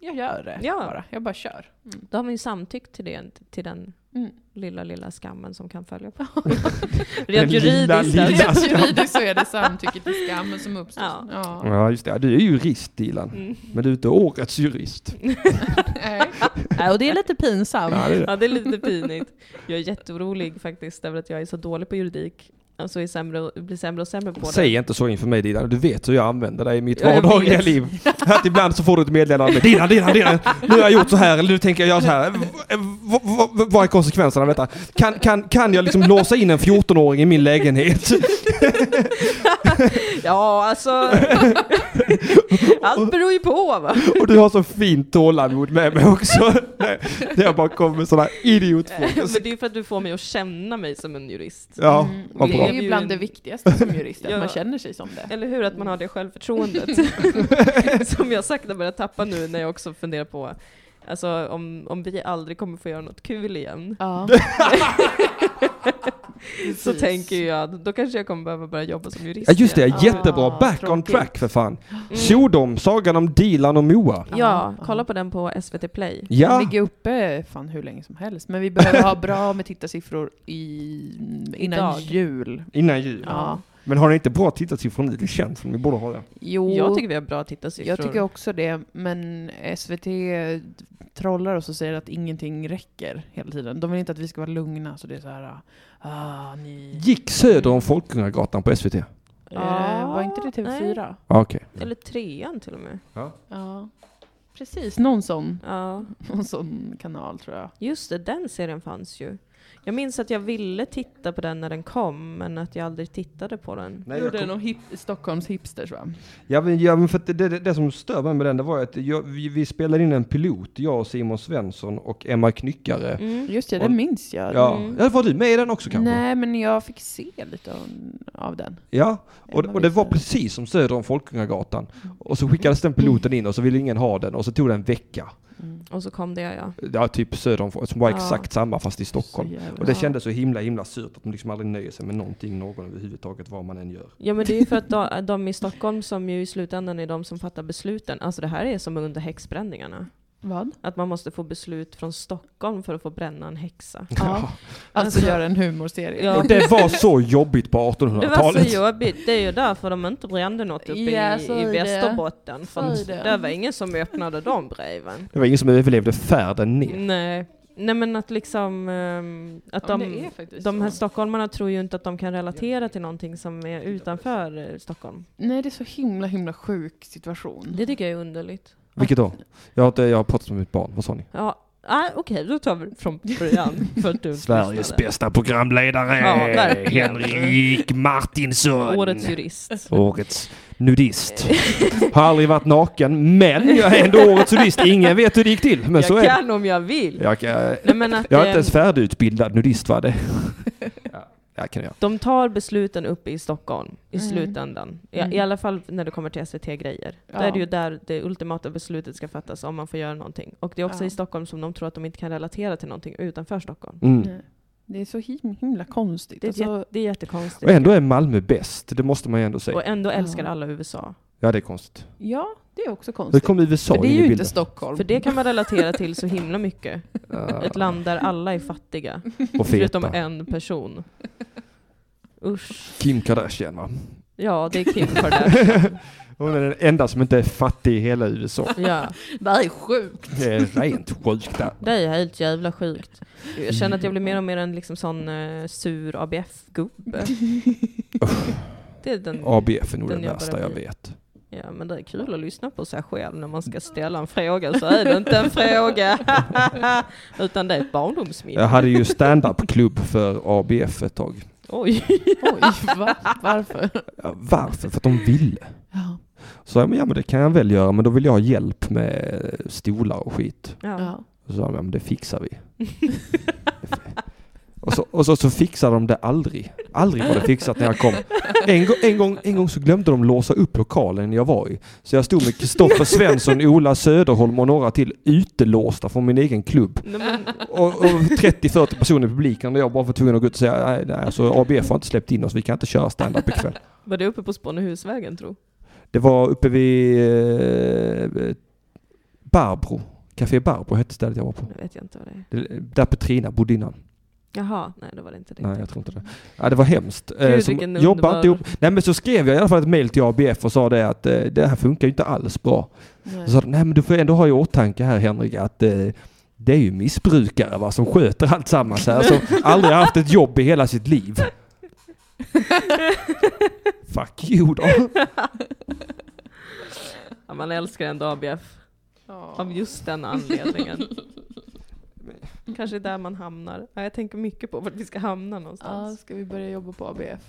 Speaker 5: jag gör det
Speaker 4: Ja.
Speaker 5: bara. Jag bara kör.
Speaker 4: Då har man ju samtyckt till det, till den
Speaker 5: Mm.
Speaker 4: lilla, lilla skammen som kan följa på.
Speaker 1: Den
Speaker 4: Rent juridiskt.
Speaker 1: lilla, lilla
Speaker 4: alltså.
Speaker 5: Rent juridiskt så är det samtycke till skammen som uppstår.
Speaker 4: Ja.
Speaker 5: Ja.
Speaker 1: Ja, just det. Ja, Du är jurist, Dilan.
Speaker 4: Mm.
Speaker 1: Men du är inte årets jurist.
Speaker 5: Nej. Nej, och det är lite pinsamt.
Speaker 1: Ja, det är det.
Speaker 4: Ja, det är lite pinigt. Jag är jätteorolig faktiskt över att jag är så dålig på juridik. Alltså är sämre och, blir sämre och sämre på det.
Speaker 1: Säg inte så inför mig Dilan, du vet hur jag använder dig i mitt
Speaker 4: Ja, jag
Speaker 1: vardagliga
Speaker 4: vet.
Speaker 1: liv. Att ibland så får du ett meddelande med Dilan, Dilan, Dilan, nu har jag gjort så här, eller nu tänker jag göra så här. V- v- v- Vad är konsekvenserna av detta? Kan, kan, kan jag liksom låsa in en 14-åring i min lägenhet?
Speaker 4: Ja, alltså. Allt beror ju på va.
Speaker 1: Och du har så fint tålamod med mig också. Nej, Där jag bara kommer med sådana idiotfrågor.
Speaker 4: Men det är för att du får mig att känna mig som en jurist.
Speaker 1: Ja,
Speaker 5: Mm.
Speaker 1: vad
Speaker 5: Det är
Speaker 1: bra.
Speaker 4: ju
Speaker 5: ju bland
Speaker 4: en-
Speaker 5: det viktigaste som jurist, att
Speaker 4: Ja.
Speaker 5: man känner sig som det.
Speaker 4: Eller hur? Att man har det självförtroendet. som jag sakta börjar tappa nu när jag också funderar på Alltså om, om vi aldrig kommer få göra något kul igen
Speaker 5: Ja.
Speaker 4: så tänker jag att då kanske jag kommer behöva börja jobba som jurist
Speaker 1: Ja, just det,
Speaker 4: igen.
Speaker 1: jättebra.
Speaker 5: Ah,
Speaker 1: Back on
Speaker 5: tråkigt.
Speaker 1: track för fan.
Speaker 4: Mm.
Speaker 1: Tjodom, sagan om Dilan och Moa.
Speaker 4: Ja, kolla på den på SVT Play.
Speaker 5: Den
Speaker 1: Ja,
Speaker 5: ligger uppe fan hur länge som helst. Men vi behöver ha bra med tittarsiffror i, innan
Speaker 4: Idag.
Speaker 5: jul.
Speaker 1: innan jul.
Speaker 5: Ja.
Speaker 1: Men har ni inte bra tittarsiffror nu? Det känns som ni borde ha det.
Speaker 5: Jo,
Speaker 4: Jag tycker vi har bra tittarsiffror.
Speaker 5: jag tycker också det, men SVT trollar oss och säger att ingenting räcker hela tiden. De vill inte att vi ska vara lugna, så det är så här... Ah, ni...
Speaker 1: Gick söder om Folkungagatan på SVT?
Speaker 5: Eh, var inte det TV4?
Speaker 1: Ja, Ah, Okej.
Speaker 4: Eller trean till och med.
Speaker 5: Ja. Precis, någon sån,
Speaker 4: Ja.
Speaker 5: någon sån kanal tror jag.
Speaker 4: Just det, den serien fanns ju. Jag minns att jag ville titta på den när den kom, men att jag aldrig tittade på den.
Speaker 1: Nej,
Speaker 5: Gjorde
Speaker 1: jag kom-
Speaker 5: någon hip, Stockholms hipsters va?
Speaker 1: Ja men, ja, men för att det, det, det som stör mig med den, det var ju att jag, vi, vi spelade in en pilot, jag och Simon Svensson och Emma Knyckare.
Speaker 4: Mm.
Speaker 5: Just det, det
Speaker 1: Och-
Speaker 5: minns jag.
Speaker 1: Ja. ja, var du med i den också kanske?
Speaker 5: Nej, men jag fick se lite av, av den.
Speaker 1: Ja, och,
Speaker 5: Emma
Speaker 1: och det var
Speaker 5: visste.
Speaker 1: precis som söder om Folkungagatan. Och så skickades den piloten in och så ville ingen ha den och så tog det en vecka.
Speaker 4: Och så kom det, ja.
Speaker 1: Ja, typ söder om, Fol- som var
Speaker 4: Ja.
Speaker 1: exakt samma fast i Stockholm.
Speaker 5: Så jävla-
Speaker 1: Och det kändes så himla himla surt att de liksom aldrig nöjer sig med någonting, någon överhuvudtaget, vad man än gör.
Speaker 4: Ja men det är ju för att de, de i Stockholm som ju i slutändan är de som fattar besluten. Alltså det här är som under häxbränningarna.
Speaker 5: Vad?
Speaker 4: Att man måste få beslut från Stockholm för att få bränna en häxa.
Speaker 5: Ja. Alltså göra en humorserie.
Speaker 4: Ja.
Speaker 1: Och det var så jobbigt på
Speaker 4: Det var
Speaker 1: 1800-talet.
Speaker 4: så jobbigt. Det är ju därför de inte brände något uppe
Speaker 5: Ja,
Speaker 4: i,
Speaker 5: så
Speaker 4: i
Speaker 5: är det.
Speaker 4: Västerbotten. För
Speaker 5: Så
Speaker 4: att
Speaker 5: är det.
Speaker 4: det var ingen som öppnade de breven.
Speaker 1: Det var ingen som överlevde färden ner.
Speaker 4: Mm. Nej. Nej men att liksom, ehm, att
Speaker 5: Ja, men det
Speaker 4: de,
Speaker 5: är faktiskt
Speaker 4: de här
Speaker 5: så.
Speaker 4: stockholmarna tror ju inte att de kan relatera till någonting som är utanför eh, Stockholm.
Speaker 5: Nej, det är så himla himla sjuk situation.
Speaker 4: Det tycker jag är underligt.
Speaker 1: Vilket då? Jag har, inte, jag har pratat med mitt barn, vad sa ni?
Speaker 4: Ja, ah, okej då tar vi från början. För att du
Speaker 1: Sveriges
Speaker 4: lyssnade.
Speaker 1: bästa programledare,
Speaker 4: Ja, verkligen.
Speaker 1: Henrik Martinsson.
Speaker 4: Årets jurist.
Speaker 1: Årets nudist. Har aldrig varit naken, men jag är ändå årets nudist. Ingen vet hur det gick till, men så är
Speaker 4: jag
Speaker 1: det.
Speaker 4: kan om jag vill.
Speaker 1: Jag, kan,
Speaker 4: Nej, men att,
Speaker 1: jag är
Speaker 4: eh,
Speaker 1: inte ens färdigutbildad nudist, va? Det. Ja, jag kan jag.
Speaker 4: De tar besluten uppe i Stockholm i
Speaker 5: Mm.
Speaker 4: slutändan. I,
Speaker 5: Mm.
Speaker 4: I alla fall när det kommer till SVT-grejer.
Speaker 5: Ja.
Speaker 4: Där är det ju där det ultimata beslutet ska fattas om man får göra någonting. Och det är också
Speaker 5: Ja.
Speaker 4: i Stockholm som de tror att de inte kan relatera till någonting utanför Stockholm.
Speaker 1: Mm.
Speaker 5: Nej. Det är så him- himla konstigt.
Speaker 4: Det är,
Speaker 5: alltså,
Speaker 4: jät- det är jättekonstigt.
Speaker 1: Och ändå är Malmö bäst, det måste man ju ändå
Speaker 4: Och
Speaker 1: säga.
Speaker 4: ändå älskar
Speaker 5: Ja.
Speaker 4: alla USA.
Speaker 1: Ja, det är konstigt.
Speaker 5: Ja, det är också
Speaker 1: Hur
Speaker 5: konstigt.
Speaker 1: kom USA
Speaker 5: För det
Speaker 1: in
Speaker 5: är
Speaker 1: i
Speaker 5: ju inte
Speaker 1: bilden?
Speaker 5: Stockholm.
Speaker 4: För det kan man relatera till så himla mycket.
Speaker 1: Ja,
Speaker 4: Ett land där alla är fattiga.
Speaker 1: och
Speaker 4: Förutom
Speaker 1: feta.
Speaker 4: en person. Usch.
Speaker 1: Kim Kardashian, va?
Speaker 4: Ja, det är Kim Kardashian.
Speaker 1: Hon är den enda som inte är fattig i hela USA.
Speaker 4: Ja.
Speaker 5: det här är sjukt.
Speaker 1: Det är rent sjukt. där.
Speaker 4: Det är helt jävla sjukt. Jag känner att jag blir mer och mer en liksom sån eh, sur ABF-gubbe. det är den,
Speaker 1: ABF är nog
Speaker 4: Mm. Den
Speaker 1: den
Speaker 4: jag bara
Speaker 1: värsta jag
Speaker 4: blir.
Speaker 1: vet.
Speaker 4: ja, men det är kul att lyssna på sig själv när man ska ställa en fråga så är det inte en fråga. Utan det är ett barndomsminne.
Speaker 1: Jag hade ju stand-up-klubb för ABF ett tag.
Speaker 4: Oj.
Speaker 5: Oj, va? varför?
Speaker 1: Ja, Varför? För att de ville.
Speaker 5: Ja.
Speaker 1: Så jag, men ja men det kan jag väl göra, men då vill jag ha hjälp med stolar och skit.
Speaker 4: Ja.
Speaker 5: Ja.
Speaker 1: Och så sa de, ja men det fixar vi. och så, och så, så fixar de det aldrig. Aldrig var det fixat när jag kom. En, gång- en, gång, en gång så glömde de låsa upp lokalen jag var i. Så jag stod med Kristoffer Svensson, Ola Söderholm och några till utelåsta från min egen klubb.
Speaker 4: Nej, men,
Speaker 1: Och, och 30-40 personer i publiken och jag bara var tvungen att gå ut och säga nej, nej alltså ABF har inte släppt in oss, vi kan inte köra stand-up ikväll.
Speaker 4: var det uppe på Spånehusvägen tro?
Speaker 1: Det var uppe vid eh, Barbro, Café Barbro hette stället jag var på.
Speaker 4: Det vet jag inte vad det är.
Speaker 1: Det- Där Petrina bodde innan.
Speaker 4: Jaha, nej det var det inte
Speaker 1: Nej, jag
Speaker 4: riktigt.
Speaker 1: tror inte det. Ja, det var hemskt. Eh,
Speaker 4: Gud,
Speaker 1: som-
Speaker 4: vilken
Speaker 1: jobba inte
Speaker 4: underbar-
Speaker 1: ihop. Nej, men så skrev jag i alla fall ett mejl till ABF och sa det att eh, det här funkar ju inte alls bra.
Speaker 5: Nej.
Speaker 1: Så sa de, nej men du får ändå ha i åtanke här Henrik att eh, det är ju missbrukare va, som sköter allt sammans här, som aldrig har haft ett jobb i hela sitt liv. Fuck you då.
Speaker 4: Ja, man älskar ändå ABF
Speaker 5: Ja.
Speaker 4: av just den anledningen. Kanske där man hamnar. Ja, jag tänker mycket på vart vi ska hamna
Speaker 5: Ja,
Speaker 4: någonstans.
Speaker 5: ska vi börja jobba på ABF?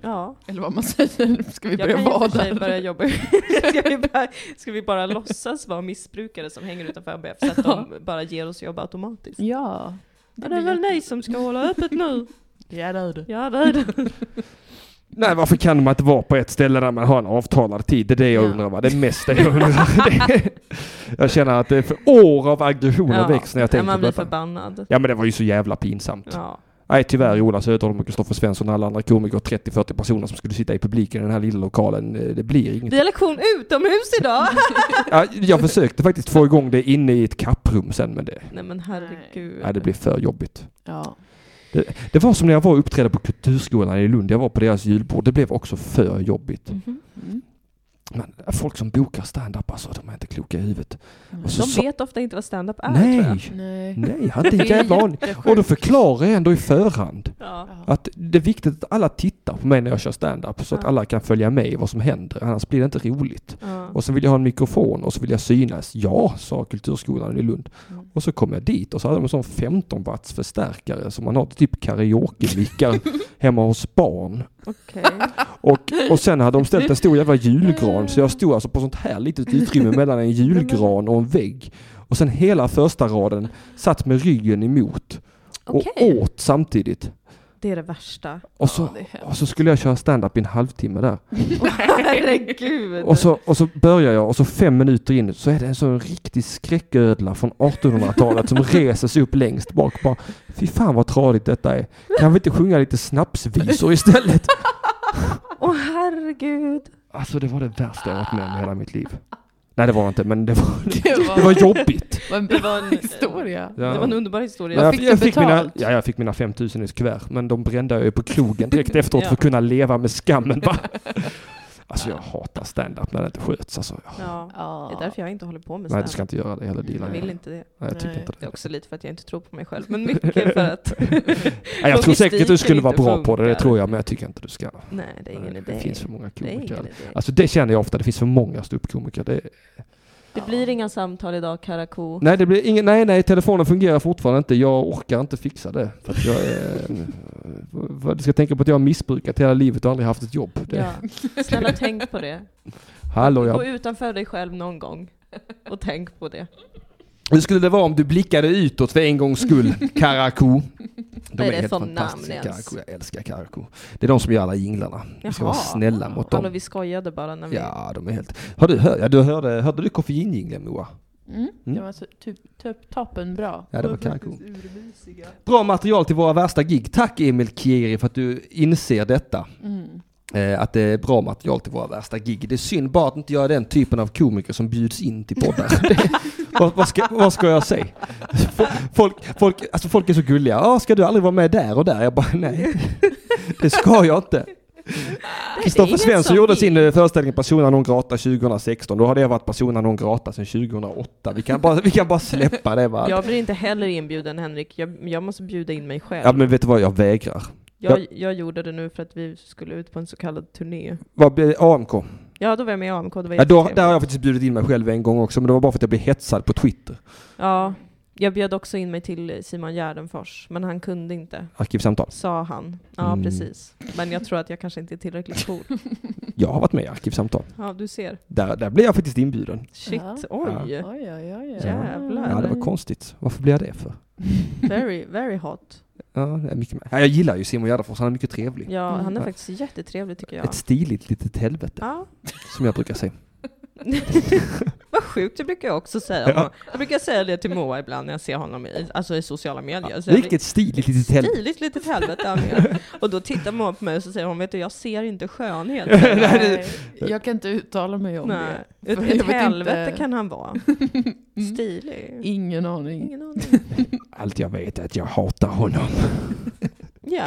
Speaker 4: Ja.
Speaker 5: Eller vad man säger, ska vi börja
Speaker 4: jag kan ju
Speaker 5: vara
Speaker 4: i och för sig
Speaker 5: där?
Speaker 4: börja jobba. ska, vi bara, ska vi bara låtsas vara missbrukare som hänger utanför ABF så att de bara ger oss jobb automatiskt?
Speaker 5: Ja.
Speaker 4: Ja, det är väl ni som ska hålla öppet nu?
Speaker 5: Ja, det är det.
Speaker 4: Ja, det är det.
Speaker 1: Nej, varför kan man inte vara på ett ställe där man har en avtalad tid? Det är det jag
Speaker 5: Ja.
Speaker 1: undrar va, det är mest det jag undrar. Det är- jag känner att det är för år av aggressioner
Speaker 4: Ja.
Speaker 1: väcks när jag
Speaker 4: Nej,
Speaker 1: tänker
Speaker 4: man
Speaker 1: på
Speaker 4: blir
Speaker 1: detta.
Speaker 4: förbannad.
Speaker 1: Ja men det var ju så jävla pinsamt.
Speaker 4: Ja.
Speaker 1: Nej tyvärr Ola Söderholm och Kristoffer Svensson och alla andra komiker, 30-40 personer som skulle sitta i publiken i den här lilla lokalen, eh, det blir inget.
Speaker 4: Vi har lektion utomhus idag!
Speaker 1: Ja, jag försökte faktiskt få igång det inne i ett kapprum sen men det,
Speaker 4: Nej men herregud.
Speaker 1: nej, det blir för jobbigt.
Speaker 5: Ja.
Speaker 1: Det, det var som när jag var och uppträdde på Kulturskolan i Lund. Jag var på deras julbord. Det blev också för jobbigt.
Speaker 4: Mhm.
Speaker 5: Mm.
Speaker 1: Men folk som bokar stand-up, alltså de är inte kloka i huvudet. Och så sa-
Speaker 4: Mm. De vet ofta inte vad stand-up är tror jag.
Speaker 1: Nej,
Speaker 5: Nej.
Speaker 1: nej, jag hade en
Speaker 5: Det är
Speaker 1: jävla aning.
Speaker 5: jättesjukt.
Speaker 1: Och då Alltså- förklarar jag ändå i förhand
Speaker 4: Ja.
Speaker 1: att det är viktigt att alla tittar på mig när jag kör stand-up så att
Speaker 4: Ja.
Speaker 1: alla kan följa med i vad som händer, annars blir det inte roligt.
Speaker 4: Ja.
Speaker 1: Och så vill jag ha en mikrofon och så vill jag synas. Ja, sa Kulturskolan i Lund.
Speaker 5: Mm.
Speaker 1: Och så kom jag dit och så hade de en sån 15 watts förstärkare som man har till typ karaoke-mickar hemma hos barn.
Speaker 4: Okej.
Speaker 1: Och, och sen hade de ställt en stor jävla julgran så jag stod alltså på sånt här litet utrymme mellan en julgran och en vägg. Och sen hela första raden satt med ryggen emot och
Speaker 4: Okej.
Speaker 1: åt samtidigt.
Speaker 4: Det är det värsta.
Speaker 1: Och så,
Speaker 5: det är hemskt.
Speaker 1: och så skulle jag köra stand-up i en halvtimme där.
Speaker 4: Åh herregud.
Speaker 1: Och så, och så börjar jag och så fem minuter in så är det en sån riktig skräcködla från 1800-talet som reser sig upp längst bak och bara Fy fan vad tradigt detta är. Kan vi inte sjunga lite snapsvisor istället?
Speaker 4: Åh herregud.
Speaker 1: Alltså det var det värsta jag varit med om i hela mitt liv. Nej det var det inte men det var,
Speaker 5: Det var,
Speaker 1: det var jobbigt.
Speaker 5: var en eh, bra historia.
Speaker 1: Ja.
Speaker 4: Det var en underbar historia.
Speaker 1: Men jag,
Speaker 5: Fick du
Speaker 1: jag, fick mina,
Speaker 5: betalt?
Speaker 1: ja, jag fick mina 5000 i ett kuvert men de brände jag ju på krogen direkt efteråt
Speaker 4: Ja.
Speaker 1: för att kunna leva med skammen. Va? Alltså jag hatar stand-up när det inte sköts. Alltså, jag,
Speaker 4: Ja.
Speaker 5: Ja.
Speaker 4: Det är därför jag inte håller på med
Speaker 1: nej du
Speaker 4: stand-up.
Speaker 1: ska inte göra det hela dealen.
Speaker 4: Jag
Speaker 1: Nej,
Speaker 4: vill inte det.
Speaker 1: jag tycker
Speaker 5: Nej.
Speaker 1: inte
Speaker 4: Det
Speaker 1: det.
Speaker 4: är också lite för att jag inte tror på mig själv, men mycket för att...
Speaker 1: Nej, jag tror säkert att du
Speaker 4: Logistiken
Speaker 1: skulle vara
Speaker 4: inte
Speaker 1: bra på det, det
Speaker 4: funkar.
Speaker 1: tror jag, men jag tycker inte du ska.
Speaker 4: Nej, det är ingen
Speaker 1: det
Speaker 4: idé.
Speaker 1: finns för många
Speaker 4: det är ingen
Speaker 1: komiker.
Speaker 4: idé.
Speaker 1: Alltså det känner jag ofta, det finns för många ståuppkomiker. Det,
Speaker 4: Det blir inga samtal idag, Karako.
Speaker 1: nej, det blir ingen, nej, nej, telefonen fungerar fortfarande inte. Jag orkar inte fixa det. För att jag är, vad- du ska tänka på att jag har missbrukat hela livet och aldrig haft ett jobb. Det,
Speaker 4: Ja. Snälla tänk på det.
Speaker 1: Hallå,
Speaker 4: Gå
Speaker 1: jag,
Speaker 4: utanför dig själv någon gång och tänk på det.
Speaker 1: hur skulle det vara om du blickade utåt för en gångs skull? Karako. De
Speaker 4: Vad är
Speaker 1: är,
Speaker 4: det
Speaker 1: helt
Speaker 4: för
Speaker 1: fantastiska,
Speaker 4: namn ens?
Speaker 1: Karakou. Jag älskar Karako. Det är de som gör alla jinglarna. Vi ska vara
Speaker 4: Jaha.
Speaker 1: snälla mot
Speaker 4: Hallå,
Speaker 1: dem.
Speaker 4: vi skojade bara när vi...
Speaker 1: Ja, de är helt... Har du, hör, ja, du hörde, hörde du koffeinjingeln Moa?
Speaker 5: Mm. Det var så, typ, typ toppenbra.
Speaker 1: Ja, det var kanko. Bra material till våra värsta gig. Tack Emil Kieri för att du inser detta.
Speaker 5: Mm.
Speaker 1: Eh, att det är bra material till våra värsta gig. Det är synd bara att inte jag är den typen av komiker som bjuds in till poddar. Det- vad, vad, ska, vad ska jag säga? Fo- Folk, folk, alltså folk är så gulliga. Ah, ska du aldrig vara med där och där? Jag bara nej, det ska jag inte. Kristoffer
Speaker 4: ingen
Speaker 1: Svensson
Speaker 4: som
Speaker 1: gjorde
Speaker 4: vill.
Speaker 1: sin eh, föreställning Persona non grata 2016. Då hade jag varit Persona non grata sedan 2008. Vi kan bara, vi kan bara släppa det. Va?
Speaker 4: Jag blir inte heller inbjuden, Henrik. Jag, jag måste bjuda in mig själv.
Speaker 1: Ja men vet du vad, jag vägrar.
Speaker 4: jag, jag gjorde det nu för att vi skulle ut på en så kallad turné.
Speaker 1: Vad blir det? AMK?
Speaker 4: Ja, då var jag med i AMK. Det var
Speaker 1: Ja, då,
Speaker 4: jättetrevligt.
Speaker 1: där har jag faktiskt bjudit in mig själv en gång också, men det var bara för att jag blev hetsad på Twitter.
Speaker 4: Ja, jag bjöd också in mig till Simon Gärdenfors, men han kunde inte,
Speaker 1: Arkivsamtal.
Speaker 4: sa han. Ja,
Speaker 1: Mm.
Speaker 4: precis. Men jag tror att jag kanske inte är tillräckligt cool.
Speaker 1: Jag har varit med i Arkivsamtal.
Speaker 4: Ja, du ser.
Speaker 1: Där, där blev jag faktiskt inbjuden.
Speaker 4: Shit,
Speaker 5: Ja.
Speaker 4: oj.
Speaker 5: Oj, oj, oj. oj.
Speaker 4: Jävlar.
Speaker 1: Ja, det var konstigt. Varför blev jag det för?
Speaker 4: Very, very hot.
Speaker 1: Ja, det är mycket mer. Ja, jag gillar ju Simon Gärdenfors, han är mycket trevlig.
Speaker 4: Ja,
Speaker 5: Mm.
Speaker 4: han är faktiskt jättetrevlig tycker jag.
Speaker 1: Ett stiligt litet helvete,
Speaker 4: Ja.
Speaker 1: som jag brukar säga.
Speaker 4: Vad sjukt, det brukar jag också säga.
Speaker 1: Ja.
Speaker 4: Jag brukar säga det till Moa ibland när jag ser honom i, alltså i sociala medier. Så jag blir-
Speaker 1: Vilket stiligt litet helvete.
Speaker 4: Stiligt litet helvete han är. Och då tittar Moa på mig och så säger hon, vet du jag ser inte skönhet.
Speaker 5: Nej, jag kan inte uttala mig om
Speaker 4: Nej.
Speaker 5: det.
Speaker 4: Ett,
Speaker 5: För jag
Speaker 4: ett
Speaker 5: vet
Speaker 4: helvete
Speaker 5: inte-
Speaker 4: kan han vara.
Speaker 1: Mm.
Speaker 4: Stilig.
Speaker 5: Ingen aning.
Speaker 4: Ingen aning.
Speaker 1: Allt jag vet är att jag hatar honom.
Speaker 4: Ja.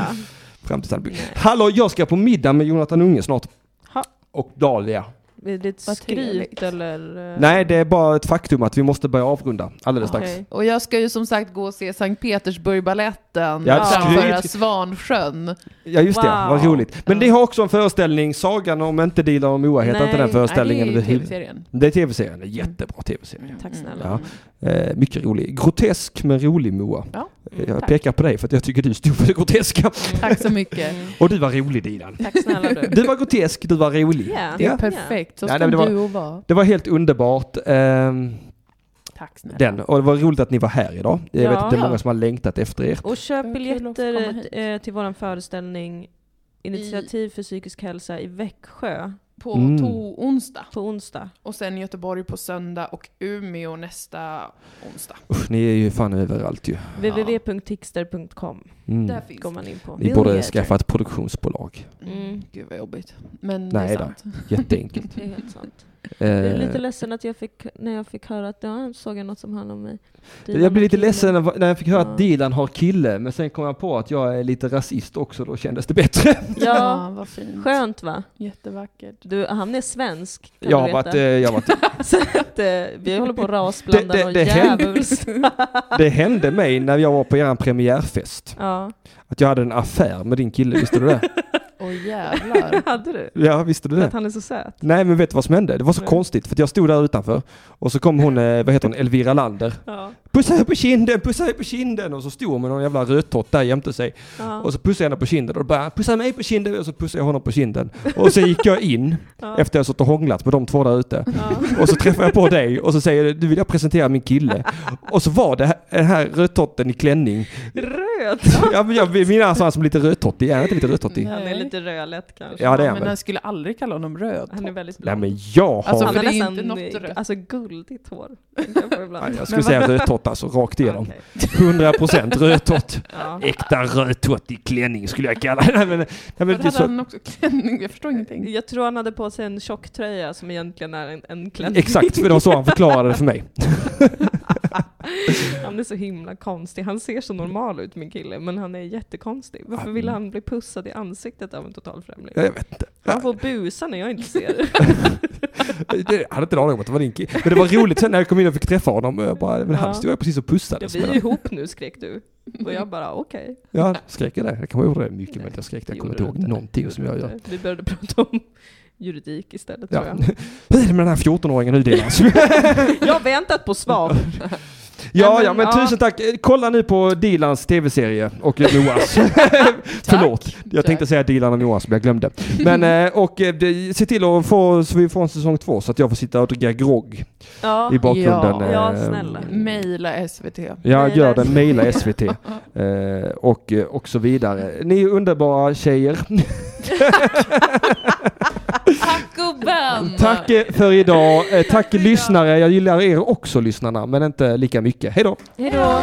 Speaker 1: Fram tills han blir... Hallå, jag ska på middag med Jonathan Unge snart.
Speaker 4: Ha.
Speaker 1: Och Dahlia.
Speaker 4: Är det ett
Speaker 5: Vad
Speaker 4: skryt
Speaker 5: trevligt.
Speaker 4: eller? eh,
Speaker 1: Nej, det är bara ett faktum att vi måste börja avrunda alldeles strax.
Speaker 4: okej.
Speaker 5: Och jag ska ju som sagt gå och se Sankt Petersburg-baletten
Speaker 1: Ja,
Speaker 5: framföra
Speaker 1: skryt.
Speaker 5: Svansjön.
Speaker 1: Ja just det,
Speaker 4: Wow.
Speaker 1: vad roligt. Men ni har också en föreställning, Sagan om inte dealar om Moa heter
Speaker 4: Nej,
Speaker 1: inte den föreställningen
Speaker 5: Nej, det är ju
Speaker 1: överhuvud-
Speaker 5: tv-serien. Mm.
Speaker 1: Det är tv-serien, det är jättebra tv-serie.
Speaker 4: Tack snälla.
Speaker 1: Ja. Eh, mycket rolig. Grotesk men rolig Moa.
Speaker 5: Ja,
Speaker 4: Mm,
Speaker 1: Eh, jag
Speaker 5: tack.
Speaker 1: pekar på dig för att jag tycker du stod för det groteska.
Speaker 5: Tack så mycket.
Speaker 1: Och du var rolig Dilan.
Speaker 4: Tack snälla du.
Speaker 1: Du var grotesk, du var rolig.
Speaker 4: Ja.
Speaker 5: Det är
Speaker 1: Ja.
Speaker 5: perfekt. Så
Speaker 1: Ja,
Speaker 5: ska
Speaker 1: nej, men det var-
Speaker 5: du och vara.
Speaker 1: Det var helt underbart. ehm,
Speaker 5: Tack snälla.
Speaker 1: den. Och det var roligt att ni var här idag. Jag
Speaker 4: Ja.
Speaker 1: vet att det är många
Speaker 5: Ja.
Speaker 1: som har längtat efter er.
Speaker 4: Och köp
Speaker 5: Kul att få komma
Speaker 4: biljetter
Speaker 5: hit.
Speaker 4: eh, till vår föreställning Initiativ för psykisk hälsa i Växjö
Speaker 5: På
Speaker 1: Mm.
Speaker 5: to onsdag.
Speaker 4: på onsdag.
Speaker 5: Och sen Göteborg på söndag och Umeå nästa onsdag.
Speaker 1: Usch, ni är ju fan överallt ju.
Speaker 4: www.tixter.com
Speaker 1: Mm.
Speaker 5: Där finns
Speaker 4: går
Speaker 5: det.
Speaker 4: man in på.
Speaker 1: Ni
Speaker 5: Biljetter.
Speaker 1: borde skaffa ett produktionsbolag.
Speaker 4: Mm.
Speaker 5: Gud vad jobbigt. Men
Speaker 1: Nej
Speaker 5: det
Speaker 1: då.
Speaker 5: är sant.
Speaker 1: Jätteenkelt.
Speaker 4: Det är helt sant. Jag är
Speaker 1: Eh,
Speaker 4: lite ledsen att jag fick, när jag fick höra att ja, såg jag något som handlade om mig. Dylan
Speaker 1: jag blev lite
Speaker 4: killen.
Speaker 1: ledsen när- när jag fick höra
Speaker 4: Ja.
Speaker 1: att Dilan har kille, men sen kom jag på att jag är lite rasist också, då kändes det bättre.
Speaker 4: Ja,
Speaker 5: vad fint.
Speaker 4: skönt va?
Speaker 5: Jättevackert.
Speaker 4: Du, han är svensk, kan
Speaker 1: Jag
Speaker 4: du
Speaker 1: har
Speaker 4: veta.
Speaker 1: varit, eh, jag har varit
Speaker 4: Så att, eh, vi håller på att rasblanda
Speaker 1: Det- det-
Speaker 4: något
Speaker 1: det händer.
Speaker 4: djävulskt.
Speaker 1: Det hände mig när jag var på er premiärfest,
Speaker 4: ja.
Speaker 1: att jag hade en affär med din kille, visste du det?
Speaker 5: Åh jävlar.
Speaker 4: Hade du?
Speaker 1: Ja, visste du
Speaker 4: För att
Speaker 1: det?
Speaker 4: han är så söt?
Speaker 1: Nej, men vet du vad som hände? Det var så
Speaker 4: Nej.
Speaker 1: konstigt, för att jag stod där utanför och så kom hon, eh, vad heter hon, Elvira Lander.
Speaker 4: Ja.
Speaker 1: Pussa henne på kinden, pussa henne på kinden! Och så stod hon med någon jävla rödtott där jämte sig.
Speaker 4: Ja.
Speaker 1: Och så pussade jag henne på kinden och då började han, pussa mig på kinden och så pussade jag honom på kinden. Och så gick jag in
Speaker 4: Ja.
Speaker 1: efter att jag suttit och hånglat med de två där ute.
Speaker 4: Ja.
Speaker 1: Och så träffade jag på dig och så säger du, nu vill jag presentera min kille. Och så var det här, den här rödtotten i klänning.
Speaker 4: Röd!
Speaker 1: Ja, men jag minns han som lite rödtottig, är han inte lite rödtottig?
Speaker 4: Han är lite rödlätt kanske.
Speaker 1: Ja, det är han
Speaker 5: men
Speaker 1: väl.
Speaker 5: han skulle aldrig kalla honom röd.
Speaker 4: Han är väldigt
Speaker 1: Nej
Speaker 4: blond.
Speaker 1: men jag har...
Speaker 5: Alltså,
Speaker 4: han har
Speaker 5: för det är ju
Speaker 4: nästan
Speaker 5: inte något rött.
Speaker 4: alltså, guldigt hår. tänker jag på ibland.
Speaker 1: Nej, jag skulle säga rödtott alltså, rakt igenom.
Speaker 4: Okej.
Speaker 1: 100% rödtott.
Speaker 4: Ja.
Speaker 1: Äkta rödtott i klänning skulle jag kalla det. Nej, men, nej, men det är
Speaker 5: Varför hade
Speaker 1: så...
Speaker 5: han också klänning? Jag förstår ingenting.
Speaker 4: Jag tror han hade på sig en tjocktröja som egentligen är en, en klänning.
Speaker 1: Exakt, för det var så han förklarade det för mig.
Speaker 4: Han är så himla konstig. Han ser så normal ut min kille, men han är jättekonstig. Varför vill han bli pussad i ansiktet av en total främling?
Speaker 1: Jag vet inte.
Speaker 4: Han får busa när jag inte ser det.
Speaker 1: Jag hade inte en aning om att det var din kille. Men det var roligt sen när jag kom in och fick träffa honom. Jag bara, men
Speaker 4: Ja.
Speaker 1: han stod jag precis och
Speaker 4: Ja,
Speaker 1: pussades.
Speaker 4: vi
Speaker 1: med
Speaker 4: är
Speaker 1: honom.
Speaker 4: ihop nu skrek du. Och jag bara okej. Okay.
Speaker 1: Ja, skrek jag det? Jag kommer ihåg det mycket, men jag skrek det. Jag kommer inte ihåg någonting som jag gör.
Speaker 4: Vi började prata om juridik istället
Speaker 1: Ja.
Speaker 4: tror jag.
Speaker 1: Hur är det med den här 14-åringen nu Dilan?
Speaker 4: Jag har väntat på svar.
Speaker 1: Ja,
Speaker 4: men,
Speaker 1: ja, men
Speaker 4: ja.
Speaker 1: tusen tack. Eh, Kolla nu på Dilans tv-serie och Noahs. Förlåt, jag tänkte
Speaker 5: Tack.
Speaker 1: säga Dilan och Noahs, men jag glömde. Men, eh, och eh, det- se till att få, så vi får en säsong två, så att jag får sitta och dricka grogg
Speaker 4: Ja.
Speaker 1: i bakgrunden.
Speaker 5: Ja,
Speaker 4: ja,
Speaker 1: eh,
Speaker 4: snälla.
Speaker 5: Maila SVT.
Speaker 1: Ja,
Speaker 4: Mejla
Speaker 1: gör det. Mejla SVT. eh, och, eh, och så vidare. Ni är underbara tjejer.
Speaker 5: Gubben!
Speaker 1: Tack eh, för idag. Eh, tack lyssnare. Jag gillar er också lyssnarna, men inte lika mycket. Hej då!
Speaker 4: Hejdå!